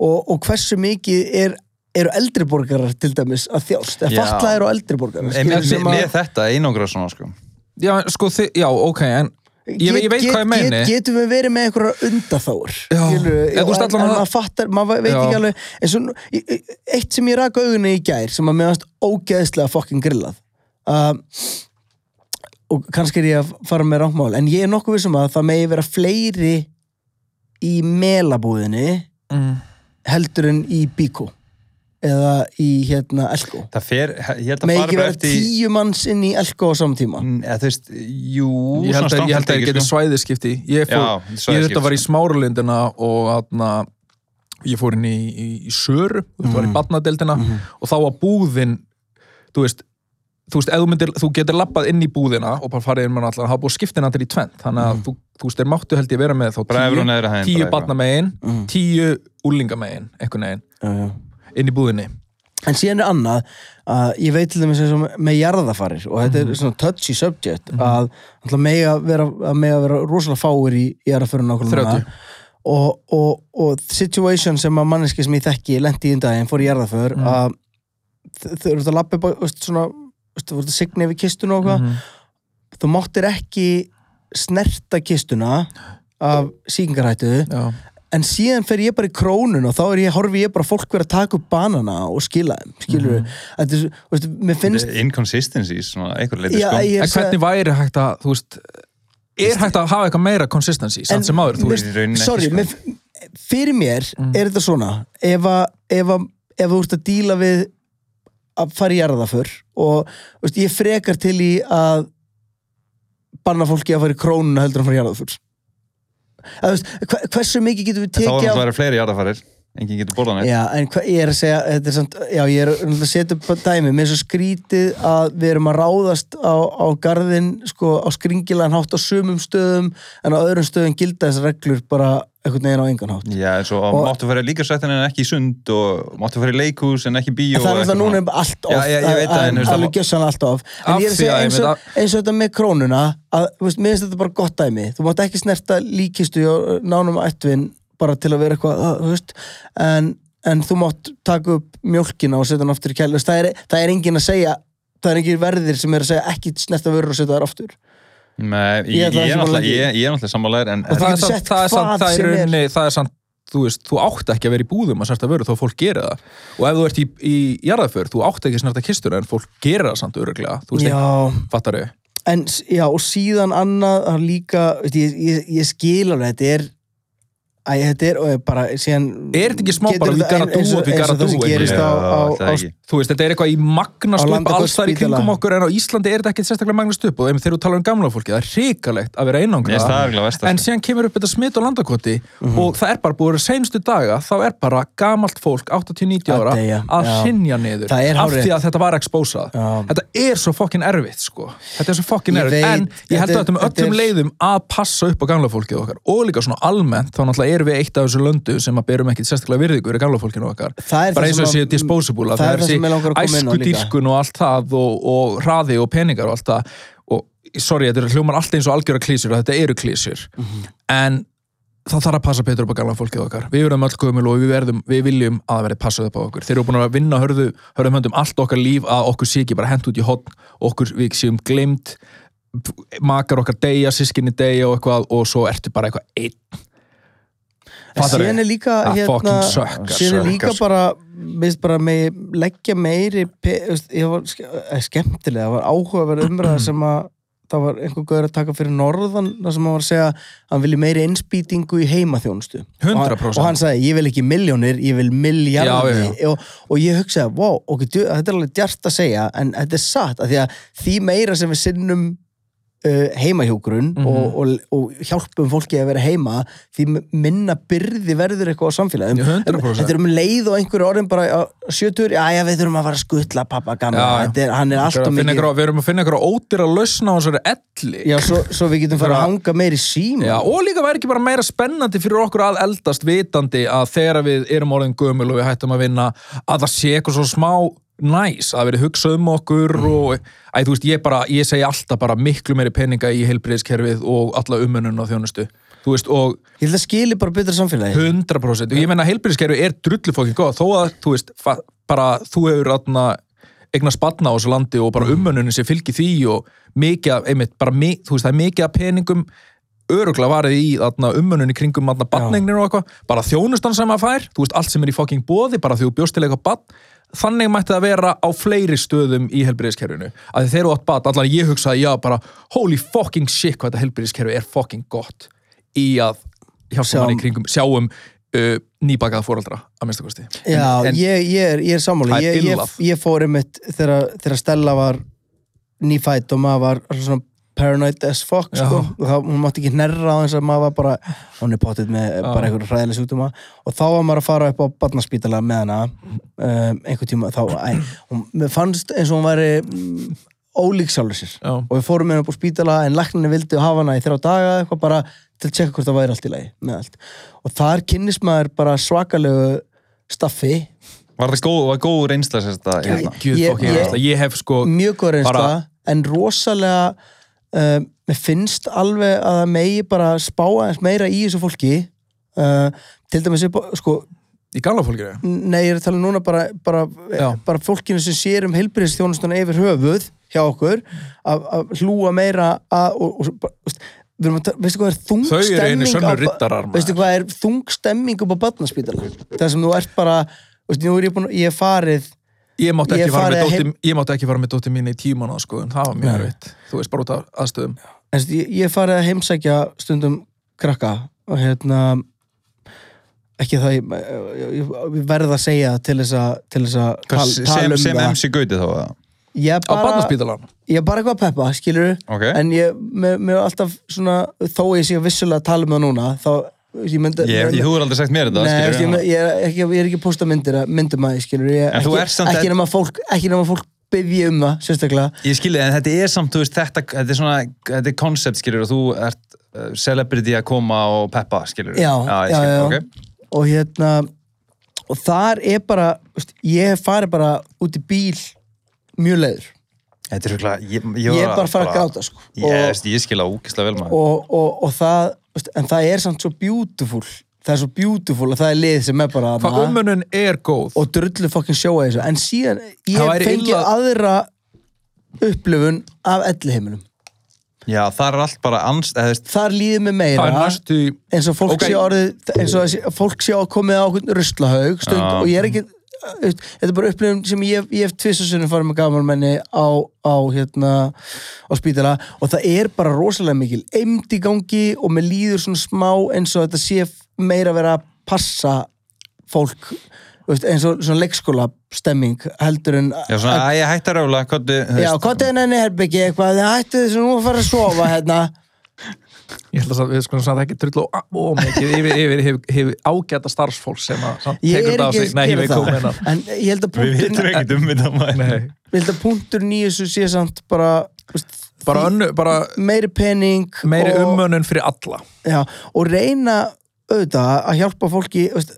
[SPEAKER 1] og, og hversu mikið er, eru eldri borgarar til dæmis að þjást, eða
[SPEAKER 3] Já.
[SPEAKER 1] fatlaðir og eldri borgarar
[SPEAKER 3] Em-
[SPEAKER 1] skilur,
[SPEAKER 3] Með
[SPEAKER 1] sem
[SPEAKER 3] með
[SPEAKER 1] að-
[SPEAKER 3] þetta einangra svona sko
[SPEAKER 2] já, sko, þi, já, ok, en ég, ég veit
[SPEAKER 1] Get-
[SPEAKER 2] hvað ég meini
[SPEAKER 1] get- getum við verið með einhverja undatháur
[SPEAKER 2] Já.
[SPEAKER 1] skilurðu,
[SPEAKER 2] En þú veist
[SPEAKER 1] en,
[SPEAKER 2] allan
[SPEAKER 1] en
[SPEAKER 2] að-
[SPEAKER 1] maður fattar, maður veit
[SPEAKER 2] Já.
[SPEAKER 1] ekki alveg en svo, í- í- eitt sem ég raka augunni í gær sem að meðast ógeðslega fokkin grillað uh, og kannski er ég að fara með rámál en ég er nokkuð vissum að það megi vera fleiri í melabúðinni
[SPEAKER 2] Mm.
[SPEAKER 1] heldur en í bíkó eða í hérna elko
[SPEAKER 3] Það fer, ég held að
[SPEAKER 1] megi
[SPEAKER 3] fara
[SPEAKER 1] ekki
[SPEAKER 3] bara
[SPEAKER 1] vera
[SPEAKER 3] eftir í-
[SPEAKER 1] tíu manns inn í elko á samtíma
[SPEAKER 3] Mm, eða Þú veist, jú
[SPEAKER 2] ég held að ég, held
[SPEAKER 3] svona
[SPEAKER 2] að ég
[SPEAKER 3] stangtæki,
[SPEAKER 2] geti
[SPEAKER 3] sko.
[SPEAKER 2] svæðiskipti ég, fór,
[SPEAKER 3] Já, sko.
[SPEAKER 2] ég
[SPEAKER 3] svæðiskipti,
[SPEAKER 2] þetta var í smáralindina og atna, ég fór inn í, í, í Söru, þú veist, var
[SPEAKER 3] Mhm.
[SPEAKER 2] í badnadeldina og þá var búðin þú veist, þú veist, ef þú, myndir, þú getur labbað inn í búðina og bara farið inn með allan, það var búið skiptina til í tvent þannig að þú, þú veist, þeir máttu held ég vera með þá
[SPEAKER 3] Mhm. Bara efra og neðra hæðin,
[SPEAKER 2] tíu
[SPEAKER 3] bara eitthvað.
[SPEAKER 2] badna megin,
[SPEAKER 1] Mhm.
[SPEAKER 2] tíu úlinga megin, einhvern veginn,
[SPEAKER 1] já, já.
[SPEAKER 2] inn í búðinni
[SPEAKER 1] En síðan er annað að ég veit til dæmis eins og með jarðafarir og þetta er svona touchy subject að náttúrulega mega vera, að mega vera rosalega fáir í jarðaförun nákvæmlega
[SPEAKER 2] 30.
[SPEAKER 1] núna. og, og, og situation sem að manneski sem ég þekki lendi í um daginn fór í jarðaför að þau þau eru þetta lappi svona, þú veist, voru þetta signa yfir kistuna og
[SPEAKER 2] Mhm.
[SPEAKER 1] hvað þú máttir ekki snerta kistuna af síkingarhættu
[SPEAKER 2] já
[SPEAKER 1] en síðan fer ég bara í krónun og þá er ég, horfi ég bara fólk vera að taka upp banana og skila þeim, skilur
[SPEAKER 3] Mhm.
[SPEAKER 1] mm -hmm. veistu, mér finnst
[SPEAKER 3] Inconsistencies, svona, einhver leiti
[SPEAKER 1] já,
[SPEAKER 3] sko
[SPEAKER 1] ég,
[SPEAKER 2] En hvernig væri hægt að, þú veist, er hægt að hafa eitthvað meira consistency samt sem áður, þú
[SPEAKER 3] mér-
[SPEAKER 2] veist
[SPEAKER 3] í rauninni ekki,
[SPEAKER 1] sorry,
[SPEAKER 3] sko. Mhm.
[SPEAKER 1] mér, fyrir mér er þetta svona ef, að, ef, að, ef þú ert að díla við að fara í jarðaför og veist, ég frekar til í að banna fólki að fara í krónuna heldur en að fara í jarðaför að, veist, hva- hversu mikið getum við
[SPEAKER 3] þá er
[SPEAKER 1] tekið
[SPEAKER 3] náttúrulega
[SPEAKER 1] af
[SPEAKER 3] verið fleiri jarðafarir enginn getur borðan eitt
[SPEAKER 1] Já, en hva, ég er að segja, þetta er samt, já, ég er að setja upp dæmi, mér er svo skrítið að við erum að ráðast á, á garðin, sko, á skringilegan hátt á sumum stöðum, en á öðrum stöðum gilda þessar reglur bara einhvern veginn á engan hátt.
[SPEAKER 3] já, eins og
[SPEAKER 1] Og-
[SPEAKER 3] máttu fara í líkarsættin en ekki í sund og máttu fara í leikhús en ekki í bíó
[SPEAKER 1] En það er
[SPEAKER 3] og
[SPEAKER 1] alltaf núna
[SPEAKER 3] eitthvað svona.
[SPEAKER 1] allt
[SPEAKER 3] Já,
[SPEAKER 1] of
[SPEAKER 3] já, ég veit það, en þú veist,
[SPEAKER 1] alveg
[SPEAKER 3] það-
[SPEAKER 1] gjössan allt of en
[SPEAKER 2] Af
[SPEAKER 1] ég er að
[SPEAKER 2] því
[SPEAKER 1] segja
[SPEAKER 2] að ég
[SPEAKER 1] eins
[SPEAKER 2] veit
[SPEAKER 1] og,
[SPEAKER 2] að-
[SPEAKER 1] eins og þetta með krónuna að, þú veist, mér finnst þetta bara gott dæmi þú mátt ekki snerta líkistu og nánum ættvin bara til að vera eitthvað að, þú veist, en, en þú mátt taka upp mjólkina og setja hann aftur í kæli það er, það er engin að segja það er engin verðir sem er að segja ekki snerta vörur og setja þær aftur
[SPEAKER 3] Nei,
[SPEAKER 1] Ég
[SPEAKER 3] ég,
[SPEAKER 1] ætla
[SPEAKER 3] ég,
[SPEAKER 1] ekki
[SPEAKER 3] er
[SPEAKER 1] bara
[SPEAKER 3] náttúrulega-
[SPEAKER 1] lengi.
[SPEAKER 3] ég, ég er náttúrulega sammálaður en,
[SPEAKER 1] Og
[SPEAKER 3] en
[SPEAKER 2] það er
[SPEAKER 1] getur
[SPEAKER 2] samt,
[SPEAKER 1] sett
[SPEAKER 2] það er samt,
[SPEAKER 1] hvað
[SPEAKER 2] það er
[SPEAKER 1] sem er.
[SPEAKER 2] raunni, það er samt þú veist, þú átt ekki að vera í búðum að snarta vöru þó að fólk gerir það og ef þú ert í, í jarðaför, þú átt ekki að snarta kistur en fólk gerir það samt öruglega þú veist, ekki,
[SPEAKER 1] já,
[SPEAKER 2] fattar þau
[SPEAKER 1] en, s- já, og síðan annað það er líka, veit, ég, ég, ég skil alveg, þetta er Æ, þetta er, og ég bara, síðan
[SPEAKER 2] Er þetta ekki smá
[SPEAKER 1] getur
[SPEAKER 2] bara
[SPEAKER 1] þetta
[SPEAKER 2] Vigara
[SPEAKER 1] ein- eins og-
[SPEAKER 2] Dúa, Vigara
[SPEAKER 1] eins og það sem
[SPEAKER 2] Dúa,
[SPEAKER 1] gerist
[SPEAKER 3] Já,
[SPEAKER 1] á, á, á
[SPEAKER 3] það er ekki.
[SPEAKER 2] þú veist, þetta er eitthvað í
[SPEAKER 1] Á
[SPEAKER 2] magnast upp alls þar í
[SPEAKER 1] Landakotsspítala.
[SPEAKER 2] kringum okkur en á Íslandi er þetta ekkit sérstaklega magnast upp og einmitt þegar þú talar um gamla fólki, það er hrikalegt að vera
[SPEAKER 3] Mér finnst það
[SPEAKER 2] einangra
[SPEAKER 3] örugglega verst,
[SPEAKER 2] en
[SPEAKER 3] sko.
[SPEAKER 2] síðan kemur upp þetta smitt á landakoti
[SPEAKER 1] Mhm.
[SPEAKER 2] og það er bara búið að senstu daga þá er bara gamalt fólk, 80-90
[SPEAKER 1] Að
[SPEAKER 2] ára
[SPEAKER 1] deyja,
[SPEAKER 2] að
[SPEAKER 1] já.
[SPEAKER 2] hrynja niður
[SPEAKER 1] Það er
[SPEAKER 2] af því
[SPEAKER 1] hárrétt.
[SPEAKER 2] að þetta var exposað
[SPEAKER 1] Já.
[SPEAKER 2] þetta er svo fokkin erfitt sko þetta er svo fokkin
[SPEAKER 1] Ég veit,
[SPEAKER 2] erfitt, en ég held að
[SPEAKER 1] þetta er-
[SPEAKER 2] þetta með
[SPEAKER 1] þetta
[SPEAKER 2] öllum
[SPEAKER 1] er-
[SPEAKER 2] leiðum að passa upp á gamla fólkið okkar og líka svona almennt, þá náttúrulega erum við eitt af þessu löndu sem að berum ekkit sérstaklega virðingur í gamla fólkinu okkar
[SPEAKER 1] Það er það
[SPEAKER 2] bara eins og
[SPEAKER 1] sem
[SPEAKER 2] séu
[SPEAKER 1] að-
[SPEAKER 2] disposable að
[SPEAKER 1] það er það sem mig langar að koma inn á
[SPEAKER 2] æsku
[SPEAKER 1] líka.
[SPEAKER 2] dýrkun og allt það og, og hraði og peningar og allt það og sorry, þetta er hljómar allt eins og algjöra klísur og þetta eru klísur
[SPEAKER 1] Mhm.
[SPEAKER 2] en það þarf að passa betur upp á galna fólkið okkar við verðum öll gömul og við, verðum, við viljum að það verði passað upp á okkur þeir eru búin að vinna hörðu, hörðum höndum allt okkar líf að okkur sé ekki bara hent út í hotn okkur við séum gleymd makar okkar deyja, sískinni deyja og eitthvað og svo ertu bara eitthvað einn
[SPEAKER 1] En
[SPEAKER 2] Fattar
[SPEAKER 1] síðan
[SPEAKER 2] þau?
[SPEAKER 1] er líka
[SPEAKER 2] Að
[SPEAKER 1] hérna,
[SPEAKER 2] Ah, fucking suckar.
[SPEAKER 1] síðan er
[SPEAKER 3] Suckar,
[SPEAKER 1] líka
[SPEAKER 3] sko.
[SPEAKER 1] bara, minnst bara með leggja meiri, pe- þú veist, ég var ske- eh, skemmtilega, það var áhugaverð umræða sem að það var einhver gauður að taka fyrir norðan, það sem hann var að segja að hann vilji meiri innspýtingu í heimaþjónustu
[SPEAKER 2] 100%.
[SPEAKER 1] og hann sagði, ég vil ekki miljónir, ég vil
[SPEAKER 2] Já,
[SPEAKER 1] miljardir og, og ég hugsaði, wow, ok, djú- þetta er alveg djart að segja, en þetta er satt af því að því meira sem við sinnum uh, heimahjógrun
[SPEAKER 2] Mhm.
[SPEAKER 1] og, og, og hjálpum fólki að vera heima því minna byrði verður eitthvað á samfélagum
[SPEAKER 2] 100%.
[SPEAKER 1] þetta er um leið og einhverju orðin bara sjötur, já já við þurfum að fara að skutla pappa
[SPEAKER 2] Já, já.
[SPEAKER 1] gamla, Þetta er, hann er allt og
[SPEAKER 2] Að finna
[SPEAKER 1] mikið
[SPEAKER 2] einhverja- við erum að finna einhverja ódýra lausna á þessari elli
[SPEAKER 1] já, svo, svo við getum fara að
[SPEAKER 2] Bara-
[SPEAKER 1] hanga meir í síma
[SPEAKER 2] Já, og líka væri ekki bara meira spennandi fyrir okkur að eldast vitandi að þegar við erum orðin gömul og við hættum að vinna að það sé eitthvað svo smá næs að verið hugsa um okkur
[SPEAKER 1] Mm.
[SPEAKER 2] og að, þú veist, ég, bara, ég segi alltaf bara miklu meiri peninga í heilbriðiskerfið og alla umönnun og þjónustu þú veist, og
[SPEAKER 1] ég held að skili bara betra samfélagi
[SPEAKER 2] 100% og ég menna heilbriðiskerfið er drullufokkin góð þó að þú veist, fa- bara þú hefur atna, eigna spanna á þessu landi og bara umönnunin sem fylgir því og mikið, af- einmitt, bara mi, þú veist, það er mikið af peningum öruglega varðið í þarna, umönnun í kringum þarna, batningnir og eitthvað, bara þjónustan sem að fær þú veist, allt sem er í fucking bóði, bara því þú bjóst til eitthvað batn, þannig mætti það vera á fleiri stöðum í helbriðiskerfinu að þegar þú átt batn, allan ég hugsaði já bara, holy fucking shit hvað þetta helbriðiskerfi er fucking gott í að hjálpa
[SPEAKER 1] Sjáum-
[SPEAKER 2] manni í kringum, sjáum uh, nýbakaða fóraldra, að minnsta kosti
[SPEAKER 1] Já,
[SPEAKER 2] En- en-
[SPEAKER 1] ég, ég er, ég er sammála
[SPEAKER 2] Það er
[SPEAKER 1] ég, ég,
[SPEAKER 2] billað.
[SPEAKER 1] ég fór einmitt þegar, þegar Stella var nýfætt og maður var svona paranoid as fuck
[SPEAKER 2] Já.
[SPEAKER 1] sko. og það, hún mátti ekki hnerra á þess að maður var bara hún er potið með Já. bara einhverjum hræðileg sjúkdóma og þá var maður að fara upp á barnaspítala með hana um, einhver tíma þá, æ, hún mér fannst eins og hún væri mm, ólík sjálfur sér
[SPEAKER 2] Já.
[SPEAKER 1] og við fórum með henni upp á spítala en lækninni vildi hafa hana í þrjá daga eitthvað bara til að tjekka hvort það væri allt í lagi með allt og þar kynnist maður bara svakalegu staffi
[SPEAKER 3] var það góð, var góð reynsla sérst að hérna.
[SPEAKER 2] Gjöð
[SPEAKER 1] Ég-
[SPEAKER 2] fucking
[SPEAKER 1] ég-
[SPEAKER 2] reynsla, ég hef sko
[SPEAKER 1] mjög góð reynsla
[SPEAKER 2] Bara-
[SPEAKER 1] en rosalega uh, mér finnst alveg að það megi bara spá aðeins meira í þessu fólki uh, til dæmis upp á- sko,
[SPEAKER 2] í gamla fólkinu
[SPEAKER 1] nei ég er að tala núna bara, bara,
[SPEAKER 2] Já.
[SPEAKER 1] bara fólkinu sem sér um heilbriðstjónustuna yfir höfuð hjá okkur að, að hlúa meira að og, og, og, veist, við erum að ta- veistu hvað er þung
[SPEAKER 2] Þau eru
[SPEAKER 1] stemming
[SPEAKER 2] einu
[SPEAKER 1] á
[SPEAKER 2] sönnu
[SPEAKER 1] ba-
[SPEAKER 2] riddarar, maður.
[SPEAKER 1] veistu hvað er þung stemming upp á badnarspítala þar sem þú ert bara veist, nú er ég, búin, ég er farið
[SPEAKER 2] Ég mátti,
[SPEAKER 1] Ég
[SPEAKER 2] ekki fara
[SPEAKER 1] farið
[SPEAKER 2] með
[SPEAKER 1] heim-
[SPEAKER 2] dóttir, ég mátti ekki fara með dóttir mín í tíman sko, en það var mjög erfitt, þú veist, bara út af aðstöðum
[SPEAKER 1] en stu, ég, ég farið að heimsækja stundum krakka og hérna ekki það ég, ég, ég- ég verð að segja til þess að til þess að
[SPEAKER 3] Hvað,
[SPEAKER 1] tal-
[SPEAKER 3] sem,
[SPEAKER 1] tala um
[SPEAKER 3] sem
[SPEAKER 1] það
[SPEAKER 3] MC Gauti þá eða?
[SPEAKER 1] ég
[SPEAKER 2] á
[SPEAKER 1] bara,
[SPEAKER 2] barnaspítalan
[SPEAKER 1] ég er bara eitthvað að peppa skilur
[SPEAKER 3] Ok.
[SPEAKER 1] en ég mér mér er alltaf svona þó ég sé vissulega að tala um það núna þá ég myndi
[SPEAKER 3] Ég, ég, þú er aldrei sagt mér þetta
[SPEAKER 1] Nei,
[SPEAKER 3] um skilurðu.
[SPEAKER 1] veist, ég, ég, er ekki, ég er ekki að posta myndir myndum að því, skilur ég,
[SPEAKER 3] En þú ert
[SPEAKER 1] ekki,
[SPEAKER 3] samt
[SPEAKER 1] ekki
[SPEAKER 3] að-
[SPEAKER 1] nema fólk, ekki nema fólk byggja um það, sérstaklega
[SPEAKER 3] Ég skilði, en þetta er samt, þú veist, þetta, þetta er svona, þetta er koncept, skilur, og þú ert uh, celebrity að koma og peppa, skilur.
[SPEAKER 1] Já,
[SPEAKER 3] ég
[SPEAKER 1] já,
[SPEAKER 3] skil,
[SPEAKER 1] já, já.
[SPEAKER 3] ok.
[SPEAKER 1] og hérna og þar er bara, veist, ég hef farið bara út í bíl mjög leiður
[SPEAKER 3] Þetta er svona, ég, ég,
[SPEAKER 1] ég er
[SPEAKER 3] var
[SPEAKER 1] bara að fara að gráta sko.
[SPEAKER 3] Ég,
[SPEAKER 1] og,
[SPEAKER 3] og... ég skil að úkislega vel maður.
[SPEAKER 1] og, og, og það veist, en það er samt svo beautiful það er svo beautiful og það er lið sem er bara
[SPEAKER 2] hvað
[SPEAKER 1] þarna.
[SPEAKER 2] umönun er góð
[SPEAKER 1] og drullu fokkin sjóa þessu en síðan
[SPEAKER 2] Það
[SPEAKER 1] ég
[SPEAKER 2] væri
[SPEAKER 1] fengi
[SPEAKER 2] illa-
[SPEAKER 1] aðra upplifun af elli heiminum
[SPEAKER 3] Já, það er allt bara ans, eða, þú veist,
[SPEAKER 1] þar líður mér meira
[SPEAKER 2] það er næstu
[SPEAKER 1] eins og fólk
[SPEAKER 2] Ok.
[SPEAKER 1] sé orðið eins og þessi- fólk sé að komið á okkur ruslahaug stund
[SPEAKER 3] Já.
[SPEAKER 1] og ég er ekki veist, þetta er bara upplifun sem ég, ég hef tvisasunum farið með gamalmenni á, á hérna á spítala og það er bara rosalega mikil eimd í gangi og mér líður svona smá eins og þetta sé meira að vera að passa fólk veist, eins og svona leikskóla stemming heldur en
[SPEAKER 3] já, svona, að ég hætti að rála, hvað, þú
[SPEAKER 1] já,
[SPEAKER 3] veist,
[SPEAKER 1] hvað er henni herbyggi eitthvað, hættu þessu nú að fara að sofa hérna
[SPEAKER 2] ég held að samt- við skulum samt ekki drullu á ó, mikið yfir, yfir, yfir, yfir ágæta starfsfólk sem að samt
[SPEAKER 1] ég er
[SPEAKER 2] tekur þetta á
[SPEAKER 1] ekki
[SPEAKER 2] sig nei, ég
[SPEAKER 1] að
[SPEAKER 2] veit
[SPEAKER 1] gera
[SPEAKER 2] komið
[SPEAKER 1] það en ég held að
[SPEAKER 3] hérna. við
[SPEAKER 1] punkturinn-
[SPEAKER 3] vitum ekkert um þetta maður.
[SPEAKER 2] hennar
[SPEAKER 1] Ég held að punktur nýjus sé samt bara, veist,
[SPEAKER 2] bara, önnu, bara
[SPEAKER 1] meiri pening
[SPEAKER 2] meiri
[SPEAKER 1] og,
[SPEAKER 2] umönun fyrir alla
[SPEAKER 1] já, og reyna auðvitað að hjálpa fólki veist,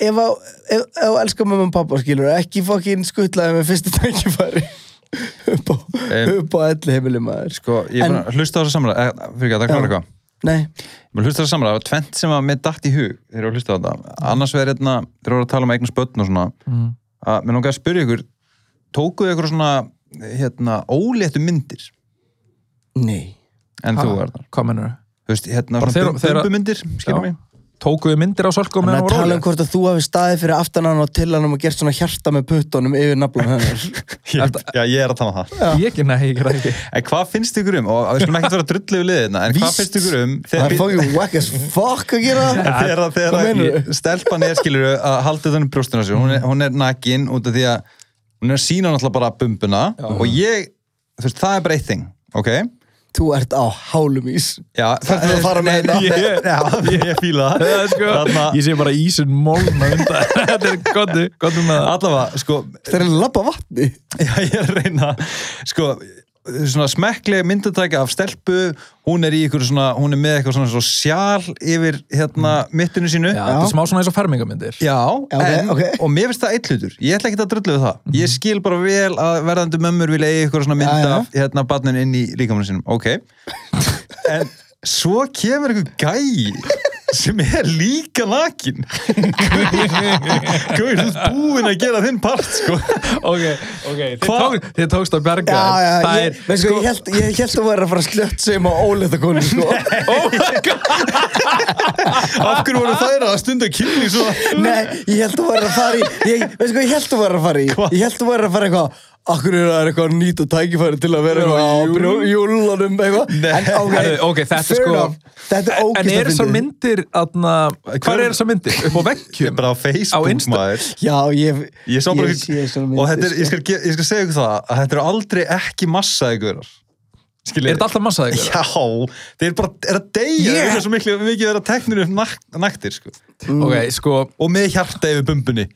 [SPEAKER 1] ef að ef, ef að elska mamma og pappa skilur ekki fokkin skutlaði með fyrsta tækifæri upp á,
[SPEAKER 3] Em.
[SPEAKER 1] upp á elli heimili maður sko.
[SPEAKER 3] Sko, ég er búin
[SPEAKER 1] En-
[SPEAKER 3] að hlusta á þessa samræða, eh, fyrir ekki að
[SPEAKER 1] Já.
[SPEAKER 3] það klára eitthvað.
[SPEAKER 1] nei,
[SPEAKER 3] Mér hlusta það samræða, það var tvent sem að mér datt í hug þegar ég var að hlusta á þetta. Annars verður hérna, þegar voru að tala um eignast börn og svona, að mér langaði að spyrja ykkur, tókuðu ykkur svona, hérna, óléttu myndir
[SPEAKER 1] nei
[SPEAKER 3] en
[SPEAKER 2] Ha?
[SPEAKER 3] þú var það?
[SPEAKER 2] hvað mennur þau?
[SPEAKER 3] Þú veist, hérna,
[SPEAKER 2] Bara
[SPEAKER 3] svona
[SPEAKER 2] þeirra- þeirra-
[SPEAKER 3] bumbumyndir, skilur mig?
[SPEAKER 2] tókuðu myndir á sölku
[SPEAKER 1] Þannig að
[SPEAKER 2] meðan hún var
[SPEAKER 1] tala um
[SPEAKER 2] róleg
[SPEAKER 1] hvort að þú hafi staðið fyrir aftan hann og til hann og gert svona hjarta með puttunum yfir naflan hennar
[SPEAKER 3] Ég, já, ég er að tala um það.
[SPEAKER 2] ég ekki, nei, ég er ekki
[SPEAKER 3] En hvað finnst ykkur um, og við skulum ekkert vera drullið við liðina, hérna, en hvað
[SPEAKER 1] Víst.
[SPEAKER 3] finnst ykkur um
[SPEAKER 1] Það er
[SPEAKER 3] þegar
[SPEAKER 1] fokkin whack as fuck að gera það
[SPEAKER 3] þegar, þegar,
[SPEAKER 1] Hvað meinarðu?
[SPEAKER 3] þegar stelpan er skilur að halda utan um brjóstuna sér, hún er, hún er nakin út af því að hún er að sína náttúrulega bara bumbuna og ég, þú veist, það er bara eitt þing, ok?
[SPEAKER 1] Þú ert á hálum ís
[SPEAKER 3] Já, það
[SPEAKER 1] að fara með
[SPEAKER 3] nei,
[SPEAKER 1] þetta.
[SPEAKER 3] ég- Já, ég- ég fíla
[SPEAKER 2] Það er
[SPEAKER 3] það.
[SPEAKER 2] sko,
[SPEAKER 3] Þarna,
[SPEAKER 2] ég sé bara ísun mólna undan þetta er gottu, gottu með það
[SPEAKER 3] allavega, sko,
[SPEAKER 1] Það er labba vatni
[SPEAKER 3] já, ég er að reyna, sko, svona smekkleg myndatækja af stelpu, hún er í ykkur svona, hún er með eitthvað svona, svona sjál yfir hérna mittinu sínu.
[SPEAKER 2] Já, þetta er smá svona eins og fermingamyndir
[SPEAKER 3] Já,
[SPEAKER 1] Já, ok,
[SPEAKER 3] en,
[SPEAKER 1] ok. Mhm.
[SPEAKER 3] og mér finnst það eitt hlutur Ég ætla ekki að drullu við það Ég skil bara vel að verðandi mömmur vilja eigi ykkur svona mynd
[SPEAKER 1] Já, já.
[SPEAKER 3] af hérna barnin inn í líkamann sinum Ok En svo kemur ykkur gæi sem er líka nakin Guður búinn að gera þinn part sko
[SPEAKER 2] Ok, ok, þið,
[SPEAKER 3] Hva-
[SPEAKER 2] tók, þið tókst að berga
[SPEAKER 1] Já, já,
[SPEAKER 2] það
[SPEAKER 1] ég,
[SPEAKER 2] er,
[SPEAKER 1] sko, sko, ég held, ég held að vera að fara að slött sem á óleita konu, sko.
[SPEAKER 2] Oh my god
[SPEAKER 3] Af hverju voru þær að stunda kynni svo
[SPEAKER 1] Nei, ég held að vera að fara í, ég, veist sko, ég held að vera að fara í, ég held að vera að fara eitthvað, akkur er það eitthvað nýtt og tækifæri til að vera eitthvað á júlanum, eitthvað.
[SPEAKER 3] Nei.
[SPEAKER 2] Herðu, ok, þetta er
[SPEAKER 1] fair
[SPEAKER 2] sko-
[SPEAKER 1] enough. Þetta er
[SPEAKER 2] En
[SPEAKER 1] ógist
[SPEAKER 2] eru þessar myndir, aðna, hvað eru þessar myndir? Upp á veggjum?
[SPEAKER 3] Bara á Facebook
[SPEAKER 2] Á Insta-
[SPEAKER 3] maður
[SPEAKER 1] Já, ég,
[SPEAKER 3] Ég sá bara
[SPEAKER 1] ég sé þessar myndir,
[SPEAKER 3] Og þetta er, ég
[SPEAKER 1] sko.
[SPEAKER 3] skal, ge- ég skal segja ykkur það að þetta eru aldrei ekki massa ykkur
[SPEAKER 2] Er þetta alltaf massað ykkur?
[SPEAKER 3] Já, þeir eru bara er að deyja
[SPEAKER 1] Yeah.
[SPEAKER 3] yeah. svo miklu, mikið vera teknir upp nak, naktir sko.
[SPEAKER 2] Ok,
[SPEAKER 1] Mm.
[SPEAKER 2] sko,
[SPEAKER 3] og með hjarta yfir bumbunni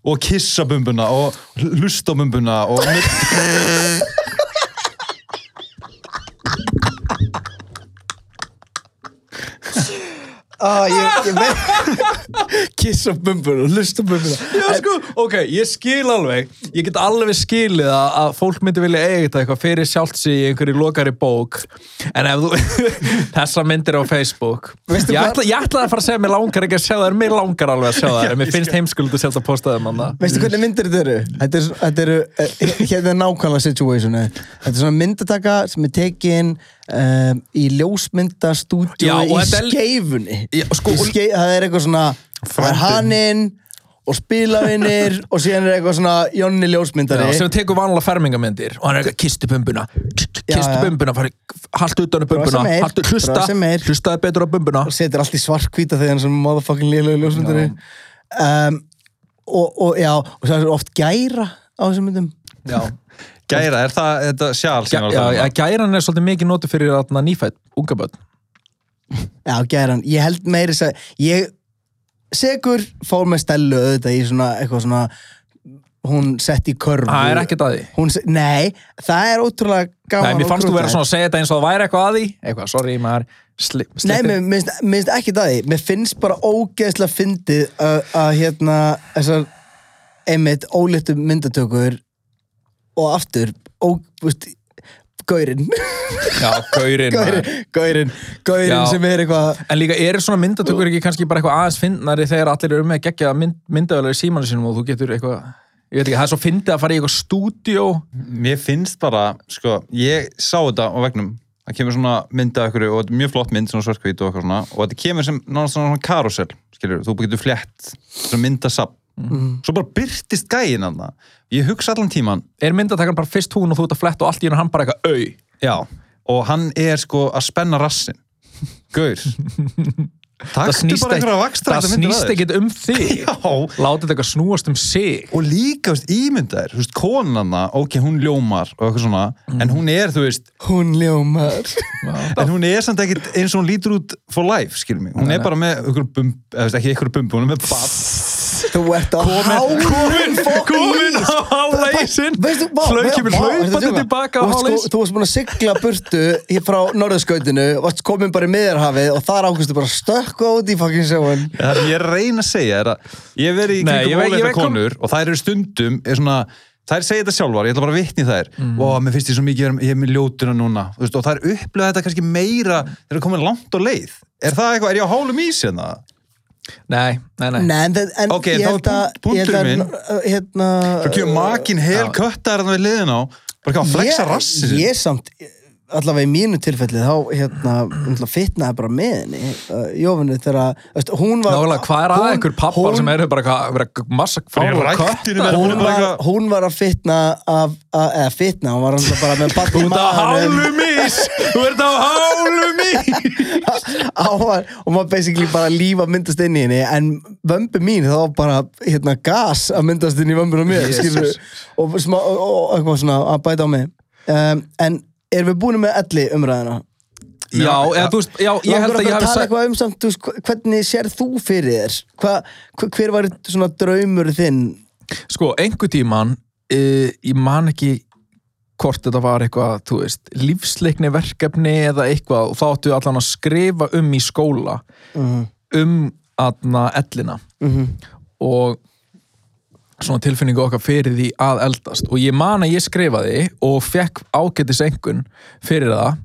[SPEAKER 3] og kissa bumbuna og hlusta á bumbuna og mynd...
[SPEAKER 1] Ah, ég, ég veit, kissa bumbuna, lusta bumbuna.
[SPEAKER 2] Já, sko, ok, ég skil alveg Ég get alveg skilið að, að fólk myndi vilja eiga þetta eitthvað fyrir sjálft sig í einhverju lokari bók En ef þú, þessa myndir á Facebook
[SPEAKER 1] Veistu
[SPEAKER 2] ég,
[SPEAKER 1] hvað-
[SPEAKER 2] ætla, ég ætlaði að fara að segja að mér langar ekki að sjá það En mér langar alveg að sjá það En mér finnst heimskuldu sjálft að posta þeim annað
[SPEAKER 1] Veistu hvernig myndir þetta eru? Þetta eru, þetta eru eh, hérna er nákvæmlega situation eh. Þetta er svona myndataka sem er tekin um, í
[SPEAKER 2] Já,
[SPEAKER 1] ljósmyndastúdíu
[SPEAKER 2] og
[SPEAKER 1] í
[SPEAKER 2] þetta er-
[SPEAKER 1] skeifunni
[SPEAKER 2] Já, sko,
[SPEAKER 1] í
[SPEAKER 2] og-
[SPEAKER 1] skei, Það er eitthvað svona það er
[SPEAKER 3] Frændin.
[SPEAKER 1] hanninn og spilavinir og síðan er eitthvað svona Jonni ljósmyndari
[SPEAKER 2] Já, sem tekur vanlega fermingamyndir og hann er eitthvað kistu bumbuna
[SPEAKER 1] Já,
[SPEAKER 2] kistu
[SPEAKER 1] já.
[SPEAKER 2] bumbuna, fari, haltu utan á bumbuna
[SPEAKER 1] Brosa meir,
[SPEAKER 2] haltu, hlusta,
[SPEAKER 1] brosa meir.
[SPEAKER 2] hlustaði betur á bumbuna
[SPEAKER 1] og setur allt í svarkvíta þegar hann er svona motherfucking lélögu ljósmyndari um, og, og já, og það er oft gæra á þessum myndum
[SPEAKER 2] já,
[SPEAKER 3] Gæra, er það þetta sjál sem
[SPEAKER 2] já,
[SPEAKER 3] ég var að
[SPEAKER 2] já,
[SPEAKER 3] tala um?
[SPEAKER 2] já, gæran er svolítið mikið notu fyrir þarna nýfætt, unga börn
[SPEAKER 1] já, gæran, ég held meiri þess að ég segur fór með stælu auðvitað í svona eitthvað svona hún sett í körfu
[SPEAKER 2] það er ekkert að því
[SPEAKER 1] Hún se- nei, það er ótrúlega gaman
[SPEAKER 2] Nei, mér
[SPEAKER 1] og
[SPEAKER 2] fannst þú vera
[SPEAKER 1] krúttlegt.
[SPEAKER 2] svona að segja þetta eins og það væri eitthvað að því eitthvað, sorry, maður slip, slip,
[SPEAKER 1] Nei, mér mér finnst- mér finnst ekki það því Mér finnst bara ógeðslega fyndið að, að hérna þessar einmitt ólittu myndatökur og aftur ó, veist, gaurinn
[SPEAKER 2] já, gaurin,
[SPEAKER 1] gaurinn,
[SPEAKER 2] maður.
[SPEAKER 1] gaurinn, gaurinn
[SPEAKER 2] Já.
[SPEAKER 1] sem er eitthvað
[SPEAKER 2] En líka eru svona myndatökur ekki kannski bara eitthvað aðeins fyndnari þegar allir eru með geggja mynd, myndavelar í símanu sínum og þú getur eitthvað ég veit ekki, það er svo fyndið að fara í eitthvað stúdíó
[SPEAKER 3] Mér finnst bara, sko, ég sá þetta á vegnum það kemur svona myndað ykkur og þetta er mjög flott mynd, svona svarkvít og eitthvað svona og þetta kemur sem náttúrulega svona, svona karusel skilur, þú getur flett, svona myndasab svo bara byrtist gæin hann ég hugsa allan tíman
[SPEAKER 2] er myndatakan bara fyrst hún og þú ert að fletta og allt í hennu hann bara eitthvað au
[SPEAKER 3] já, og hann er sko að spenna rassin gaur
[SPEAKER 2] það
[SPEAKER 3] taktu
[SPEAKER 2] snýst, ekki,
[SPEAKER 3] bara einhverja vakstra
[SPEAKER 2] það snýst ekkit um þig
[SPEAKER 3] já,
[SPEAKER 2] látið þetta eitthvað snúast um sig
[SPEAKER 3] og líka, veist, ímyndaðir, þú veist, konanna ok, hún ljómar og eitthvað svona
[SPEAKER 2] Mm.
[SPEAKER 3] en hún er, þú veist,
[SPEAKER 1] hún ljómar
[SPEAKER 3] en hún er samt ekkert eins og hún lítur út for life, skilur mig, hún er bara með ykkur bumb, eða veist, ekki ykkur bumb, hún er með bab
[SPEAKER 1] þú ert á hálfum
[SPEAKER 2] komin á hálæsinn hlauk kemur hlaupandi tilbaka á hálæs
[SPEAKER 1] Þú varst búin að sigla burtu hér frá norðurskautinu varst komin bara í miðjarhafið og þar ákustu bara að stökka út í fucking sjóin
[SPEAKER 3] það sem ég er að reyna að segja er að ég hef verið í
[SPEAKER 2] Nei, ég veit-
[SPEAKER 3] kringum
[SPEAKER 2] ég
[SPEAKER 3] óleita
[SPEAKER 2] veit hvað-
[SPEAKER 3] konur og þær eru stundum er svona, þær segja þetta sjálfar, ég ætla bara að vitni þær mm. og mér finnst ég svo mikið, vera- ég er með ljótuna núna þú veist, og þær upplöða þetta kannski meira þegar það komið langt á leið er það eitthvað, er ég á hálum ís hérna?
[SPEAKER 2] nei, nei, nei,
[SPEAKER 1] Nei, en, það- en
[SPEAKER 3] Ok,
[SPEAKER 1] ég
[SPEAKER 3] þá
[SPEAKER 1] held að
[SPEAKER 3] punkt-
[SPEAKER 1] ég held að-
[SPEAKER 3] punkturinn
[SPEAKER 1] hérna,
[SPEAKER 3] Svo kemur makin hel
[SPEAKER 2] Já.
[SPEAKER 3] köttar þarna við liðin á bara hvað að flexa
[SPEAKER 1] ég-
[SPEAKER 3] rassin
[SPEAKER 1] Ég samt, allavega í mínu tilfelli þá hérna, náttúrulega fitnaði bara með henni uh, Jófinu þegar að hún var
[SPEAKER 2] Nálega, hvað er að
[SPEAKER 1] hún-
[SPEAKER 2] ykkur pappar
[SPEAKER 1] hún-
[SPEAKER 2] sem eru bara eitthvað- vera massa fála
[SPEAKER 3] ræktinu
[SPEAKER 2] köttar
[SPEAKER 3] með-
[SPEAKER 1] hún
[SPEAKER 3] Hún er bara
[SPEAKER 1] var,
[SPEAKER 3] eitthvað-
[SPEAKER 1] hún var að fitna af, að, eða fitna, hún var alltaf bara með barn
[SPEAKER 2] Þú
[SPEAKER 1] í
[SPEAKER 2] ert á
[SPEAKER 1] maðurum
[SPEAKER 2] hálum ís Þú ert á hálum ís
[SPEAKER 1] hún var, hún var basically bara að lífa myndast inn í henni en vömbu mín þá var bara hérna gas að myndast inn í vömbuna mér
[SPEAKER 2] Jesus.
[SPEAKER 1] skilurðu, og, smá, og, og eitthvað svona að bæta á mig um, en erum við búin með elli umræðina?
[SPEAKER 2] Já, eða þú veist, já, ég
[SPEAKER 1] Langar
[SPEAKER 2] held að
[SPEAKER 1] okkur
[SPEAKER 2] ég
[SPEAKER 1] að
[SPEAKER 2] hafi
[SPEAKER 1] tala
[SPEAKER 2] sagt
[SPEAKER 1] eitthvað um samt, þú veist, hva- hvernig sér þú fyrir þér? Hva, hva, hver var svona draumur þinn?
[SPEAKER 2] Sko, einhver tíman uh, Ég man ekki hvort þetta var eitthvað, þú veist, lífsleikni verkefni eða eitthvað og þá áttu allan að skrifa um í skóla um aðna ellina og svona tilfinningu okkar fyrir því að eldast og ég man að ég skrifaði og fekk ágætis engun fyrir það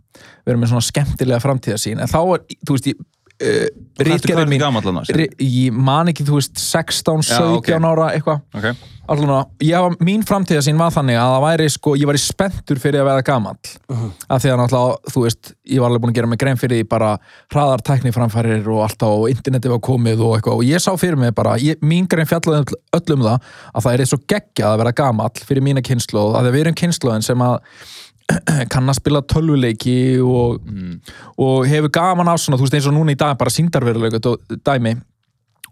[SPEAKER 2] verið með svona skemmtilega framtíðasín en þá var, þú veist, ég uh, rítgerði mín
[SPEAKER 3] gamall annars?
[SPEAKER 2] ri, ég man ekki, þú veist, 16, 17
[SPEAKER 3] Já, ok.
[SPEAKER 2] ára eitthvað
[SPEAKER 3] Ok.
[SPEAKER 2] Allan að, ég var, mín framtíðasín var þannig að það væri sko, ég var í spenntur fyrir að verða gamall af því að náttúrulega, þú veist, ég var alveg búin að gera mig grein fyrir því bara hraðar tækniframfærir og allt á og interneti var komið og eitthvað og ég sá fyrir mig bara, ég, mín grein fjallaði öll, öll um það að það er eins og geggjað að vera gamall fyrir mína kynnslóð, af því að við erum kynnslóðin sem að kann að spila tölvuleiki og, og hefur gaman af svona, þú veist, eins og núna í dag bara síndarveruleika dæmi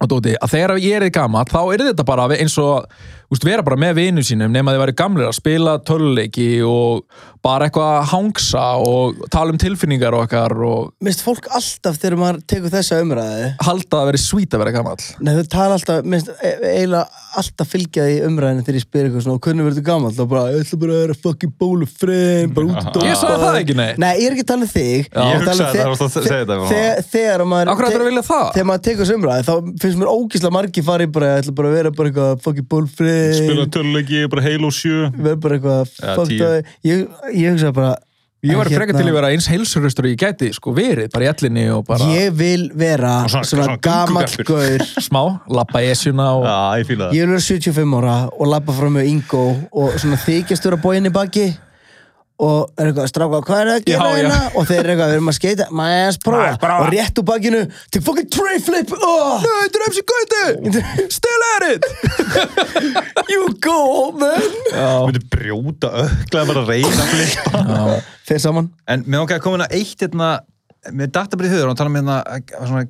[SPEAKER 2] og dóti, að þegar ég er gamall þá er þetta bara eins og úst, vera bara með vinum sínum nema þið væri gamlir að spila töluleiki og bara eitthvað að hangsa og tala um tilfinningar okkar og
[SPEAKER 1] Mist fólk alltaf þegar maður tekur þessa umræði?
[SPEAKER 2] halda að vera svít að vera gamall
[SPEAKER 1] Nei, þau tala alltaf, minnst e- eiginlega alltaf fylgja því umræðinu þegar ég spyr eitthvað svona og hvernig verður þú gamall? Þá bara, ég ætla bara að vera fucking bólufrein, bara út og dópa.
[SPEAKER 2] Ég sagði það ekki, nei.
[SPEAKER 1] Nei, ég er ekki að tala um þig.
[SPEAKER 3] Ég
[SPEAKER 1] Ég er að tala um
[SPEAKER 3] hugsaði
[SPEAKER 1] þe-
[SPEAKER 3] það, varstu að segja þetta,
[SPEAKER 1] þe-
[SPEAKER 3] bara.
[SPEAKER 1] þe- Þegar maður...
[SPEAKER 2] Af hverju ætlarðu að vilja það?
[SPEAKER 1] Þegar maður tekur þessu umræði, þá finnst mér ógíslega margi farið bara, ég ætla bara að vera bara eitthvað fucking bólufrein.
[SPEAKER 3] töluleiki, bara heil og sjö
[SPEAKER 1] verð bara eitthvað
[SPEAKER 3] Já,
[SPEAKER 1] fucked
[SPEAKER 3] tíu.
[SPEAKER 1] up. ég, ég hugsa bara
[SPEAKER 2] ég var
[SPEAKER 1] að hérna,
[SPEAKER 2] frekar til að vera eins heilsurustur og ég gæti sko verið bara í ellinni og bara
[SPEAKER 1] ég vil vera
[SPEAKER 3] Og
[SPEAKER 1] svona,
[SPEAKER 3] svona-
[SPEAKER 1] svona,
[SPEAKER 3] svona
[SPEAKER 1] gamall
[SPEAKER 3] göngugarpur.
[SPEAKER 1] gaur
[SPEAKER 2] smá, labba esjuna og
[SPEAKER 3] Já, ég fíla það
[SPEAKER 1] ég vil vera 75 ára og labba fram með Ingo og svona þykjast vera bóinni baki og er eitthvað að stráka hvað er það að gera
[SPEAKER 2] Já, já.
[SPEAKER 1] hérna og þeir eru eitthvað við erum að skeita maður aðeins
[SPEAKER 2] Maður
[SPEAKER 1] prófa
[SPEAKER 2] prófa.
[SPEAKER 1] og rétt úr bakinu til fucking tray flip oh,
[SPEAKER 2] Nei, þetta er MC Gauti! Still at it!
[SPEAKER 1] you go old man
[SPEAKER 3] myndi brjóta ökla bara reyna flipa
[SPEAKER 1] þeir saman
[SPEAKER 3] en mér okkar að koma inn að eitt hérna mér datta bara í hugur, hann tala um hérna svona,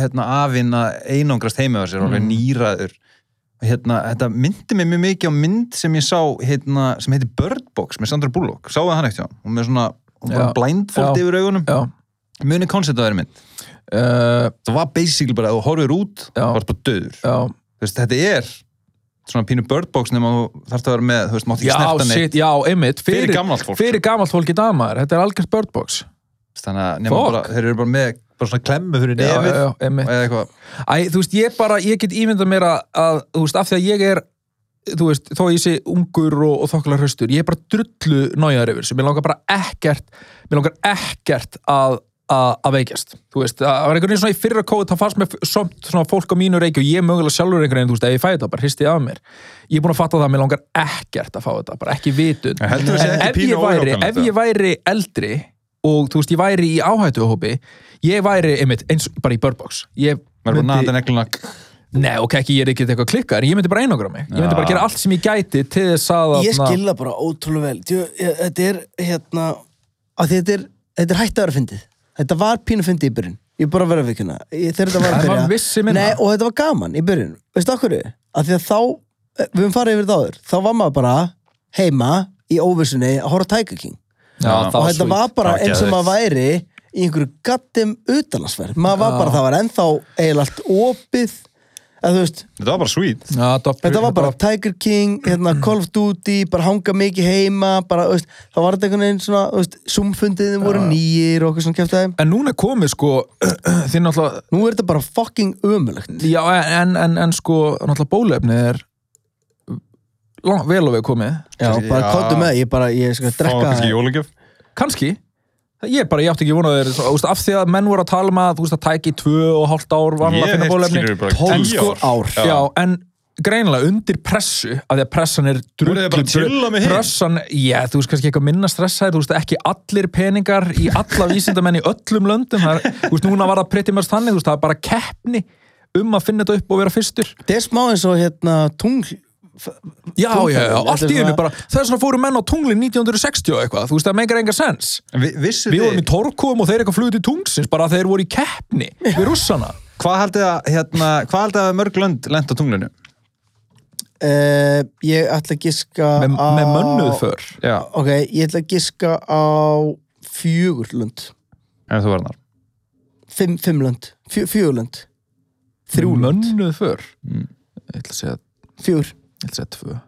[SPEAKER 3] hérna afinn að einangrast heima á sér, mm. alveg nýraður hérna, þetta myndi mig mjög mikið á mynd sem ég sá, hérna, sem heiti Bird Box með Sandra Bullock, sáðu það hann ekkert hjá hann hún með svona, hún bara
[SPEAKER 2] Já.
[SPEAKER 3] blindfold
[SPEAKER 2] Já.
[SPEAKER 3] yfir augunum
[SPEAKER 2] Já.
[SPEAKER 3] muni koncept að þeirri mynd
[SPEAKER 2] Uh,
[SPEAKER 3] það var basically bara, ef þú horfir út
[SPEAKER 2] Já.
[SPEAKER 3] þá ertu bara döður
[SPEAKER 2] já.
[SPEAKER 3] Þú veist, þetta er svona pínu Bird Box nema þú þarfst að vera með, þú veist, mátt ekki
[SPEAKER 2] Já,
[SPEAKER 3] snerta neitt
[SPEAKER 2] shit, já, einmitt.
[SPEAKER 3] Fyrir gamalt fólk. sko.
[SPEAKER 2] Fyrir gamalt fólk í damaður. Þetta er algjörst birdbox.
[SPEAKER 3] þannig að nema
[SPEAKER 2] Fuck.
[SPEAKER 3] bara, þeir eru bara með bara svona klemmu fyrir
[SPEAKER 2] Já,
[SPEAKER 3] nefið
[SPEAKER 2] já, einmitt.
[SPEAKER 3] eða eitthvað
[SPEAKER 2] Æ, þú veist, ég bara, ég get ímyndað mér að, að þú veist, af því að ég er þú veist, þó ég sé ungur og, og þokkala hraustur, ég er bara drullu nájaður yfir þessu, mér langar bara ekkert mér langar ekkert að að að veikjast, þú veist, að það var einhvern veginn svona í fyrra kóð, það fannst mér f- samt svona fólk á mínu reiki og ég mögulega sjálfur einhvern veginn, þú veist, ef ég fæði þetta, bara hristi af mér ég er búin að fatta það að mér langar ekkert að fá þetta, bara ekki vitund
[SPEAKER 3] En heldur þú að sé
[SPEAKER 2] en
[SPEAKER 3] ekki
[SPEAKER 2] ef
[SPEAKER 3] pínu
[SPEAKER 2] ég, væri,
[SPEAKER 3] óhjákvæmilegt,
[SPEAKER 2] ef ég væri eldri og þú veist, ég væri í áhættuhópi ég væri, einmitt, eins bara í börnbox ég
[SPEAKER 3] maður er bara naðan negluna
[SPEAKER 2] Nei, ok, ekki, ég er ekkert eitthvað klikkar, ég myndi bara einogra mig. Ég myndi bara gera allt sem ég gæti til þess að...
[SPEAKER 1] ég
[SPEAKER 2] þarna-
[SPEAKER 1] skilða bara ótrúlega vel Djú, ég, þetta er hérna að þetta er, þetta er hægt að vera fyndið þetta var pínu fyndið í byrjun ég er bara að vera við kynna þegar þetta var
[SPEAKER 2] En
[SPEAKER 1] að
[SPEAKER 2] maður vissi
[SPEAKER 1] byrja
[SPEAKER 2] minna.
[SPEAKER 1] Nei, og þetta var gaman í byrjun veistu okkur að því að þá e, við höfum farið yfir þáður þá var maður bara heima í óvissunni að horfa á Tiger King
[SPEAKER 2] Já, það
[SPEAKER 1] og
[SPEAKER 2] var
[SPEAKER 1] þetta
[SPEAKER 2] sweet.
[SPEAKER 1] var bara
[SPEAKER 3] Það var
[SPEAKER 1] eins og
[SPEAKER 3] geðveikt.
[SPEAKER 1] maður væri í einhverju gattum utalansverð maður var bara, það var ennþá eiginlega allt opið eða þú veist
[SPEAKER 3] þetta var bara sweet
[SPEAKER 2] Já, þetta var,
[SPEAKER 1] Þetta var bara Tiger King, hérna, Call of Duty, bara hanga mikið heima, bara, veist, það var þetta einhvern veginn svona, veist, sumfundiðin voru nýjir og eitthvað svona kæftæði.
[SPEAKER 2] En núna er komið, sko, þið náttúrulega...
[SPEAKER 1] Nú er þetta bara fucking ömulegt.
[SPEAKER 2] Já, en, en, en sko, náttúrulega bólefnið er lang, vel og við komið.
[SPEAKER 1] Já, bara
[SPEAKER 3] Já.
[SPEAKER 1] kóttu með, ég bara, ég skal
[SPEAKER 3] fá
[SPEAKER 1] drekka
[SPEAKER 3] kannski jólagjöf
[SPEAKER 2] Kanski. Ég bara, ég átti ekki vonað þér, þú veist, af því að menn voru að tala um að, þú veist, að tæki tvö og hálft ár var hann
[SPEAKER 3] Ég
[SPEAKER 2] að finna
[SPEAKER 3] hef
[SPEAKER 2] bólefni.
[SPEAKER 3] skilur um bara
[SPEAKER 2] En
[SPEAKER 3] 10
[SPEAKER 2] sko-
[SPEAKER 1] ár.
[SPEAKER 2] Já, en greinilega undir pressu af því að pressan er
[SPEAKER 3] Voru þið bara að chilla með hitt?
[SPEAKER 2] pressan, já, þú veist kannski eitthvað minna stressaðir, þú veist ekki allir peningar í alla vísindamenn í öllum löndum það er, þú veist, núna var það pretty much þannig þú veist, það er bara keppni um að finna þetta upp og vera fyrstur já,
[SPEAKER 1] Þetta er smá eins og, hérna, tungl...
[SPEAKER 2] já,
[SPEAKER 1] Tunglferðin,
[SPEAKER 2] já,
[SPEAKER 1] þetta er
[SPEAKER 2] allt í einu
[SPEAKER 1] svona-
[SPEAKER 2] bara þess vegna fóru menn á tunglin 1960 og eitthvað þú veist, það meikar enga sens
[SPEAKER 3] En vi- vissuð
[SPEAKER 2] við vorum í
[SPEAKER 3] þið,
[SPEAKER 2] Torkum og þeir eitthvað flugðu til tungsins bara að þeir voru í keppni við russana
[SPEAKER 3] hvað haldið að hérna, hvað haldið að mörg lönd lent á tunglinu
[SPEAKER 1] Uh, ég ætla að giska
[SPEAKER 2] með,
[SPEAKER 1] á...
[SPEAKER 2] með mönnuð för
[SPEAKER 3] já,
[SPEAKER 1] Ok, ég ætla að giska á fjögurlönd.
[SPEAKER 3] en þú verðnar
[SPEAKER 1] Fimm, fimmlönd. Fjö, fjögurlönd.
[SPEAKER 2] þrjú mönnuð för ég ætla að segja,
[SPEAKER 1] Fjögur.
[SPEAKER 2] ég ætla að segja tvö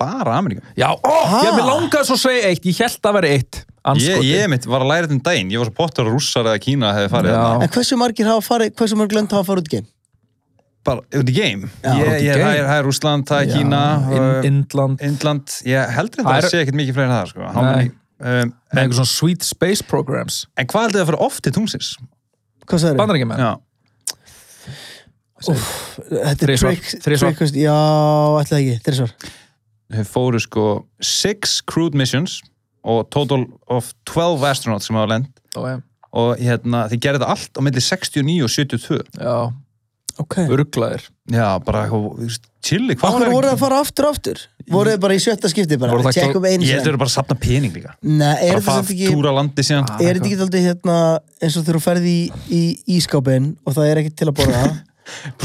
[SPEAKER 3] bara Ameríka
[SPEAKER 2] Já, oh,
[SPEAKER 1] Ha?
[SPEAKER 2] ég með langaði svo að segja eitt, ég held að vera eitt
[SPEAKER 3] Ah! ég,
[SPEAKER 2] anskoti.
[SPEAKER 3] ég mitt var að læra þetta um daginn ég var svo pottur að rússar eða Kína hefði farið
[SPEAKER 2] Já.
[SPEAKER 3] þarna.
[SPEAKER 1] En hversu margir hafa farið, hversu margir lönd hafa farið út í geim?
[SPEAKER 3] bara út í game
[SPEAKER 1] Já.
[SPEAKER 3] ég,
[SPEAKER 2] Út í
[SPEAKER 3] ég,
[SPEAKER 2] game.
[SPEAKER 3] það er- það er Rússland, það er Kína
[SPEAKER 2] Ind-
[SPEAKER 3] uh,
[SPEAKER 2] Indland,
[SPEAKER 3] Indland, ég heldur þetta
[SPEAKER 2] Það
[SPEAKER 3] að
[SPEAKER 2] er-
[SPEAKER 3] sé ekkert mikið fleiri en það sko. How
[SPEAKER 2] Nei.
[SPEAKER 3] many- um,
[SPEAKER 2] með
[SPEAKER 3] en,
[SPEAKER 2] einhver svona sweet space programs
[SPEAKER 3] en hvað haldið að fara oft til tungsins
[SPEAKER 1] Hvað sagðið?
[SPEAKER 2] bandaríkjumenn,
[SPEAKER 3] já
[SPEAKER 1] Þetta er
[SPEAKER 2] Þrisvar,
[SPEAKER 1] trick-
[SPEAKER 2] þrisvar.
[SPEAKER 1] trick- Já, ætlaði ekki, þrísvar
[SPEAKER 3] Þeir fóru sko 6 crewed missions og total of 12 astronauts sem hafa lend
[SPEAKER 2] Ó, já,
[SPEAKER 3] og hérna, þeir gerði þetta allt á milli 69 og 72
[SPEAKER 2] já,
[SPEAKER 1] Ok
[SPEAKER 2] örglaðir
[SPEAKER 3] já, bara eitthvað, þú veist, chilli
[SPEAKER 1] Af
[SPEAKER 3] hvað
[SPEAKER 1] hverju voru það að fara aftur og aftur? Voru þið bara í sjötta skipti bara?
[SPEAKER 2] Voru það
[SPEAKER 1] Tjekkum einu
[SPEAKER 3] ég heldur
[SPEAKER 1] sinni
[SPEAKER 3] þetta bara að safna pening líka
[SPEAKER 1] Nei, er
[SPEAKER 3] bara
[SPEAKER 1] þetta
[SPEAKER 3] fara
[SPEAKER 1] samt ekki
[SPEAKER 3] túra landi síðan
[SPEAKER 1] Er þetta ekki aldrei hérna eins og þegar þú ferði í, í ískápin og það er ekki til að borða
[SPEAKER 3] og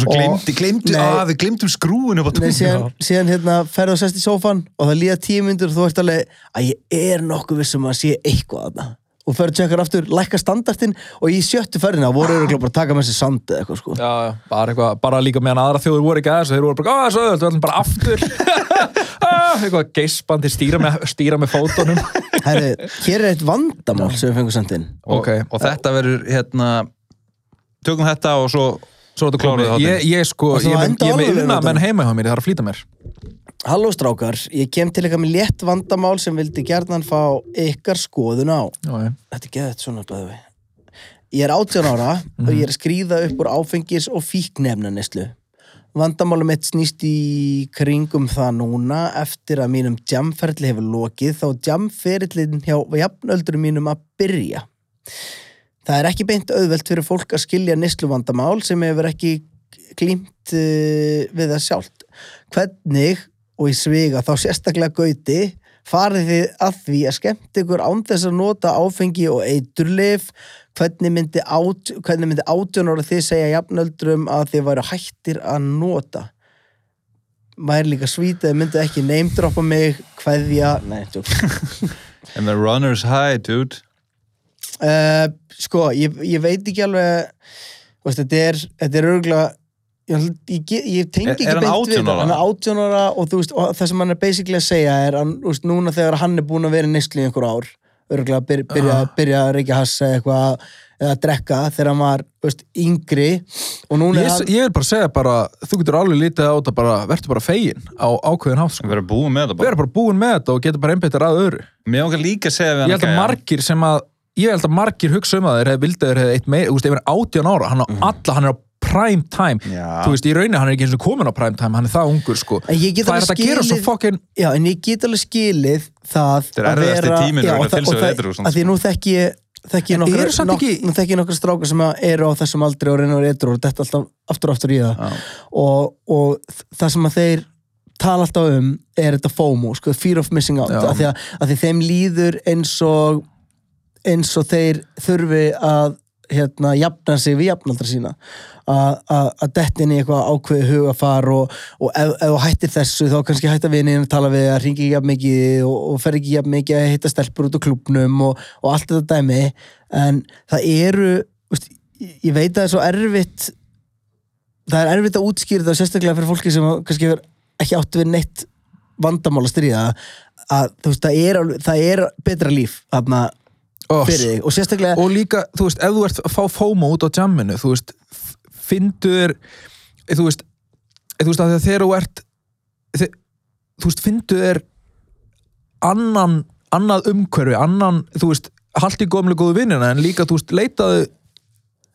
[SPEAKER 3] svo glemdi, glemdi,
[SPEAKER 1] Nei.
[SPEAKER 3] að við glemdum skrúinu upp á
[SPEAKER 1] Nei, síðan,
[SPEAKER 3] tunglinu
[SPEAKER 1] síðan hérna ferðu og sest í sófan og það líða tíu myndur og þú ert alveg að ég er nokkuð vissum að sé eitthvað að það og ferðu tjekkar aftur, lækka standartinn og í sjöttu ferðina voru örugglega bara að taka með sér sand eða eitthvað sko
[SPEAKER 2] Já, já, bara, eitthvað, bara líka meðan aðra þjóður voru ekki aðeins þeir voru bara, á, þessu öðvöld, við ætlum bara aftur Ah, eitthvað geispandi stýra með, stýra með fótunum
[SPEAKER 1] Herri, hér er eitt vandamál sem við fengum sendin
[SPEAKER 3] og,
[SPEAKER 2] Ok.
[SPEAKER 3] og þetta verður hérna tökum þetta og svo
[SPEAKER 2] Svo þetta komið,
[SPEAKER 3] Klárið þáttinn.
[SPEAKER 2] ég, ég sko
[SPEAKER 1] Og svo
[SPEAKER 2] ég, er með-
[SPEAKER 1] enda
[SPEAKER 2] ég er með
[SPEAKER 1] alveg við
[SPEAKER 2] unna menn
[SPEAKER 1] notanum.
[SPEAKER 2] heima hjá mér, ég þarf að flýta mér
[SPEAKER 1] Halló strákar, ég kem til eitthvað með létt vandamál sem vildi gerðan fá ykkar skoðun á.
[SPEAKER 2] Já, já.
[SPEAKER 1] Þetta er geðið svona bæði við. Ég er 18 ára og ég er að skríða upp úr áfengis og fíknefnaneslu. Vandamáli mitt snýst í kringum það núna eftir að mínum jamferli hefur lokið þá jamferillin hjá jafnöldurum mínum að byrja. Það er ekki beint auðvelt fyrir fólk að skilja nýsluvandamál sem hefur ekki klímt uh, við það sjálft. Hvernig, og í sviga þá sérstaklega gauti, farið þið að því að skemmt ykkur án þess að nota áfengi og eiturlif, hvernig myndi, át, hvernig myndi átjón ára þið segja jafnöldrum að þið væru hættir að nota? Mæri líka svítið, þið myndið ekki neymdroppa mig, hverja, nei, tjók.
[SPEAKER 3] And the runner's high, dude.
[SPEAKER 1] Uh, sko, ég, ég veit ekki alveg þú veist, þetta er, þetta er örgulega ég, ég, ge- ég tengi
[SPEAKER 3] Er-
[SPEAKER 1] ekki
[SPEAKER 3] er hann
[SPEAKER 1] beint
[SPEAKER 3] 18
[SPEAKER 1] við þetta.
[SPEAKER 3] ára?
[SPEAKER 1] hann er 18 ára og, þú veist, og það sem hann er basically að segja er hann, þú veist, núna þegar hann er búin að vera í neyslu í einhver ár örgulega að byrja, byrja,
[SPEAKER 3] Ah.
[SPEAKER 1] byrja að reykja hassa eitthvað eða að drekka þegar hann var þú veist, yngri og núna
[SPEAKER 2] Ég,
[SPEAKER 1] er
[SPEAKER 2] s- ég vil bara segja bara, þú getur alveg lítið á þetta bara, verður bara fegin á ákveðin hátt sko.
[SPEAKER 3] Við erum búin með þetta bara.
[SPEAKER 2] Verður bara búin með þetta og getur bara einbyttir að öðru.
[SPEAKER 3] Mér ángar líka að segja við
[SPEAKER 2] Ég held að
[SPEAKER 3] gæja.
[SPEAKER 2] margir sem að, ég held að margir hugsa um að þeir hefði vildið að þeir hefði eitt meira, þú veist, ef hann er 18 ára, hann á
[SPEAKER 1] Mhm.
[SPEAKER 2] alla, hann er á prime time.
[SPEAKER 3] Já.
[SPEAKER 2] Þú veist, í rauninni hann er ekki eins og komin á prime time, hann er það ungur sko.
[SPEAKER 1] En ég get
[SPEAKER 2] Það
[SPEAKER 1] alveg
[SPEAKER 2] er þetta að gera svo
[SPEAKER 1] skilið-
[SPEAKER 2] fucking,
[SPEAKER 1] Já, en ég get alveg skilið það
[SPEAKER 3] Þetta er
[SPEAKER 1] að
[SPEAKER 3] erfiðasti
[SPEAKER 1] vera-
[SPEAKER 3] tíminn
[SPEAKER 1] já,
[SPEAKER 3] að
[SPEAKER 1] og
[SPEAKER 3] reyna að
[SPEAKER 1] það-
[SPEAKER 3] fylgja
[SPEAKER 1] og
[SPEAKER 3] sér
[SPEAKER 1] það-
[SPEAKER 3] edrú, svona,
[SPEAKER 1] Að því nú þekki ég þekki ég
[SPEAKER 2] En
[SPEAKER 1] nokkra,
[SPEAKER 2] eru samt
[SPEAKER 1] nok,
[SPEAKER 2] ekki-
[SPEAKER 1] nú þekki ég nokkra stráka sem að eru á þessum aldri og reynur eitthvað og þetta alltaf aftur og aftur í það
[SPEAKER 3] Já.
[SPEAKER 1] og, og þ- það sem að þeir tala alltaf um er þetta FOMO sko, fear of missing out
[SPEAKER 2] Já.
[SPEAKER 1] af því, að, af því þeim líður eins og eins og þeir þurfi að hérna, jafna sig við jafnaldra sína að- að að detta inn í eitthvað ákveði hugafar og, og ef, ef þú hættir þessu þá kannski hætta vinnin að tala við að ringi ekki jafn mikið og, og fer ekki jafn mikið að hitta stelpur út á klubnum og, og allt þetta dæmi en það eru veist, ég ég veit að það er svo erfitt það er erfitt að útskýra það sérstaklega fyrir fólki sem kannski hefur ekki átt við neitt vandamál að stríða að þú veist, það er, alveg- það er betra líf þarna
[SPEAKER 2] oh,
[SPEAKER 1] fyrir þig og sérstaklega
[SPEAKER 2] og líka, þú veist, ef þú ert að fá FOMO út á jamminu, þú veist fyndur, þú veist eh, þú veist, að þegar þú ert þe- þú veist, fyndur annan, annað umhverfi annan, þú veist, haldi góðumlega góðu vinnina, en líka, þú veist, leitaðu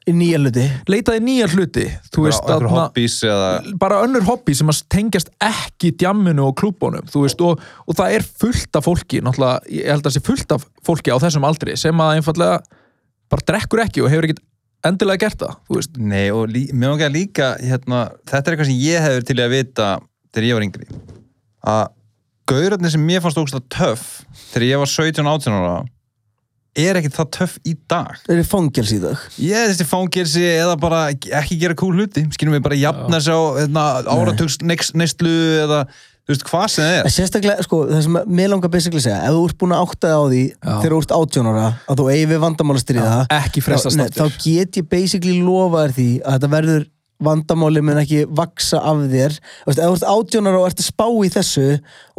[SPEAKER 1] í nýja hluti
[SPEAKER 2] leitaði nýja hluti, þú
[SPEAKER 3] Bara
[SPEAKER 2] veist,
[SPEAKER 3] okkur
[SPEAKER 2] þarna-
[SPEAKER 3] hobbies eða...
[SPEAKER 2] bara önnur hobby sem að tengjast ekki djamminu og klúbunum þú veist, og, og það er fullt af fólki náttúrulega, ég held að það sé fullt af fólki á þessum aldri sem að einfallega bara drekkur ekki og hefur ekkert endilega gert það þú veist,
[SPEAKER 3] Nei, og lí, mér ángar líka, hérna, þetta er eitthvað sem ég hefur til í að vita þegar ég var yngri. Að gaurarnir sem mér fannst ógst að töff þegar ég var 17-18 ára er ekkert það töff í dag.
[SPEAKER 1] það eru fangels í dag
[SPEAKER 3] Ég er þessi fangelsi eða bara ekki gera kúl hluti, skilum við bara jafna sér á hérna, áratugs next- neyslu eða þú veist hvað sem það
[SPEAKER 1] en
[SPEAKER 3] er.
[SPEAKER 1] sérstaklega sko það sem að- mér langar basically að segja ef þú ert búin að áttaði á því þegar þú ert 18 ára að þú eigi við vandamál að stríða
[SPEAKER 2] ekki
[SPEAKER 1] þá,
[SPEAKER 2] frestast
[SPEAKER 1] nei, þá
[SPEAKER 2] aftur
[SPEAKER 1] get ég basically lofa þér því að þetta verður vandamáli mun ekki vaksa af þér Þú veist, ef þú ert átjónar og ert að spá í þessu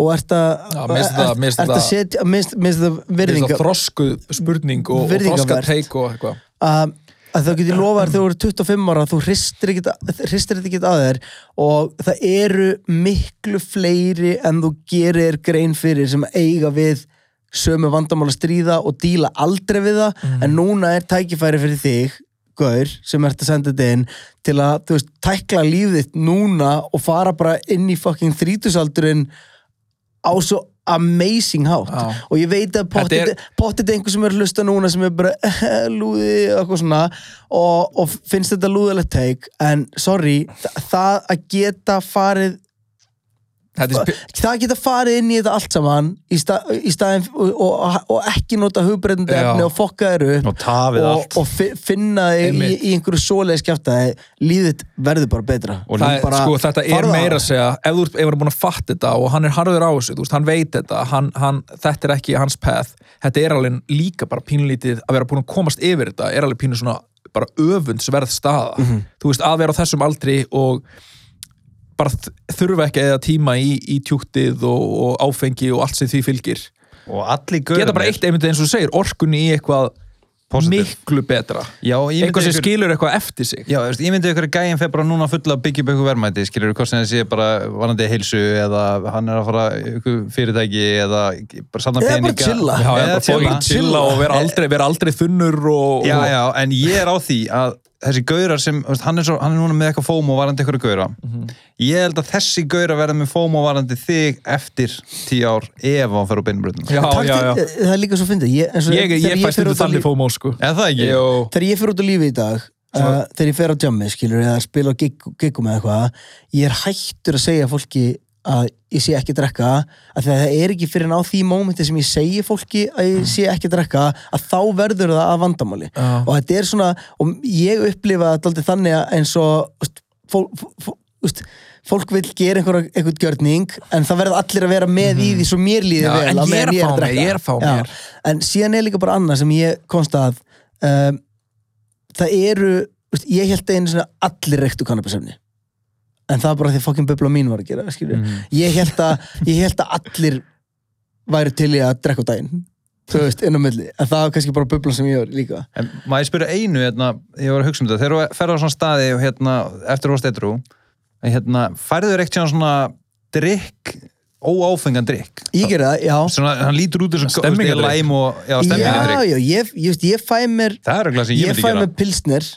[SPEAKER 1] og ert að
[SPEAKER 2] Já, mér finnst þetta- mér finnst
[SPEAKER 1] ert að
[SPEAKER 2] þetta-
[SPEAKER 1] setja mist, mist það virðinga
[SPEAKER 2] Virðingar. þrosku spurning og, og
[SPEAKER 1] Virðingarvert.
[SPEAKER 2] þroska teik og eitthvað
[SPEAKER 1] að, að þá get ég lofa þér þegar þú eru 25 ára þú hristir ekkit að- hristir þetta ekki að þér og það eru miklu fleiri en þú gerir þér grein fyrir sem eiga við sömu vandamála stríða og díla aldrei við það en núna er tækifæri fyrir þig gaur sem ert að senda þetta inn til að, þú veist, tækla lífið þitt núna og fara bara inn í fucking þrítusaldurinn á svo amazing hátt
[SPEAKER 2] Já.
[SPEAKER 1] og ég veit að
[SPEAKER 2] Þetta
[SPEAKER 1] pottit,
[SPEAKER 2] er-
[SPEAKER 1] pottit einhver sem er að hlusta núna sem er bara eh, lúði eitthvað svona og, og finnst þetta lúðalegt teik en sorry, þa- það að geta farið
[SPEAKER 2] þetta er sp-
[SPEAKER 1] það að geta farið inn í þetta allt saman í, sta, í staðin og, og, og ekki nota hugbreytandi
[SPEAKER 2] Já.
[SPEAKER 1] efni og fokka þér upp
[SPEAKER 3] Og tafið
[SPEAKER 1] og,
[SPEAKER 3] allt.
[SPEAKER 1] og fi- finna þig í,
[SPEAKER 2] Einmitt.
[SPEAKER 1] í einhverju svoleiðis kjaftaði líðið verður bara betra
[SPEAKER 3] Og
[SPEAKER 2] Það er,
[SPEAKER 1] bara-
[SPEAKER 2] sko, þetta er
[SPEAKER 1] farðu á
[SPEAKER 2] meira að
[SPEAKER 1] það.
[SPEAKER 2] segja ef þú ert- ef þú er búin að fatta þetta og hann er harður á þessu þú veist, hann veit þetta, hann, hann, þetta er ekki hans path, þetta er alveg líka bara pínlítið að vera búin að komast yfir þetta er alveg pínu svona bara öfundsverð staða,
[SPEAKER 3] Mhm.
[SPEAKER 2] þú veist, að vera á þessum aldri og bara þ- þurfa ekki að eða tíma í, í tjúktið og, og áfengi og allt sem því fylgir
[SPEAKER 3] Og allir
[SPEAKER 2] geta bara eitt einmitt eins og þú segir, orkunni í eitthvað
[SPEAKER 3] Positive.
[SPEAKER 2] miklu betra
[SPEAKER 3] Já, ég myndi
[SPEAKER 2] eitthvað sem
[SPEAKER 3] ykkur-
[SPEAKER 2] skilur eitthvað eftir sig
[SPEAKER 3] Já, þú veist, ég myndi ykkur að gæin fer bara núna fulla að byggja upp ykkur verðmæti, skilur hvort sem það sé bara vanandi heilsu eða hann er að fara ykkur fyrirtæki eða bara samna
[SPEAKER 1] Eða bara
[SPEAKER 3] peninga.
[SPEAKER 1] chilla.
[SPEAKER 2] Já,
[SPEAKER 3] eða
[SPEAKER 2] eða bara fólk
[SPEAKER 3] chilla.
[SPEAKER 2] chilla og vera aldrei, vera aldrei þunnur og,
[SPEAKER 3] Já,
[SPEAKER 2] og
[SPEAKER 3] já, en ég er á því að þessi gaurar sem, þú veist, hann er, svo, hann er núna með eitthvað fómo varandi eitthvað gaura
[SPEAKER 2] Mhm.
[SPEAKER 3] ég held að þessi gaurar verða með fómo varandi þig eftir tíu ár ef hann fer á beinbröðinu
[SPEAKER 2] Já, já, já.
[SPEAKER 1] Taktu- Það er líka svo fyndið Ég, eins og
[SPEAKER 2] Ég,
[SPEAKER 1] þegar
[SPEAKER 2] ég fæst
[SPEAKER 1] fer
[SPEAKER 2] þetta
[SPEAKER 1] út á líf-
[SPEAKER 2] þannig fómó, sko.
[SPEAKER 3] eða það ekki?
[SPEAKER 2] Jó.
[SPEAKER 1] þegar ég fyrir út á lífi í dag uh, þegar ég fer á jammi, skilur, eða spila á gig- giggum eða eitthvað, ég er hættur að segja fólki að ég sé ekki að drekka af því að það er ekki fyrir ná því mómenti sem ég segi fólki að ég sé ekki að drekka að þá verður það að vandamáli
[SPEAKER 2] Já.
[SPEAKER 1] og þetta er svona, og ég upplifa þetta aldrei þannig að eins og þú veist, fólk, fólk, fólk, fólk vil gera einhver, einhvern gjörning en það verður allir að vera með í því svo mér líði
[SPEAKER 2] Mhm. Já,
[SPEAKER 1] vel
[SPEAKER 2] en
[SPEAKER 1] á
[SPEAKER 2] ég er
[SPEAKER 1] meðan
[SPEAKER 2] að
[SPEAKER 1] að
[SPEAKER 2] fá mér,
[SPEAKER 1] drekka.
[SPEAKER 2] ég er að fá
[SPEAKER 1] Já.
[SPEAKER 2] mér.
[SPEAKER 1] en síðan er líka bara annað sem ég komst að um, það eru veist, ég held einu svona allir reyktu kannabisefni en það er bara því fokkin bubla mín var að gera mm. ég, held að, ég held að allir væri til í að drekka á daginn þú veist, inn á milli en það er kannski bara bubla sem ég var líka
[SPEAKER 3] En maður spyrja einu, hérna, ég var að hugsa um þetta, þegar þú ferður á svona staði og hérna, eftir óvast eitrú, hérna, færðu þér eitthvað svona drikk, óáfengan drikk?
[SPEAKER 1] ég gerði það, já
[SPEAKER 3] Svona, hann lítur út eins og
[SPEAKER 2] Stemmingadrykk.
[SPEAKER 3] læm og, já,
[SPEAKER 1] já,
[SPEAKER 3] stemmingadrikk.
[SPEAKER 1] já, ég, ég, veist, ég fæ mér
[SPEAKER 3] Það er eitthvað sem ég
[SPEAKER 1] ég
[SPEAKER 3] myndi
[SPEAKER 1] fæ
[SPEAKER 3] gera.
[SPEAKER 1] með pilsner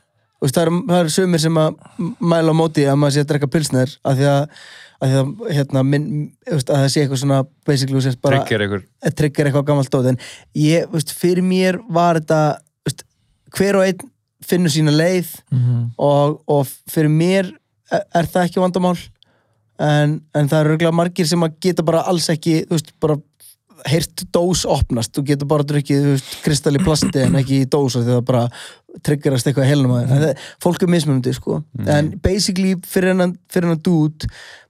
[SPEAKER 1] og það eru það er sömur sem að m- mæla á móti að maður sé að drekka pilsner af því að, að, því að, hérna, minn, þú veist, að það sé eitthvað svona basically þú sért bara
[SPEAKER 3] Trygg er einhver.
[SPEAKER 1] að tryggja eitthvað gammalt dót en ég, þú veist, fyrir mér var þetta þú veist, hver og einn finnur sína leið
[SPEAKER 3] Mhm.
[SPEAKER 1] og, og fyrir mér er, er það ekki vandamál en, en það eru örgulega margir sem að geta bara alls ekki þú veist, bara heyrt dós opnast þú getur bara drukkið þú veist, kristall í plasti en ekki í dós af því það bara triggerast eitthvað helnum að þér. En það- fólk er mismunandi sko
[SPEAKER 2] Mm.
[SPEAKER 1] en basically fyrir hennan, fyrir hennan dút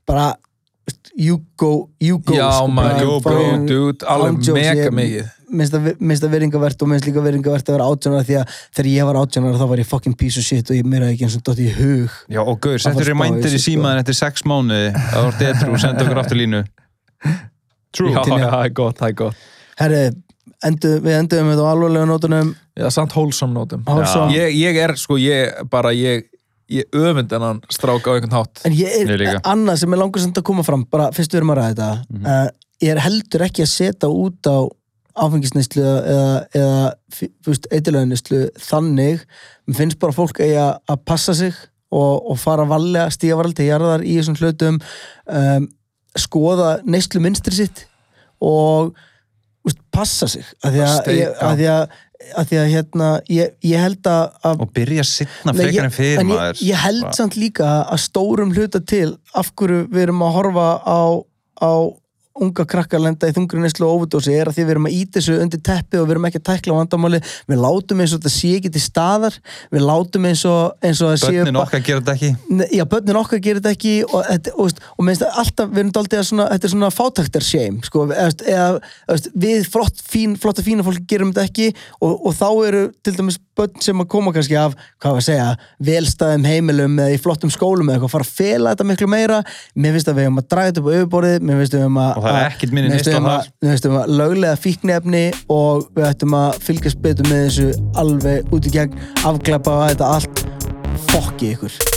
[SPEAKER 1] bara þú veist, you go, you go
[SPEAKER 2] Já,
[SPEAKER 1] sko,
[SPEAKER 2] maður,
[SPEAKER 1] bara
[SPEAKER 2] go, bro,
[SPEAKER 1] fucking-
[SPEAKER 2] dude, alveg
[SPEAKER 1] án jokes,
[SPEAKER 2] mega
[SPEAKER 1] ég-
[SPEAKER 2] mikið.
[SPEAKER 1] minnst það- minnst það verðingavert og minnst líka verðingavert að vera átjónara því að þegar ég var átjónara þá var ég fucking piece of shit og ég meira ekki eins og dott í hug
[SPEAKER 3] Já, og gaur,
[SPEAKER 1] fara
[SPEAKER 3] settur
[SPEAKER 1] að spá í
[SPEAKER 3] remindir í
[SPEAKER 1] þessu, sko.
[SPEAKER 3] símaðan eftir sex mánuði, að þú ert eitrú, senda okkur aftur línu. True.
[SPEAKER 2] Já, já, það er gott, það er gott.
[SPEAKER 1] herri, endu, við enduðum þetta á alvarlega nótunum
[SPEAKER 2] Já, samt hólsam nótum.
[SPEAKER 1] Wholesome.
[SPEAKER 2] Ég, ég er, sko, ég bara, ég, ég öfund en hann strák á einhvern hátt.
[SPEAKER 1] en ég
[SPEAKER 3] Ég
[SPEAKER 1] er
[SPEAKER 3] líka. Mhm.
[SPEAKER 1] annað sem er langar samt að koma fram bara fyrst við erum að ræða þetta uh, ég er heldur ekki að setja út á áfengisneislu eða, eða- eða eitthilöðinislu þannig mér finnst bara fólk eiga að passa sig og, og fara valega, stíga varlega til jarðar í þessum hlutum um, skoða neyslu minstri sitt og úst, passa sig að því að,
[SPEAKER 2] Steik,
[SPEAKER 1] ég, að, því að, að, því að hérna, ég, ég held að, að
[SPEAKER 3] Og byrja sittna
[SPEAKER 1] Nei,
[SPEAKER 3] frekar
[SPEAKER 1] ég-
[SPEAKER 3] en fyrir
[SPEAKER 1] en ég-
[SPEAKER 3] maður.
[SPEAKER 1] Ég held
[SPEAKER 3] Bara-
[SPEAKER 1] samt líka að stórum hluta til af hverju við erum að horfa á, á unga krakkar lenda í þungri neslu og óvudósi er að því við erum að íta þessu undir teppi og við erum ekki að tækla vandamáli við látum eins og þetta sé ekki til staðar við látum eins og, eins og það séu
[SPEAKER 3] Börnin
[SPEAKER 1] bara-
[SPEAKER 3] okkar gera þetta ekki.
[SPEAKER 1] Nei, Já, börnin okkar gerir þetta ekki og, þetta, og, veist, og minnst að alltaf, við erum daldið að svona, þetta er svona fátæktar shame sko, eða, veist, eða, veist, við flott, fín, flott og fína fólki gerum þetta ekki og, og þá eru til dæmis börn sem að koma kannski af, hvað var að segja velstæðum heimilum eða í flottum skólum eða eitthvað, fara að fela þetta miklu meira mér finnst að við hefum að draga þetta upp á yfirborðið mér finnst að við hefum að
[SPEAKER 3] Og það er ekkert minni
[SPEAKER 1] mér finnst
[SPEAKER 3] neysla
[SPEAKER 1] við eigum að-
[SPEAKER 3] þar.
[SPEAKER 1] mér finnst við hefum að löglega fíknefni og við ættum að fylgjast betur með þessu alveg út í gegn afklappa þetta allt fokki ykkur